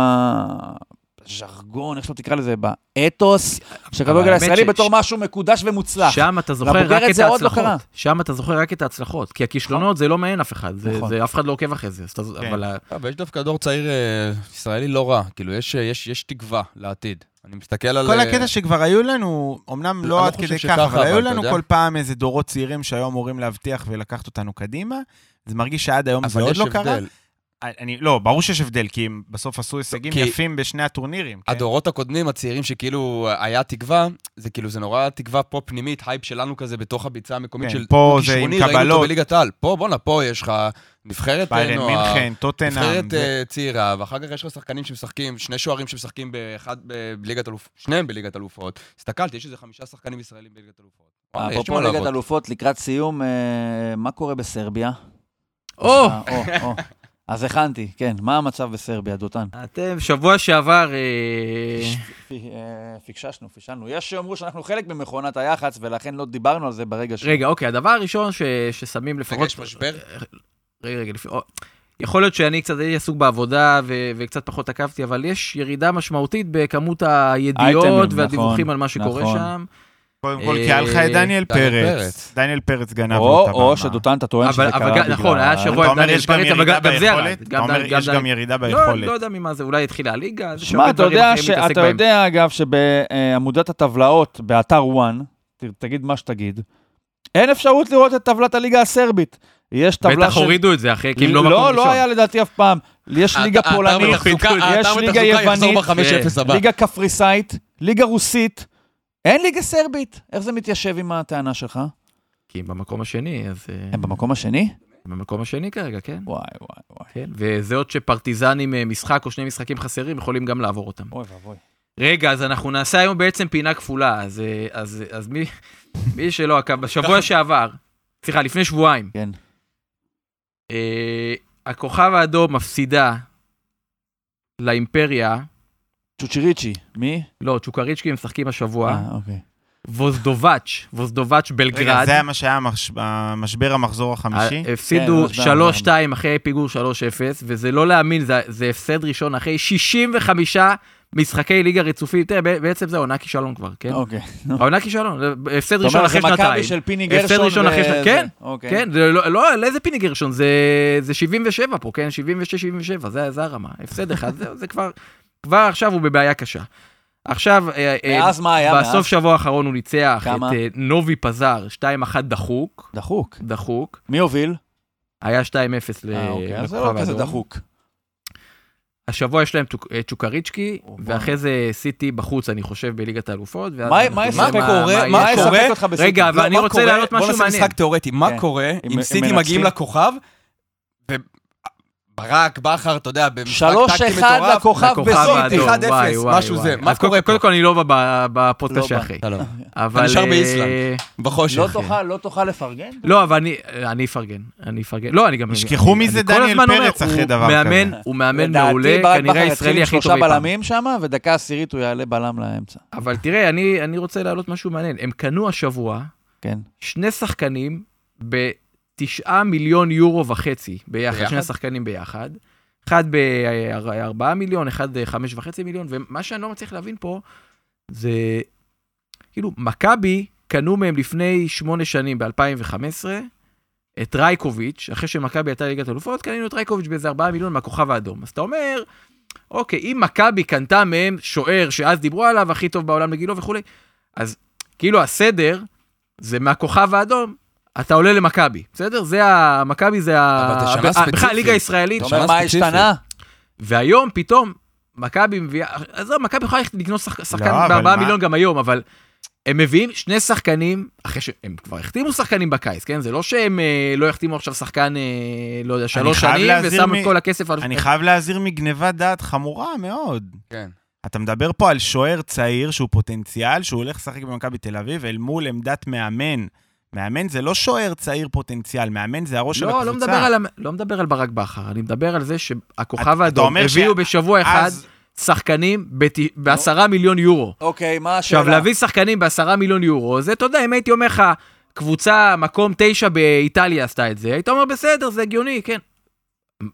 Speaker 2: ז'רגון, איך שלא תקרא לזה, באתוס של הכדורגל
Speaker 3: האמת
Speaker 2: הישראלי
Speaker 3: ש-
Speaker 2: בתור
Speaker 3: ש-
Speaker 2: משהו מקודש ומוצלח.
Speaker 3: שם אתה זוכר
Speaker 2: לבוגרת
Speaker 3: רק את
Speaker 2: זה עוד לא קרה.
Speaker 3: ההצלחות. שם אתה זוכר רק את ההצלחות, כי הכישלונות זה לא מעניין אף אחד, זה-
Speaker 2: נכון.
Speaker 3: זה אף אחד לא עוקב אחרי זה. אז אתה-
Speaker 4: כן.
Speaker 3: אבל ה-
Speaker 5: אה, ויש דווקא דור צעיר אה, ישראלי לא רע, כאילו יש, אה, יש, יש תקווה לעתיד. אני מסתכל על...
Speaker 4: כל
Speaker 5: אה,
Speaker 4: הקטע שכבר היו לנו, אמנם
Speaker 5: אני לא
Speaker 4: לא עד
Speaker 5: חושב
Speaker 4: כדי
Speaker 5: שככה,
Speaker 4: כך, אבל
Speaker 5: אבל
Speaker 4: היו
Speaker 5: אתה
Speaker 4: לנו
Speaker 5: יודע.
Speaker 4: כל פעם איזה דורות צעירים שהיו אמורים להבטיח ולקחת אותנו קדימה. זה מרגיש שעד היום זה
Speaker 5: אבל
Speaker 4: עוד
Speaker 5: יש
Speaker 4: לא קרה.
Speaker 5: הבדל.
Speaker 4: אני, לא, ברור שיש הבדל, כי הם בסוף עשו הישגים
Speaker 5: כי-
Speaker 4: יפים בשני הטורנירים. כן?
Speaker 5: הדורות הקודמים, הצעירים שכאילו אה, היה תקווה, זה כאילו, זה נורא תקווה פה פנימית, הייפ שלנו כזה בתוך הביצה המקומית
Speaker 4: כן,
Speaker 5: של...
Speaker 4: פה זה עם
Speaker 5: כישרוני, ראינו אותו
Speaker 4: קבלות.
Speaker 5: בליגת העל. פה, בואנה, פה יש לך נבחרת אה,
Speaker 4: ביירן,
Speaker 5: נוער,
Speaker 4: מינכן, טוטנאם.
Speaker 5: נבחרת
Speaker 4: זה-
Speaker 5: אה, צעירה, ואחר כך יש לך שחקנים שמשחקים, שני שוערים שמשחקים באחד ב- בליגת אלופות, שניהם בליגת אלופות. הסתכלתי, יש איזה חמישה שחקנים ישראלים בליגת אלופות. וואלה, יש
Speaker 2: אפרופו
Speaker 5: מה
Speaker 2: ליגת
Speaker 5: לעבוד.
Speaker 2: אלופות, לקראת סיום, אה, מה קורה בסרביה?
Speaker 3: או,
Speaker 2: אה, או, או. אז הכנתי, כן. מה המצב בסרביה, דותן?
Speaker 3: אתם, שבוע שעבר, אה,
Speaker 2: אה, פיקששנו, פישלנו. יש שיאמרו שאנחנו חלק ממכונת היח"צ, ולכן לא דיברנו על זה ברגע ש...
Speaker 3: רגע, אוקיי, הדבר הראשון ש- ששמים
Speaker 5: רגע,
Speaker 3: לפחות...
Speaker 5: יש משבר?
Speaker 3: רגע, רגע, לפני... או, יכול להיות שאני קצת הייתי עסוק בעבודה ו- וקצת פחות עקבתי, אבל יש ירידה משמעותית בכמות הידיעות
Speaker 2: אייטמים,
Speaker 3: והדיווחים
Speaker 2: נכון,
Speaker 3: על מה שקורה
Speaker 2: נכון.
Speaker 3: שם.
Speaker 4: קודם כל, כי היה לך את דניאל
Speaker 5: אה, דניאל
Speaker 4: פרץ.
Speaker 5: פרץ.
Speaker 4: דניאל פרץ גנב לו את
Speaker 2: או,
Speaker 4: הבמה.
Speaker 2: או שדותן, אתה טוען שזה
Speaker 3: אבל, אבל
Speaker 2: קרה
Speaker 3: גם,
Speaker 2: בגלל...
Speaker 3: נכון, היה שבוע
Speaker 4: אתה
Speaker 3: עם
Speaker 4: אומר,
Speaker 3: דניאל
Speaker 4: יש גם
Speaker 3: פרץ, אבל
Speaker 4: ירידה
Speaker 3: גם גם זה ירד.
Speaker 4: ביכולת? אתה אומר, יש גם ירידה
Speaker 3: לא,
Speaker 4: ביכולת.
Speaker 3: לא יודע ממה זה, אולי התחילה הליגה. אז יש
Speaker 2: שמע,
Speaker 3: הרבה
Speaker 2: אתה
Speaker 3: דברים
Speaker 2: יודע,
Speaker 3: אחרים
Speaker 2: ש...
Speaker 3: להתעסק
Speaker 2: אתה
Speaker 3: בהם.
Speaker 2: יודע אגב שבעמודת הטבלאות באתר וואן, ת- תגיד מה שתגיד, אין אפשרות לראות את טבלת הליגה הסרבית. יש טבלה
Speaker 3: בטח
Speaker 2: של...
Speaker 3: הורידו את זה, אחי, כי הם לא
Speaker 2: לא,
Speaker 3: מקום
Speaker 2: לא,
Speaker 3: ראשון.
Speaker 2: לא היה לדעתי אף פעם. יש ליגה
Speaker 5: האתר
Speaker 2: פולנית,
Speaker 5: בתחזוקה-
Speaker 2: יש
Speaker 5: האתר
Speaker 2: ליגה
Speaker 5: בתחזוקה יחזור
Speaker 2: יוונית, כן.
Speaker 5: ב-5-0 הבא.
Speaker 2: ליגה קפריסאית, ליגה רוסית, אין ליגה סרבית. איך זה מתיישב עם הטענה שלך?
Speaker 3: כי הם במקום השני, אז... אה,
Speaker 2: הם במקום השני?
Speaker 3: הם במקום השני כרגע, כן.
Speaker 2: וואי, וואי, וואי.
Speaker 3: כן, וזה עוד שפרטיזנים אה, משחק או שני משחקים חסרים יכולים גם לעבור אותם.
Speaker 2: אוי ואבוי.
Speaker 3: רגע, אז אנחנו נעשה היום בעצם פינה כפולה, אז, אה, אז, אז מי, מי שלא עקב, בשבוע שעבר, סליחה, לפני שבועיים,
Speaker 2: כן.
Speaker 3: אה, הכוכב האדום מפסידה לאימפריה,
Speaker 2: צ'וצ'יריצ'י, מי?
Speaker 3: לא, צ'וקריצ'קי משחקים השבוע,
Speaker 2: אה, אוקיי.
Speaker 3: ווזדובץ', ווזדובץ'
Speaker 4: רגע,
Speaker 3: בלגרד,
Speaker 4: זה היה מה שהיה המחש- המשבר המחזור החמישי?
Speaker 3: אה,
Speaker 2: כן,
Speaker 3: הפסידו
Speaker 2: אז
Speaker 3: 3-2 אחרי פיגור 3-0, וזה לא להאמין, זה, זה הפסד ראשון אחרי 65 משחקי ליגה רצופים, תראה, ב- בעצם זה עונה כישלון כבר, כן?
Speaker 2: אוקיי.
Speaker 3: העונה כישלון, זה הפסד
Speaker 2: אתה
Speaker 3: ראשון
Speaker 2: אומר,
Speaker 3: אחרי
Speaker 2: זה מכבי
Speaker 3: שנתיים.
Speaker 2: של פיני
Speaker 3: הפסד
Speaker 2: גרשון.
Speaker 3: ראשון אחרי
Speaker 2: ו-
Speaker 3: שנתיים,
Speaker 2: זה.
Speaker 3: כן,
Speaker 2: אוקיי.
Speaker 3: כן, זה לא, לא, לא איזה פיני גרשון, זה, זה 77 פה, כן? 76-77, זה, זה הרמה. הפסד אחד, זה, זה כבר, כבר עכשיו הוא בבעיה קשה. עכשיו, אה, אה,
Speaker 2: מאז מה היה?
Speaker 3: בסוף
Speaker 2: מאז?
Speaker 3: שבוע האחרון הוא ניצח
Speaker 2: כמה?
Speaker 3: את אה, נובי פזר, 2-1 דחוק,
Speaker 2: דחוק.
Speaker 3: דחוק.
Speaker 2: מי הוביל?
Speaker 3: היה 2-0
Speaker 2: אה, אוקיי, אז
Speaker 3: לכוכב
Speaker 2: זה לא כזה
Speaker 3: האדום.
Speaker 2: דחוק.
Speaker 3: השבוע יש להם צ'וק- אה, צ'וקריצ'קי,
Speaker 2: וואו.
Speaker 3: ואחרי זה סיטי בחוץ, אני חושב, בליגת האלופות. ואז
Speaker 2: אוקיי. מה-
Speaker 3: אנחנו
Speaker 2: מה
Speaker 3: נראה
Speaker 2: יספק
Speaker 5: קורה?
Speaker 3: יהיה.
Speaker 5: מה קורה?
Speaker 2: יספק אותך בסיטי?
Speaker 3: רגע, אבל
Speaker 5: לא,
Speaker 3: אני
Speaker 5: מה
Speaker 3: רוצה
Speaker 5: קורה-
Speaker 3: להעלות משהו
Speaker 5: בוא נעשה
Speaker 3: מעניין.
Speaker 5: משחק תיאורטי,
Speaker 2: כן.
Speaker 5: מה קורה
Speaker 2: אם-
Speaker 5: אם
Speaker 2: אם
Speaker 5: סיטי
Speaker 2: מנצחים?
Speaker 5: מגיעים לכוכב, וברק, בכר, אתה יודע, במשחק
Speaker 2: שלוש
Speaker 5: טקטי
Speaker 2: אחד
Speaker 5: מטורף,
Speaker 2: לכוכב
Speaker 3: הכוכב
Speaker 5: בסוף,
Speaker 3: האדום,
Speaker 5: 1-0,
Speaker 3: וואי, וואי,
Speaker 5: משהו
Speaker 3: וואי.
Speaker 5: זה, מה
Speaker 3: אז קודם-
Speaker 5: קורה פה?
Speaker 3: קודם כל אני לא ב- ב- בפודקאסט
Speaker 2: לא בא.
Speaker 3: שאחרי.
Speaker 5: שלום.
Speaker 3: אבל...
Speaker 5: נשאר
Speaker 3: אה,
Speaker 5: באיסלנד. בחושך.
Speaker 2: לא תוכל, לא תוכל לפרגן?
Speaker 3: לא, אבל אני, אני אפרגן, אני אפרגן. לא, אני גם...
Speaker 4: ישכחו
Speaker 3: אני-
Speaker 4: מזה
Speaker 3: אני כל
Speaker 4: דניאל
Speaker 3: הזמן אומר,
Speaker 4: פרץ אחרי
Speaker 3: הוא
Speaker 4: דבר
Speaker 3: מאמן,
Speaker 2: כזה.
Speaker 3: הוא מאמן
Speaker 2: לדעתי,
Speaker 3: מעולה,
Speaker 2: ברק בכר
Speaker 3: כנראה
Speaker 2: יתחיל
Speaker 3: הישראלי
Speaker 2: עם
Speaker 3: הכי טוב
Speaker 2: שלושה
Speaker 3: אי פעם.
Speaker 2: בלמים שם, ודקה עשירית הוא יעלה בלם לאמצע.
Speaker 3: אבל תראה, אני אני רוצה להעלות משהו מעניין. הם קנו השבוע
Speaker 2: כן.
Speaker 3: שני שחקנים בתשעה מיליון יורו וחצי ביחד,
Speaker 5: ביחד?
Speaker 3: שני השחקנים ביחד. אחד בארבעה מיליון, אחד בחמש וחצי מיליון, ומה שאני לא מצליח להבין פה, זה כאילו, מכבי קנו מהם לפני שמונה שנים, ב-2015, את רייקוביץ', אחרי שמכבי הייתה ליגת אלופות, קנינו את רייקוביץ' באיזה ארבעה מיליון מהכוכב האדום. אז אתה אומר, אוקיי, אם מכבי קנתה מהם שוער שאז דיברו עליו, הכי טוב בעולם לגילו וכולי, אז כאילו הסדר זה מהכוכב האדום, אתה עולה למכבי, בסדר? זה ה... מכבי זה ה...
Speaker 5: אבל זה שנה
Speaker 3: ה-
Speaker 5: ספציפית.
Speaker 3: בכלל, הליגה הישראלית.
Speaker 2: אתה
Speaker 5: שנה
Speaker 2: אומר, מה
Speaker 5: ספציפית.
Speaker 2: השתנה?
Speaker 3: והיום פתאום, מכבי מביאה, עזוב, מכבי יכולה ללכת לקנות שחק- שחקן
Speaker 4: לא, אבל
Speaker 3: בארבעה
Speaker 4: מה-
Speaker 3: מיליון גם היום, אבל הם מביאים שני שחקנים, אחרי שהם כבר החתימו שחקנים בקיץ, כן? זה לא שהם אה, לא יחתימו עכשיו שחקן, אה, לא יודע, שלוש
Speaker 4: חייב
Speaker 3: שנים,
Speaker 4: להזהיר
Speaker 3: ושמו
Speaker 4: מ-
Speaker 3: את כל הכסף על...
Speaker 4: אני חייב להזהיר מגניבת דעת חמורה מאוד.
Speaker 5: כן.
Speaker 4: אתה מדבר פה על שוער צעיר שהוא פוטנציאל, שהוא הולך לשחק במכבי תל אביב אל מול עמדת מאמן. מאמן זה לא שוער צעיר פוטנציאל, מאמן זה הראש של
Speaker 3: לא,
Speaker 4: הקבוצה.
Speaker 3: לא מדבר, על, המ- לא מדבר על ברק בכר, אני מדבר על זה
Speaker 4: אתה-
Speaker 3: שהכוכב
Speaker 4: אתה
Speaker 3: האדום
Speaker 4: אומר
Speaker 3: הביאו
Speaker 4: ש-
Speaker 3: בשבוע אחד
Speaker 4: אז-
Speaker 3: שחקנים בת- בעשרה מיליון יורו.
Speaker 2: אוקיי, מה השאלה?
Speaker 3: עכשיו, להביא שחקנים בעשרה מיליון יורו, זה, אתה יודע, אם הייתי אומר לך, קבוצה, מקום תשע באיטליה עשתה את זה, היית אומר, בסדר, זה הגיוני, כן.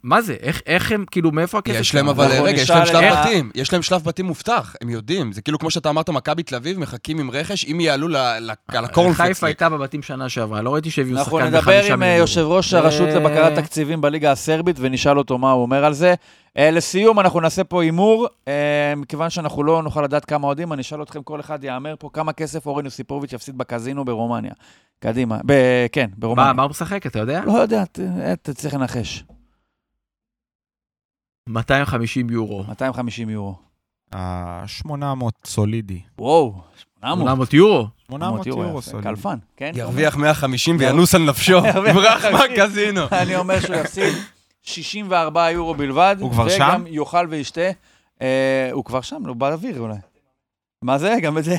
Speaker 3: מה זה? איך, איך הם, כאילו, מאיפה הכסף?
Speaker 5: יש להם
Speaker 3: שלהם? נכון,
Speaker 5: אבל,
Speaker 2: אנחנו
Speaker 5: רגע, יש
Speaker 2: נשאל
Speaker 5: להם שלב
Speaker 2: את ה-
Speaker 5: בתים, יש להם שלב בתים מובטח, הם יודעים, זה כאילו כמו שאתה אמרת, מכבי תל אביב מחכים עם רכש, אם יעלו ל- ל- על הקורנפלקס.
Speaker 3: אה, חיפה הייתה בבתים שנה שעברה, לא ראיתי שהביאו
Speaker 2: אנחנו
Speaker 3: שחקן
Speaker 2: נדבר
Speaker 3: בחמישה
Speaker 2: עם אה,
Speaker 3: מיליון
Speaker 2: יושב
Speaker 3: יורו.
Speaker 2: ראש הרשות
Speaker 3: אה,
Speaker 2: לבקרת תקציבים בליגה הסרבית ונשאל אותו מה הוא אומר על זה. אה, לסיום, אנחנו נעשה פה הימור. אה, מכיוון שאנחנו לא נוכל לדעת כמה אוהדים, אני אשאל אתכם, כל אחד יאמר פה כמה כסף אורן יוסיפוביץ' יפסיד בקזינו ברומניה. קדימה. ב- כן, ברומניה.
Speaker 3: מה, מה הוא משחק, אתה יודע?
Speaker 2: לא יודע, ת- אה, אתה צריך לנחש.
Speaker 3: 250 יורו.
Speaker 2: לא. 250 יורו.
Speaker 4: אה, 800 סולידי.
Speaker 2: וואו, 800.
Speaker 3: 800 יורו?
Speaker 4: 800 יורו
Speaker 2: יפה,
Speaker 4: סולידי.
Speaker 2: קלפן, כן?
Speaker 5: ירוויח 150 וינוס על נפשו,
Speaker 2: ירוויח
Speaker 5: ברח
Speaker 2: 150.
Speaker 5: מהקזינו.
Speaker 2: אני אומר שהוא יפסיד 64 יורו בלבד.
Speaker 4: הוא כבר
Speaker 2: וגם
Speaker 4: שם?
Speaker 2: יאכל וישתה. אה, הוא כבר שם, הוא באוויר אולי. מה זה? גם את זה.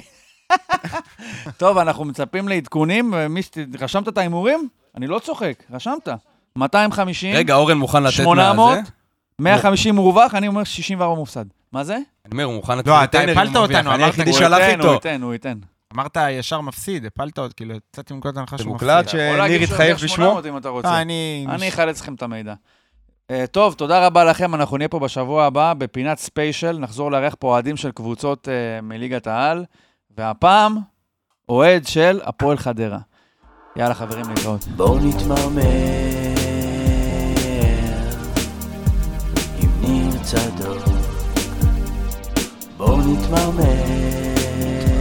Speaker 2: טוב, אנחנו מצפים לעדכונים. אה, מי ש... רשמת את ההימורים? אני לא צוחק, רשמת. 250,
Speaker 5: רגע, אורן מוכן לתת
Speaker 2: 800,
Speaker 5: מהזה?
Speaker 2: 150 מרווח, אני אומר 64 מופסד. מה זה?
Speaker 5: אני אומר, הוא מוכן לתת
Speaker 4: לא, אתה
Speaker 5: טנר אם
Speaker 4: הפלת
Speaker 5: הוא מרוויח,
Speaker 4: אותנו,
Speaker 5: אני
Speaker 4: אמרת
Speaker 5: היחידי
Speaker 4: כבר.
Speaker 5: שהלך
Speaker 2: הוא ייתן, הוא
Speaker 5: איתו.
Speaker 2: ייתן, הוא ייתן.
Speaker 4: אמרת ישר מפסיד, הפלת עוד, כאילו, יצאתי מנקודת הנחה
Speaker 5: זה
Speaker 4: שהוא
Speaker 5: מוקלט
Speaker 4: מפסיד.
Speaker 5: ש-
Speaker 2: יכול להגיד
Speaker 5: ניר
Speaker 2: שהוא
Speaker 5: התחייב
Speaker 2: הרוויח
Speaker 5: בשמו?
Speaker 2: 800 אם אתה רוצה.
Speaker 4: אה, אני...
Speaker 2: אני אחלץ לכם את המידע. אה, טוב, תודה רבה לכם, אנחנו נהיה פה בשבוע הבא בפינת ספיישל, נחזור לארח פה אוהדים של קבוצות אה, מליגת העל, והפעם, אוהד של הפועל חדרה. יאללה חברים, להתראות.
Speaker 1: בואו נתמרמר, אם נרצה טוב. בואו נתמרמר,